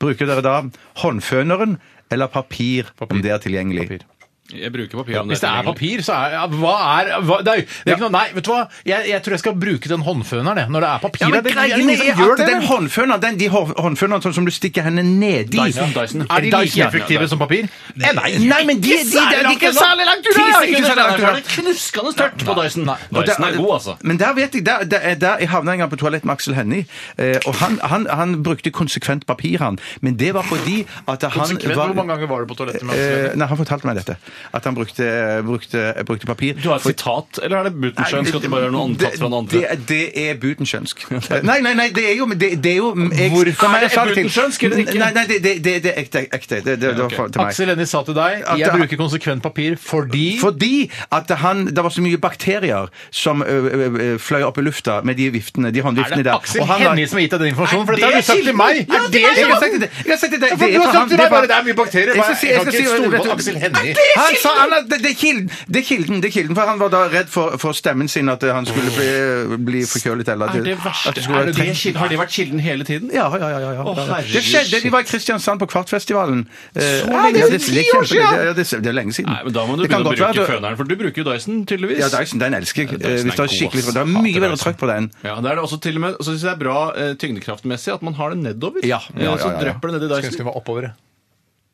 E: Bruker dere da håndføneren eller papir,
D: Papir.
E: om det er tilgjengelig?
D: Papir.
F: Jeg bruker papir. om
D: Hvis det er
F: tilgjengelig.
D: papir, så er ja, Hva er hva, det, er, jo- det er ikke noe Nei, vet du hva? Jeg, jeg tror jeg skal bruke den håndføneren, jeg. Når det er papir.
E: Ja, men
D: det- det er
E: greiene
D: ingen som
E: er
D: gjør
E: at
D: det,
E: den
D: vel?
E: håndføneren, den, de hå- håndføneren sånn som du stikker hendene nedi
F: Dyson, Dyson.
D: Er de like
E: Dyson, ja.
D: effektive som papir?
E: Eh, Nei, nei, men de, de, de, de, de,
D: Ikke særlig langt unna!
E: Ti
D: ja, ikke
E: sekunder
D: særlig langt
E: unna.
D: unna.
F: Knuskende tørt på Dyson.
E: Og
F: Dyson er
E: der-
F: god, altså.
E: Men der vet jeg, der, der, der, jeg havna en gang på toalett med Aksel Hennie, eh, og han, han, han brukte konsekvent papir, han. Men det var fordi at han
D: Konsekvent,
E: var
D: Hvor mange ganger var du på toalettet med Aksel?
E: eh, Nei, han fortalte meg dette. At han brukte, brukte, brukte papir.
F: Du har et sitat, eller er det Butenschønsk at det bare er noe antatt fra den andre?
E: Det, det, det er butenskjønsk. Nei, nei, nei, det er jo det, det er jo jeg,
D: Hvorfor
E: Nei,
D: er det
E: jeg sa til-
D: butenschønsk, eller ikke?
E: Nei, nei, det, det, det, det er ekte. ekte. Det, det, det var for, til meg.
D: Aksel Hennie sa til deg
E: At
D: jeg
E: det-
D: bruker konsekvent papir fordi
E: Fordi at han, det var så mye bakterier som ø, ø, ø, fløy opp i lufta med de viftene, de
D: Er
E: håndviftene
D: det
E: der.
D: Aksel
E: Og han var-
D: Hennie som har gitt deg den informasjonen? For
E: Er
D: dette har
E: det
D: du sagt til
E: kilden?
D: meg!
E: Ja,
D: Er
E: det er- jeg har
D: kilden?
E: sagt til deg. Jeg har sagt til deg.
D: Ja, for du
E: Det
D: har
E: er for
D: sagt
E: han.
D: til
E: Det
D: meg
E: var-
D: bare, det er mye bakterier.
E: Jeg skal si-
D: Jeg
E: jeg
D: kan
E: skal
D: ikke
E: si-
D: stole på
E: vet du-
D: Aksel Hennie.
E: Er det Han sa han at det det er kilden, det er kilden, det er kilden. For han var da redd for, for stemmen sin, at han skulle bli, bli forkjølet eller at-
F: Er det
E: at
F: verste?
E: skulle
F: Er det
E: være
F: det kilden? Har det vært kilden hele tiden?
E: ja, ja, ja, ja, ja.
F: Å, herregud,
E: det skjedde,
F: shit.
E: de var i Kristiansand på Kvartfestivalen. Eh, Så
D: lenge siden? Ti år siden?
E: Det, det, det er lenge siden.
F: Nei, men Da må du
E: Det kan
F: begynne å
E: godt være
F: bruke
E: at du-
F: føneren, for du bruker jo Dyson, tydeligvis.
E: Ja, Dyson, den elsker jeg.
F: Dyson er
E: Eh, Hvis det er
F: god,
E: skikkelig
F: ass.
E: Det er mye
F: Hater
E: bedre
F: Dyson.
E: trøkk på den.
F: Ja, det er det også til og med, så synes jeg det er bra eh, tyngdekraftmessig at man har det nedover.
E: Ja, ja, ja,
F: Eh, Så
E: ja, ja.
F: drypper det ned i
D: Skulle ønske
F: Dyson.
D: det var oppover. jeg.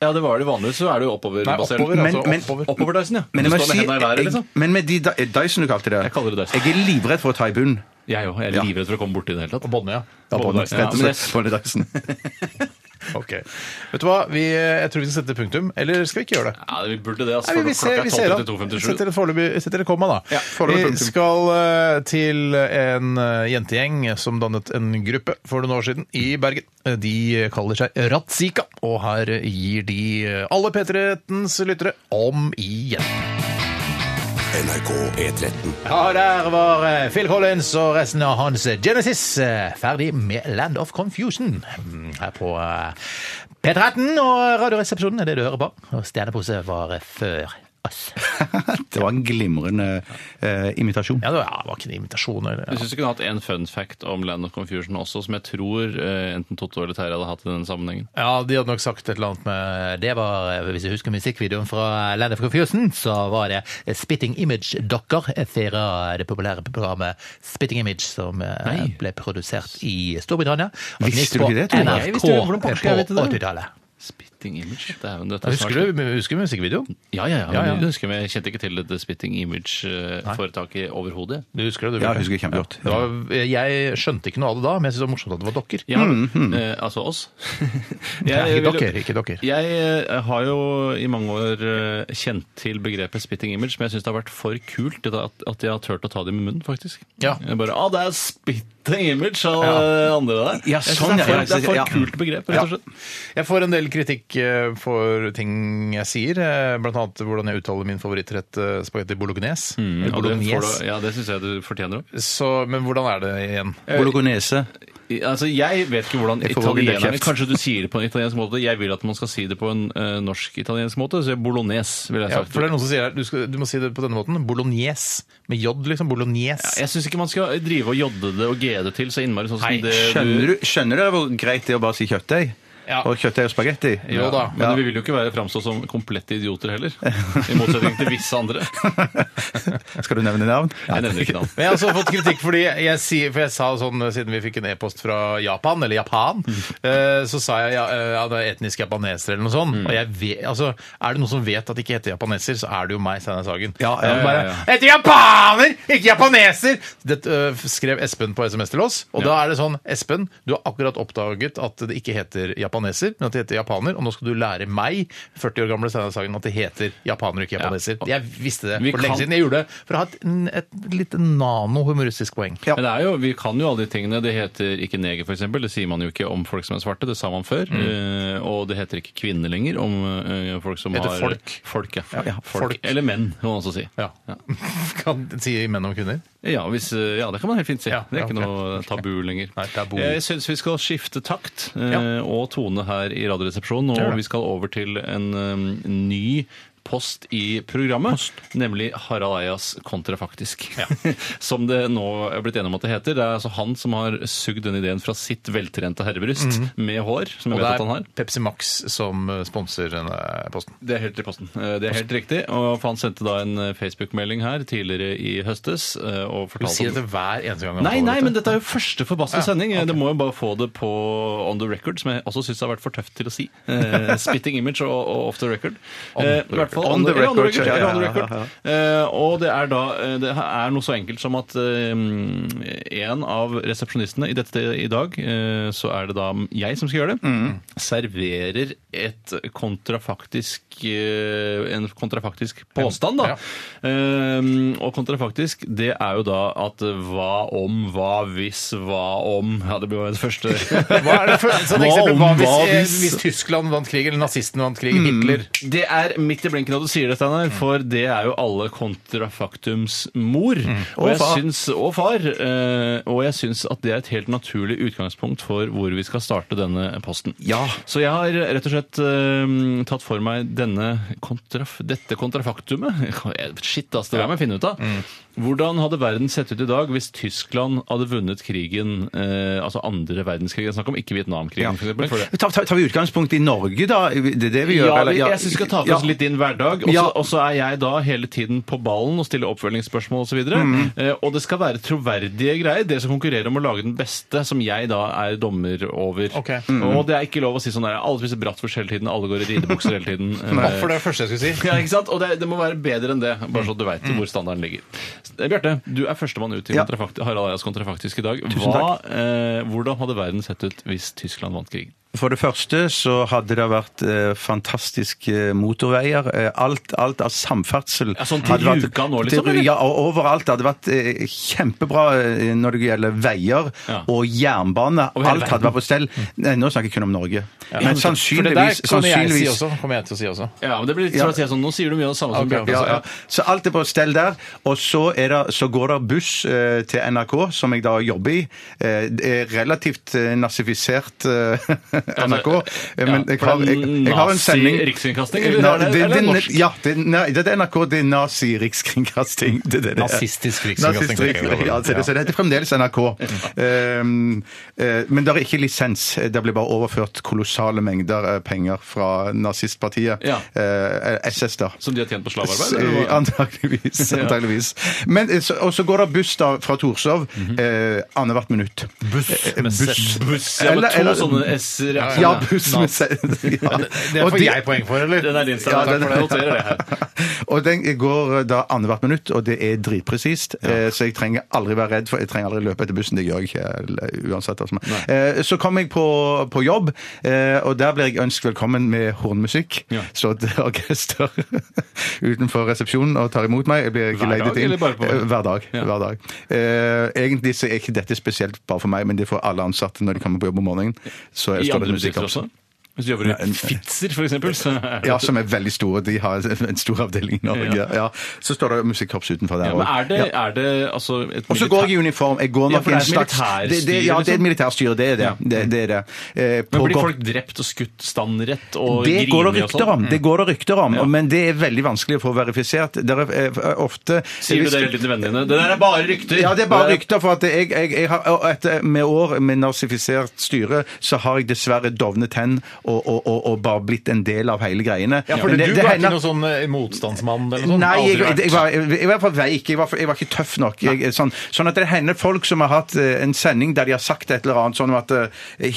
F: Ja, det var det vanligvis, så er det jo oppoverbasert.
D: oppover, altså,
E: Men- men-
D: oppover.
F: oppover Dyson, ja.
E: Men,
F: du
E: jeg, må
F: står med
E: si,
F: hendene i været,
E: jeg,
F: liksom.
E: men med de Dy- eh, Dyson du kalte det
F: Jeg kaller det Dyson.
E: Jeg er livredd for å ta i bunnen.
F: Jeg òg. Jeg er livredd for å komme borti det hele tatt.
D: Og båndet, ja.
E: Ja,
F: Både
E: Bonnie,
F: Dyson,
E: rett og
F: ja, men
E: slett. Bonnie Dyson.
D: Ok. Vet du hva, vi, jeg tror vi skal sette punktum. Eller skal vi ikke gjøre det?
F: Ja, vi burde det, altså.
D: Nei, vi, vi ser,
F: for
D: vi ser
F: klokka
D: da.
F: er 12.52,57.
D: Setter et foreløpig- setter et komma, da.
F: Ja,
E: foreløpig
D: vi
E: punktum.
D: skal eh, til en eh, jentegjeng som dannet en gruppe for noen år siden i Bergen. Eh, De kaller seg Ratzika, og her eh, gir de eh, alle P13s lyttere om igjen.
A: NRK P13.
D: Ja, der var eh, Phil Collins og resten av hans Genesis eh, ferdig med Land of Confusion Mm, her på eh, P13 og Radioresepsjonen er det du hører på. Og Stjernepose var eh, før oss.
E: Det var en glimrende eh, imitasjon.
D: Ja, det var, ja, det var ikke en invitasjon. Eller,
F: Jeg syns du kunne hatt en fun fact om Land of Confusion også, som jeg tror eh, enten Totto eller Terje hadde hatt i den sammenhengen.
D: Ja, de hadde nok sagt et eller annet med Det var, hvis jeg husker musikkvideoen fra Land of Confusion, så var det Spitting Image-dokker fra det populære programmet Spitting Image, som eh, ble produsert i Storbritannia. Og den
E: Visste
D: gikk
E: du ikke det,
D: på
E: Tore?
D: NRK
F: Jeg visste det. Hvordan pokker skal jeg vite
D: på
F: det?
D: 80-tallet.
F: Spit. Spitting Image? Det er jo dette er
D: Husker
F: snart-
D: du husker du musikkvideoen?
F: Ja, ja, ja.
D: Ja, ja.
F: men Jeg, husker, men jeg kjente ikke til dette Spitting Image-foretaket overhodet.
D: Du husker det, du?
E: Ja,
D: Bjarte?
E: jeg husker det kjempegodt.
D: Det var, jeg skjønte ikke noe av det da, men jeg syntes det var morsomt at det var dokker.
F: Ja, eh, altså oss. Jeg
D: Nei, ikke
F: vil-
D: dokker, ikke dokker.
F: Jeg eh, har jo i mange år eh, kjent til begrepet spitting image, men jeg syns det har vært for kult det da, at, at jeg har turt å ta det med munnen, faktisk.
D: Ja.
F: Jeg bare, ah, det er spitting image av eh, andre der.
E: Ja,
F: Jeg synes
E: sånn,
F: det, er for,
E: ja, ja,
F: det er for
E: ja.
F: kult begrep, rett og slett.
D: Jeg får en del kritikk eh, for ting jeg sier, eh, blant annet hvordan jeg uttaler min favorittrett eh, spagetti bolognese. Eller
F: Og det Mm, får
D: bolognese.
F: du- ja, det syns jeg du fortjener òg.
D: Så, men hvordan er det igjen?
E: Bolognese.
F: Altså, jeg vet ikke hvordan
D: Jeg får vel
F: italienerne
D: kjeft.
F: Kanskje du sier det på en italiensk måte. Jeg vil at man skal si det på en eh, norsk-italiensk måte, så bolognese ville jeg
D: Ja,
F: sagt.
D: for det er noen som sier her, du, skal, du må si det på denne måten, bolognese. Med jod, liksom. Bolognese.
F: Jeg syns ikke man skal drive og jodde det og g-e det til så innmari sånn som det
E: Skjønner, du, skjønner dere hvor greit det er å bare si kjøttdeig?
D: Ja.
E: Og kjøttdeig og spagetti?
D: Jo da,
F: Men vi vil jo ikke være framstå som komplette idioter heller. I motsetning til visse andre.
E: Skal du nevne navn?
F: Jeg nevner ikke navn.
D: Men jeg har også fått kritikk fordi jeg, sier, for jeg sa sånn Siden vi fikk en e-post fra Japan, eller Japan, eh, så sa jeg ja, eh, ja, det er etnisk japaneser eller noe sånt.
E: Mm.
D: Og jeg vet, altså, er det noen som vet at de ikke heter japaneser, så er det jo meg, Steinar Sagen.
E: Ja, ja,
D: Jeg bare,
F: ja, ja.
D: Heter japaner, ikke japaneser! Det eh, skrev Espen på SMS til oss. Og da er det sånn Espen, du har akkurat oppdaget at det ikke heter japaneser, men at det heter japaner. Og nå skal du lære meg, 40 år gamle Steinar Sagen, at det heter japaner og ikke japaneser. Jeg visste det
F: Vi
D: for lenge
F: kan-
D: siden. Jeg gjorde det for å ha et, et lite nano-humoristisk poeng.
F: Men det er jo, vi kan jo alle de tingene. Det heter ikke neger, f.eks. Det sier man jo ikke om folk som er svarte. Det sa man før.
D: Mm.
F: Eh, og det heter ikke kvinne lenger om eh, folk som
D: Det heter
F: har
D: folk.
F: Folk, ja.
D: Ja, ja,
F: folk.
D: folk.
F: Eller menn, kan man også si.
D: Ja.
F: Ja.
D: Kan si menn om kvinner?
F: Ja, hvis, eh, ja, det kan man helt fint si.
D: Ja,
F: det er ikke
D: ja, ok.
F: noe tabu lenger.
D: Nei, tabu.
F: Jeg syns vi skal skifte takt eh,
D: Ja.
F: og tone her i Radioresepsjonen,
D: Gjør
F: og
D: det.
F: vi skal over til en eh, ny post i programmet, nemlig Harald Eias kontrafaktisk. som det nå er blitt enig om at det heter. Det er altså han som har sugd den ideen fra sitt veltrente herrebryst med hår, som jeg
D: Og det
F: vet at han har.
D: er Pepsi Max som eh, sponser denne posten.
F: Det er helt i posten. Eh, Det er helt riktig. Og han sendte da en eh, Facebook-melding her tidligere i høstes eh, og
D: Du
F: fortalte
D: sier
F: om-
D: dette hver eneste gang. han
F: Nei,
D: får
F: nei,
D: dette.
F: men dette er jo første forbassede sending. Det må jo bare få det på on the record, som jeg også syns har vært for tøft til å si. Eh, spitting image og, og off the record. Eh, i hvert fall
E: On the
F: ja, on the
E: record,
F: record,
E: ja,
F: ja,
E: ja,
F: on the
E: ja,
F: record. Eh, og det er da eh, Det er noe så enkelt som at eh, en av resepsjonistene i dette i dag, eh, så er det da jeg som skal gjøre det,
E: Mm.
F: serverer et kontrafaktisk eh, en kontrafaktisk påstand, da.
D: Ja.
F: Ehm, og kontrafaktisk, det er jo da at hva om, hva hvis, hva om Ja, det blir jo det første.
D: Hva er det for et sånt
F: Hva
D: eksempel?
F: om,
D: Hva hvis,
F: hva
D: eh,
F: hvis-
D: hvis Tyskland vant krig, eller nazistene vant krig, Hitler
F: Det er midt i blinken at du sier det, Steinar, for det er jo alle kontrafaktums mor. Og, jeg
E: far.
F: Syns, og far. eh, og jeg syns at det er et helt naturlig utgangspunkt for hvor vi skal starte denne posten.
E: Ja.
F: Så jeg har rett og slett eh, tatt for meg denne kontraf dette kontrafaktumet. Shit, ass, det der må jeg finne ut av. Hvordan hadde verden sett ut i dag hvis Tyskland hadde vunnet krigen, eh, altså andre verdenskrig? Jeg snakker om ikke Vietnamkrigen, for eksempel. For det.
E: Ta- ta- Tar vi utgangspunkt i Norge, da? Det er det vi gjør?
F: Ja,
E: eller?
F: vi- jeg synes vi skal ta for oss
E: Ja.
F: litt din hverdag. Og så,
E: Ja.
F: og så er jeg da hele tiden på ballen og stiller oppfølgingsspørsmål osv. Og, så videre.
E: Mm.
F: eh, og det skal være troverdige greier. Dere som konkurrerer om å lage den beste, som jeg da er dommer over.
D: Ok.
E: Mm.
F: Og det er ikke lov å si sånn der alle spiser brattfors hele tiden, alle går i ridebukser hele tiden.
D: Hva
F: Eh,
D: for det første jeg skulle si?
F: ja, ikke sant? Og det, det må være bedre enn det, bare så du veit hvor standarden ligger. Eh, Bjarte, du er førstemann ut til
E: Mm. Ja.
F: kontrafakt- Harald Eias kontrafaktisk i dag. Hva, eh, hvordan hadde verden sett ut hvis Tyskland vant krigen?
E: For det første så hadde det vært eh, fantastiske motorveier. Eh, alt, alt av samferdsel
F: Ja, sånn til
E: hadde vært-
F: Rjukan nå, liksom,
E: til-
F: eller?
E: Ja, og overalt. Det hadde vært eh, kjempebra eh, når det gjelder veier
F: Ja.
E: og jernbane.
F: Over hele
E: Alt hadde vært på stell. Nei, nå snakker jeg kun om Norge. Men
D: For det der
E: sannsynligvis,
D: kan jeg si
E: sannsynligvis
D: også. Kommer jeg til å si også.
F: Ja, men det blir litt
E: Ja.
F: som å si sånn, Nå sier du mye av det samme som
D: Ok,
F: Bjarte.
E: ja,
F: sa.
E: ja. Så alt er på stell der. Og så, er det, så går det buss eh, til NRK, som jeg da jobber i. Eh, det er relativt eh, nazifisert eh, NRK. Eh, Men jeg har, jeg, jeg har en sending
F: Nazi-rikskringkasting, eller
E: Na-
F: er det-
E: det-
F: eller
E: det-
F: norsk?
E: Ja, det, nei, det er NRK, det er nazi-rikskringkasting. Det, er det, det er.
D: Nazistisk rikskringkasting,
E: Nazistisk-
D: tenker jeg.
E: Ja, så det, så det heter fremdeles NRK. Um, eh, men det er ikke lisens. Det blir bare overført kolossale mengder eh, penger fra nazistpartiet.
F: Ja.
E: eh, SS, da.
F: Som de har tjent på slavearbeid?
E: S-
F: eller hva?
E: Antakeligvis. antakeligvis. Men, eh, så- og så går det buss da fra Torshov eh, annethvert minutt. Eh, eh, Buss
F: Buss. Ja,
E: Eller-
F: med to
E: eller-
F: sånne S- sier jeg.
E: Ja, buss med se- ja.
D: Det
E: Og
D: får
E: de-
D: jeg poeng for, eller?
F: Den er din stemme, takk for det. Jeg noterer det her.
E: og den går eh, da annethvert minutt, og det er dritpresist. eh, Så jeg trenger aldri være redd, for jeg trenger aldri løpe etter bussen. Det gjør jeg ikke eh, uansett. Altså. Eh, Så kom jeg på, på jobb, eh, og der ble jeg ønsket velkommen med hornmusikk.
F: Ja.
E: Så et orkester utenfor resepsjonen og tar imot meg. Jeg blir ikke
F: Hver
E: leid
F: dag,
E: inn.
F: eller bare på-
E: Eh, Hver dag.
F: Ja.
E: Hver dag. Eh, Egentlig så er ikke dette spesielt bare for meg, men det er for alle ansatte når de kommer på jobb om morgenen. Så står
F: I
E: det
F: andre
E: musikk
F: bedrifter
E: opp.
F: også. Hvis du jobber i Fitzer, for eksempel, så er det
E: Ja, som er veldig store. De har en stor avdeling i Norge. Ja.
F: Ja.
E: Så står det musikkorps utenfor der
F: ja, men
E: òg.
F: er det, er det altså et
E: Og så går jeg i uniform. Jeg går
F: Ja,
E: nok
F: for
E: i
F: det
E: en
F: er et
E: slags
F: militærstyre,
E: det, det, Ja, det er et
F: liksom.
E: militærstyre. Det er det.
F: Ja.
E: det, det, er det. Eh, på
F: Men blir
E: godt-
F: folk drept og skutt standrett og
E: det går det
F: grinet og
E: rykter
F: sånn?
E: om, det går det rykter om,
F: Ja.
E: men det er veldig vanskelig å få verifisert. Det er eh, ofte
F: Sier du det hele tiden til vennene dine? Det der er bare rykter!
E: Ja, det er bare rykter, for at jeg, jeg, jeg har, og etter, med år med nazifisert styre, så har jeg dessverre dovnet hen og, og, og, og bare blitt en del av hele greiene.
D: Ja, for
E: Men
D: du var
E: hender-
D: ikke noen sånn eh, motstandsmann eller noe sånt?
E: Nei,
D: Aldri
E: jeg, jeg,
D: vært.
E: jeg, var, jeg, var i hvert fall veik. Jeg var, for- jeg var ikke tøff nok. Jeg, sånn, sånn at det hender folk som har hatt eh, en sending der de har sagt et eller annet sånn om at eh,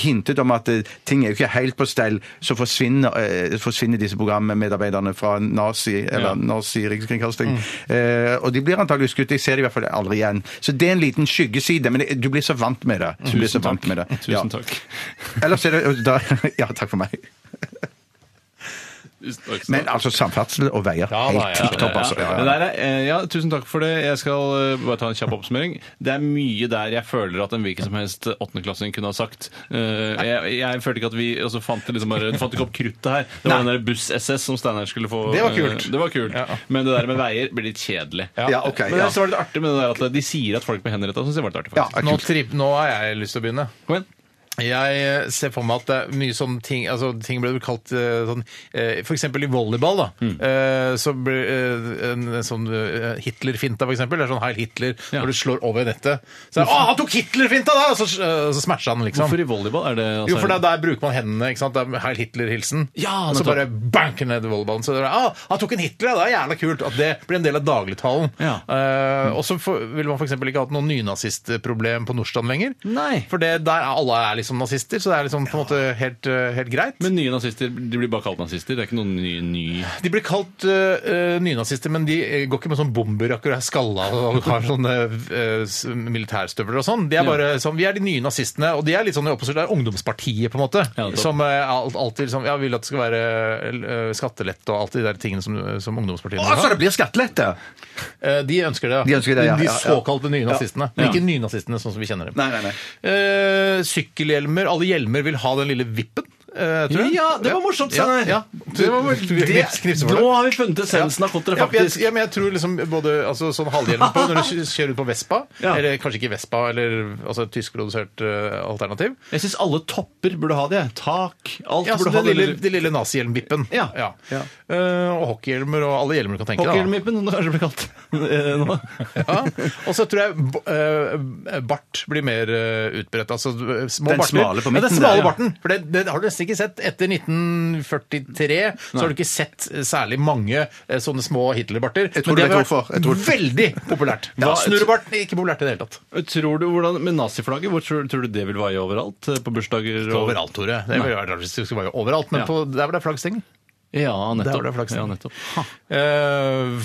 E: hintet om at eh, ting er jo ikke helt på stell, så forsvinner, eh, forsvinner disse programmedarbeiderne fra nazi, eller
F: Ja. Mm.
E: nazi rikskringkasting. Eh, og de blir antakelig skutt. Jeg ser det i hvert fall aldri igjen. Så det er en liten skyggeside, men det- du blir så vant med det. Du blir så
F: Tusen
E: vant
F: takk.
E: med det.
F: Tusen takk.
E: Ja. Ellers er det da, Ja, takk for meg.
F: Tusen takk.
E: Men altså, samferdsel og veier.
D: Ja, da,
E: helt
D: ja,
E: tipp topp, altså.
F: Det der er, eh, ja, tusen takk for det. Jeg skal eh, bare ta en kjapp oppsummering. Det er mye der jeg føler at en hvilken som helst åttendeklassing kunne ha sagt. Eh, jeg, jeg følte ikke at vi altså, fant det liksom bare, Du fant ikke opp kruttet her. Det var den der buss-SS som Steinar skulle få.
D: Det var
F: eh,
D: kult.
F: det var kult.
D: Ja.
F: Men det der med veier blir litt kjedelig.
E: Ja, ok,
F: Men
E: ja.
F: så var det litt artig med det der at de sier at folk blir henrettet. Så synes jeg var litt artig,
E: Ja,
F: faktisk.
E: er
D: Nå,
E: kult.
D: tripp- nå har jeg lyst til å begynne.
F: Kom igjen.
D: Jeg eh, ser for meg at det er mye sånne ting altså Ting ble kalt eh, sånn eh, For eksempel i volleyball, da. eh, Så ble eh, en en sånn eh, Hitler-finta, for eksempel. Det er sånn Heil Hitler
F: Ja.
D: når du slår over nettet. Så er, det, Å, han tok Hitler-finta, da! Og så, eh, så smasha han, liksom.
F: Hvorfor i volleyball er det altså,
D: Jo, for der, der bruker man hendene. ikke sant? Det er Heil Hitler-hilsen.
F: Ja,
D: og så
F: nettopp.
D: bare bank ned i volleyballen. Så det er, ah, han tok en Hitler, ja, det er jævla kult. At det blir en del av dagligtalen.
F: Ja.
D: Eh, og så for- ville man f.eks. ikke hatt noe nynazistproblem på Nordstrand lenger.
F: Nei.
D: For det, der er alle er liksom nazister, så det er liksom på en måte helt, eh, helt greit.
F: Men nye nazister de blir bare kalt nazister. Det er ikke noen ny, ny
D: de blir kalt eh, eh, nynazister, men de eh, går ikke med sånn bomberjakker og er skalla og har sånne eh, s- militærstøvler og sånn. De er bare sånn, Vi er de nye nazistene, og de er litt sånn i opposisjon. Det er ungdomspartiet, på en måte.
F: Ja, nettopp.
D: som eh, alt, alltid liksom, ja, vil at det skal være eh, skattelett og alt de der tingene som, som ungdomspartiene
E: Å, så
D: har.
E: det blir skattelette!
D: Eh, de ønsker det, ja.
E: De ønsker det, ja,
D: De
E: ja, ja.
D: såkalte nye nazistene. Men
F: Ja.
D: ikke nynazistene sånn som vi kjenner dem.
E: Nei, nei, nei.
D: Eh, sykkelhjelmer. Alle hjelmer vil ha den lille vippen. eh, tror jeg.
F: Ja, det var morsomt,
D: Ja,
F: Steinar.
D: ja. Det var vel- Knips- knipse for
F: Nå
D: det.
F: har vi funnet essensen av kotteret,
D: Ja, men jeg,
F: faktisk.
D: ja, men jeg tror liksom både altså, sånn halvhjelm på når du kj- kjører ut på Vespa,
F: Ja.
D: eller kanskje ikke Vespa, eller altså, et tyskprodusert eh, alternativ.
F: Jeg syns alle topper burde ha det. Tak, alt
D: Ja, så
F: burde ha
D: den
F: det.
D: lille, den lille nazihjelmvippen.
F: Ja.
D: Ja. Eh, og hockeyhjelmer og alle hjelmer du kan tenke deg.
F: Hockeyhjelmippen, som det kanskje blir kalt. Eh, nå.
D: da. Ja. Og så tror jeg b- eh, bart blir mer eh, utbredt. Altså eh, små
E: Den
D: barter.
E: smale på midten
D: ja, den
E: der,
D: smale
E: ja.
D: barten. For det, det har du nesten ikke sett. Etter 1943 så har du ikke sett eh, særlig mange eh, sånne små Hitler-barter.
E: tror
D: Men
E: du
D: det
E: vet
D: har vært
E: hvorfor. Jeg tror-
D: Veldig populært. Ja, Snurrebarten er ikke populært i det hele tatt.
F: Tror du hvordan, Med naziflagget, hvor tror, tror du det vil vaie overalt? Eh, På bursdager og
D: Overalt, Tore. Det ville vært rart hvis det skulle være overalt, men
F: Ja.
D: på, der hvor det er flaggstenger.
F: Ja,
D: Der var
F: nettopp.
D: det flaks.
F: ja, nettopp.
D: Eh,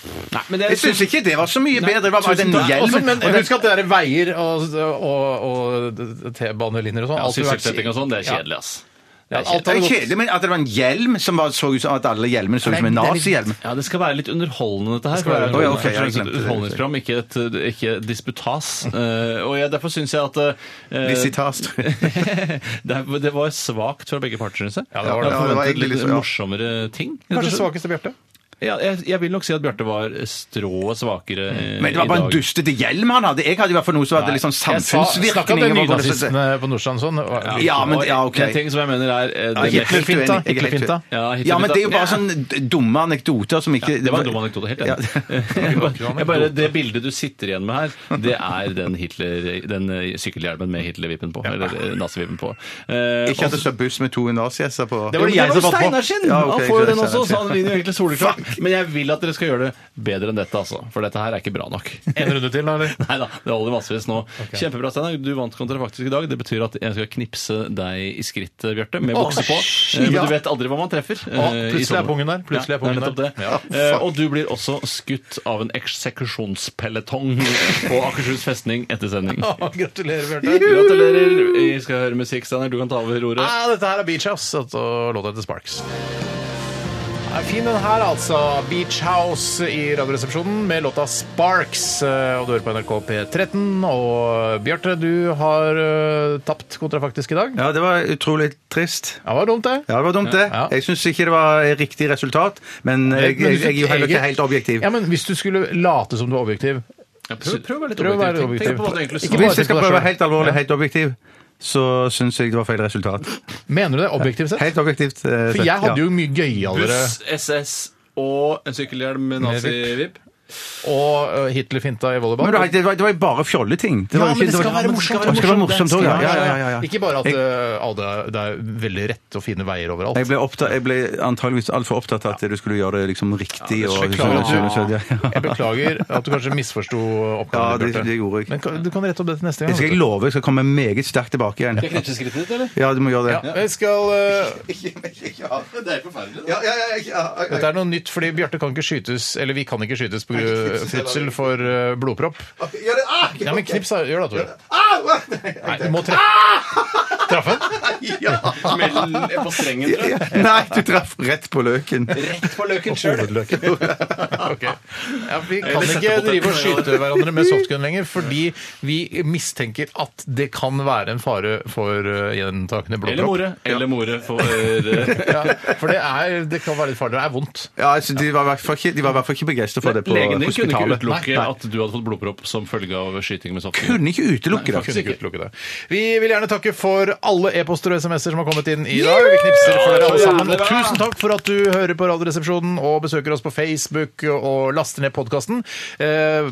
F: Nei, men det
E: Jeg syns ikke det var så mye bedre. Det var bare den
D: tusen takk. Også,
E: hjelmen.
D: men husk at det der veier og, og, og T-banelinjer og sånn
F: ja,
D: alt har vært-
F: Sysselsetting og sånn, det er
D: Ja.
F: kjedelig, ass.
D: Ja,
F: Det er
D: alt
E: Det
D: har
E: er
D: gått-
E: kjedelig, men at det var en hjelm som var, så ut som at alle hjelmene så ut som en
D: Nei, det er
E: nazihjelm.
F: Ja, det skal være litt underholdende, dette her.
D: skal være
E: underholdende. Å,
F: For det er
E: ja, ok, jeg
F: først og fremst
E: glemte
F: et
E: det.
F: underholdningsprogram, ikke et ikke et disputas. Eh, og jeg, derfor syns jeg at eh,
E: Visitas.
F: det, er- det var svakt fra begge parter, syns jeg.
D: Ja, det var det.
E: Ja,
F: Jeg
E: det var
F: forventet
E: egentlig
F: litt
E: litt så- ja.
F: morsommere ting. rett og
D: Kanskje
F: slett.
D: svakeste Bjarte.
F: Ja, jeg, jeg vil nok si at Bjarte var strået svakere eh,
E: Men det var
F: i
E: bare en
F: dag.
E: dustete hjelm han hadde. Jeg hadde i hvert fall noe som hadde litt sånn
D: Jeg sa- snakk om
E: samfunnsvirkning.
D: de
E: over hvordan det-
D: nynazistene på Nordstrand sånn. og-
E: Ja, men ja, ok.
F: En ting som jeg mener er eh,
E: Ja, jeg er
F: det
E: helt
F: mest-
D: Hitlerfinta,
E: uenig, jeg er helt
D: Hitlerfinta.
E: uenig.
F: Ja, Hitlerfinta.
E: Ja, men det er jo bare
F: Ja.
E: sånne dumme anekdoter som ikke
F: det var en dum anekdote, helt enig. Jeg bare, jeg bare, det bildet du sitter igjen med her, det er den, Hitler, den eh, sykkelhjelmen med Hitler-vippen på. Eller eh, nazivippen på. Eh,
E: Ikke at det står buss med to nazihester på.
D: var det jeg som fant på.
F: Steinar sin!
E: Ja, ok,
F: han får jo
E: greit,
F: den
E: Steinar.
F: også, så han vinner jo egentlig soleklart. Men jeg vil at dere skal gjøre det bedre enn dette, altså. For dette her er ikke bra nok.
D: En runde til, da, eller?
F: Nei da, det holder massevis nå. Kjempebra, Steinar. Du vant kontra faktisk i dag. Det betyr at jeg skal knipse deg i skrittet, Bjarte, med bukse på.
D: shit,
F: Eh, Men
D: ja.
F: du vet aldri hva man treffer. eh,
D: Å, plutselig
F: i sommer.
D: er pungen der, plutselig er
F: Ja, det
D: pungen
F: nettopp
D: der.
F: det. Eh, Og du blir også skutt av en eksekusjonspeletong på Akershus festning etter sending.
D: Å, gratulerer, Bjarte.
F: Gratulerer. Vi skal høre musikk, Steinar. Du kan ta over roret.
D: Ah, dette her er Beach House altså, og låta heter Sparks. Ja, Fin den her, altså. Beach House i Radioresepsjonen med låta Sparks. eh, Og du hører på NRK P13. Og Bjarte, du har eh, tapt kontrafaktisk i dag.
E: Ja, det var utrolig trist.
D: Ja, det var dumt, det.
E: Ja, det var dumt, det.
D: Ja.
E: Jeg syns ikke det var et riktig resultat, men
D: Men du
E: jeg, jeg, jeg er jo
D: fikk
E: heller ikke
D: eget-
E: helt objektiv.
D: Ja, men Hvis du skulle late som du var objektiv
F: Prøv, prøv å være litt
D: Prøv å være
F: objektiv. Tenk på hva du
D: objektiv.
F: egentlig
D: Ikke
F: sa.
E: Hvis jeg skal
D: på deg
E: prøve
D: selv.
E: helt alvorlig, helt objektiv, så syns jeg det var feil resultat.
D: Mener du det objektivt sett?
E: Helt objektivt. eh,
D: For jeg
E: sett, ja.
D: hadde jo mye gøyalere
F: Buss, SS og en sykkelhjelm med nazi-vipp.
D: og eh, Hitler-finta i volleyball.
E: Men det var- det var, det var jo bare fjolleting. Det var jo ikke- det var- Det skal være morsomt òg, ja. Ja, ja, ja, ja.
D: Ikke bare at
E: Jeg-
D: eh, alle, det er veldig rett og fine veier overalt.
E: jeg ble, opptatt, jeg ble antageligvis altfor opptatt av at du skulle gjøre det liksom riktig.
D: Jeg
E: og, så- så- så-
D: beklager,
E: ja.
D: at du, jeg beklager at du kanskje misforsto
E: Ja,
D: oppgaven.
E: det,
D: Bjarte.
E: det gjorde jeg.
D: Men kan- du kan rette opp dette neste gang.
E: Det skal jeg
D: vet
E: love. Jeg skal komme meget sterkt tilbake igjen.
F: Knipse skrittet ditt, eller?
E: Ja, du må gjøre det.
D: du. Ja, jeg skal, eh,
F: Det er forferdelig.
D: dette er noe nytt, fordi Bjarte kan ikke skytes, eller vi kan ikke skytes på grunn- fødsel for eh, blodpropp. Ja, men knips, da. Gjør det, Tore. Nei, du må treffe. Traff han?
F: Smell på strengen, tror jeg.
E: Nei, du traff rett på løken.
F: Rett på løken sjøl.
D: Ok. Ja, vi kan
F: Eller sette
D: ikke
F: på
D: drive og
F: tøtten,
D: skyte hverandre med softgun lenger, fordi vi mistenker at det kan være en fare for eh, gjentakende
F: Eller
D: blodpropp.
F: more. Eller more for eh,
D: Ja, for det, er, det kan være litt farlig. Det er vondt.
E: Ja, altså, de var i hvert fall ikke, de var i hvert fall ikke begeistra for det på
F: Legen din kunne ikke
E: hospitalet.
F: utelukke
E: Nei, nei.
F: at du hadde fått blodpropp som følge av skyting med softgun.
E: Kunne ikke utelukke det.
D: Kunne ikke utelukke det. Vi vil gjerne takke for alle e-poster og SMS-er som har kommet inn i dag. Vi knipser for dere alle sammen. Og tusen takk for at du hører på Radioresepsjonen og besøker oss på Facebook og laster ned podkasten. Eh,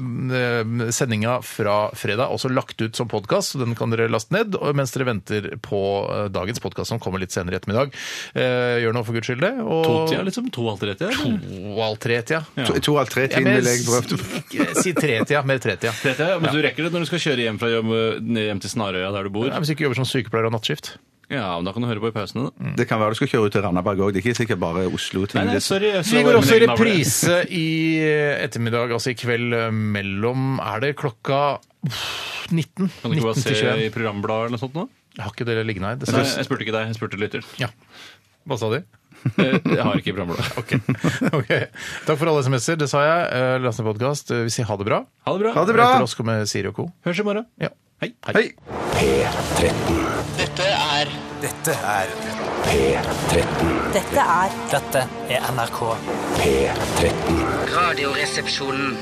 D: eh, sendinga fra fredag er også lagt ut som podkast, så den kan dere laste ned og mens dere venter på eh, dagens podkast som kommer litt senere i ettermiddag. Eh, gjør nå for guds skyld det. Og
F: Totida, liksom. To halv trettida. eller?
D: og all tretida.
E: To- To av tre
D: Ja,
E: ting
D: men
E: ville jeg prøvd.
D: si- Si tretida, mer tretida.
F: Trettida, ja, Men du rekker det når du skal kjøre hjem fra jobb eh, ned hjem til Snarøya, der du bor.
D: Ja, Hvis du ikke jobber som sykepleier og nattskift.
F: Ja, men Da kan du høre på i pausene.
D: Mm.
F: da.
E: Det kan være du skal kjøre ut til Randaberg òg. Det er ikke sikkert bare Oslo. ting.
F: Mm. Nei, nei, sorry. jeg så
D: Vi
F: det
D: går
F: var
D: også i
F: min egen navle.
D: reprise i ettermiddag, altså i kveld eh, mellom Er det klokka uff, 19?
F: Kan du ikke bare
D: 19 til
F: se
D: 21.
F: i programbladet eller noe sånt nå?
D: Jeg har ikke det liggende her.
F: Nei,
D: dessverre.
F: jeg spurte ikke deg, jeg spurte lytter.
D: Ja. Hva sa de?
F: Eh, Jeg har ikke programbladet.
D: Ok. Ok. Takk for alle SMS-er, det sa jeg. Eh, Last ned podkast. Vi sier ha det bra.
F: Ha det bra.
E: Ha det bra.
D: Etter oss kommer Siri og co.
F: Hørs i morgen.
D: Ja.
F: Hei.
E: Hei.
A: P13.
B: Dette er
C: Dette er
A: P13.
J: Dette er
I: Dette er NRK.
A: P13.
I: Radioresepsjonen.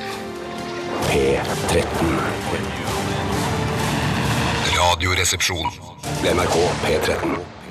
A: P13. Radioresepsjon. NRK P13.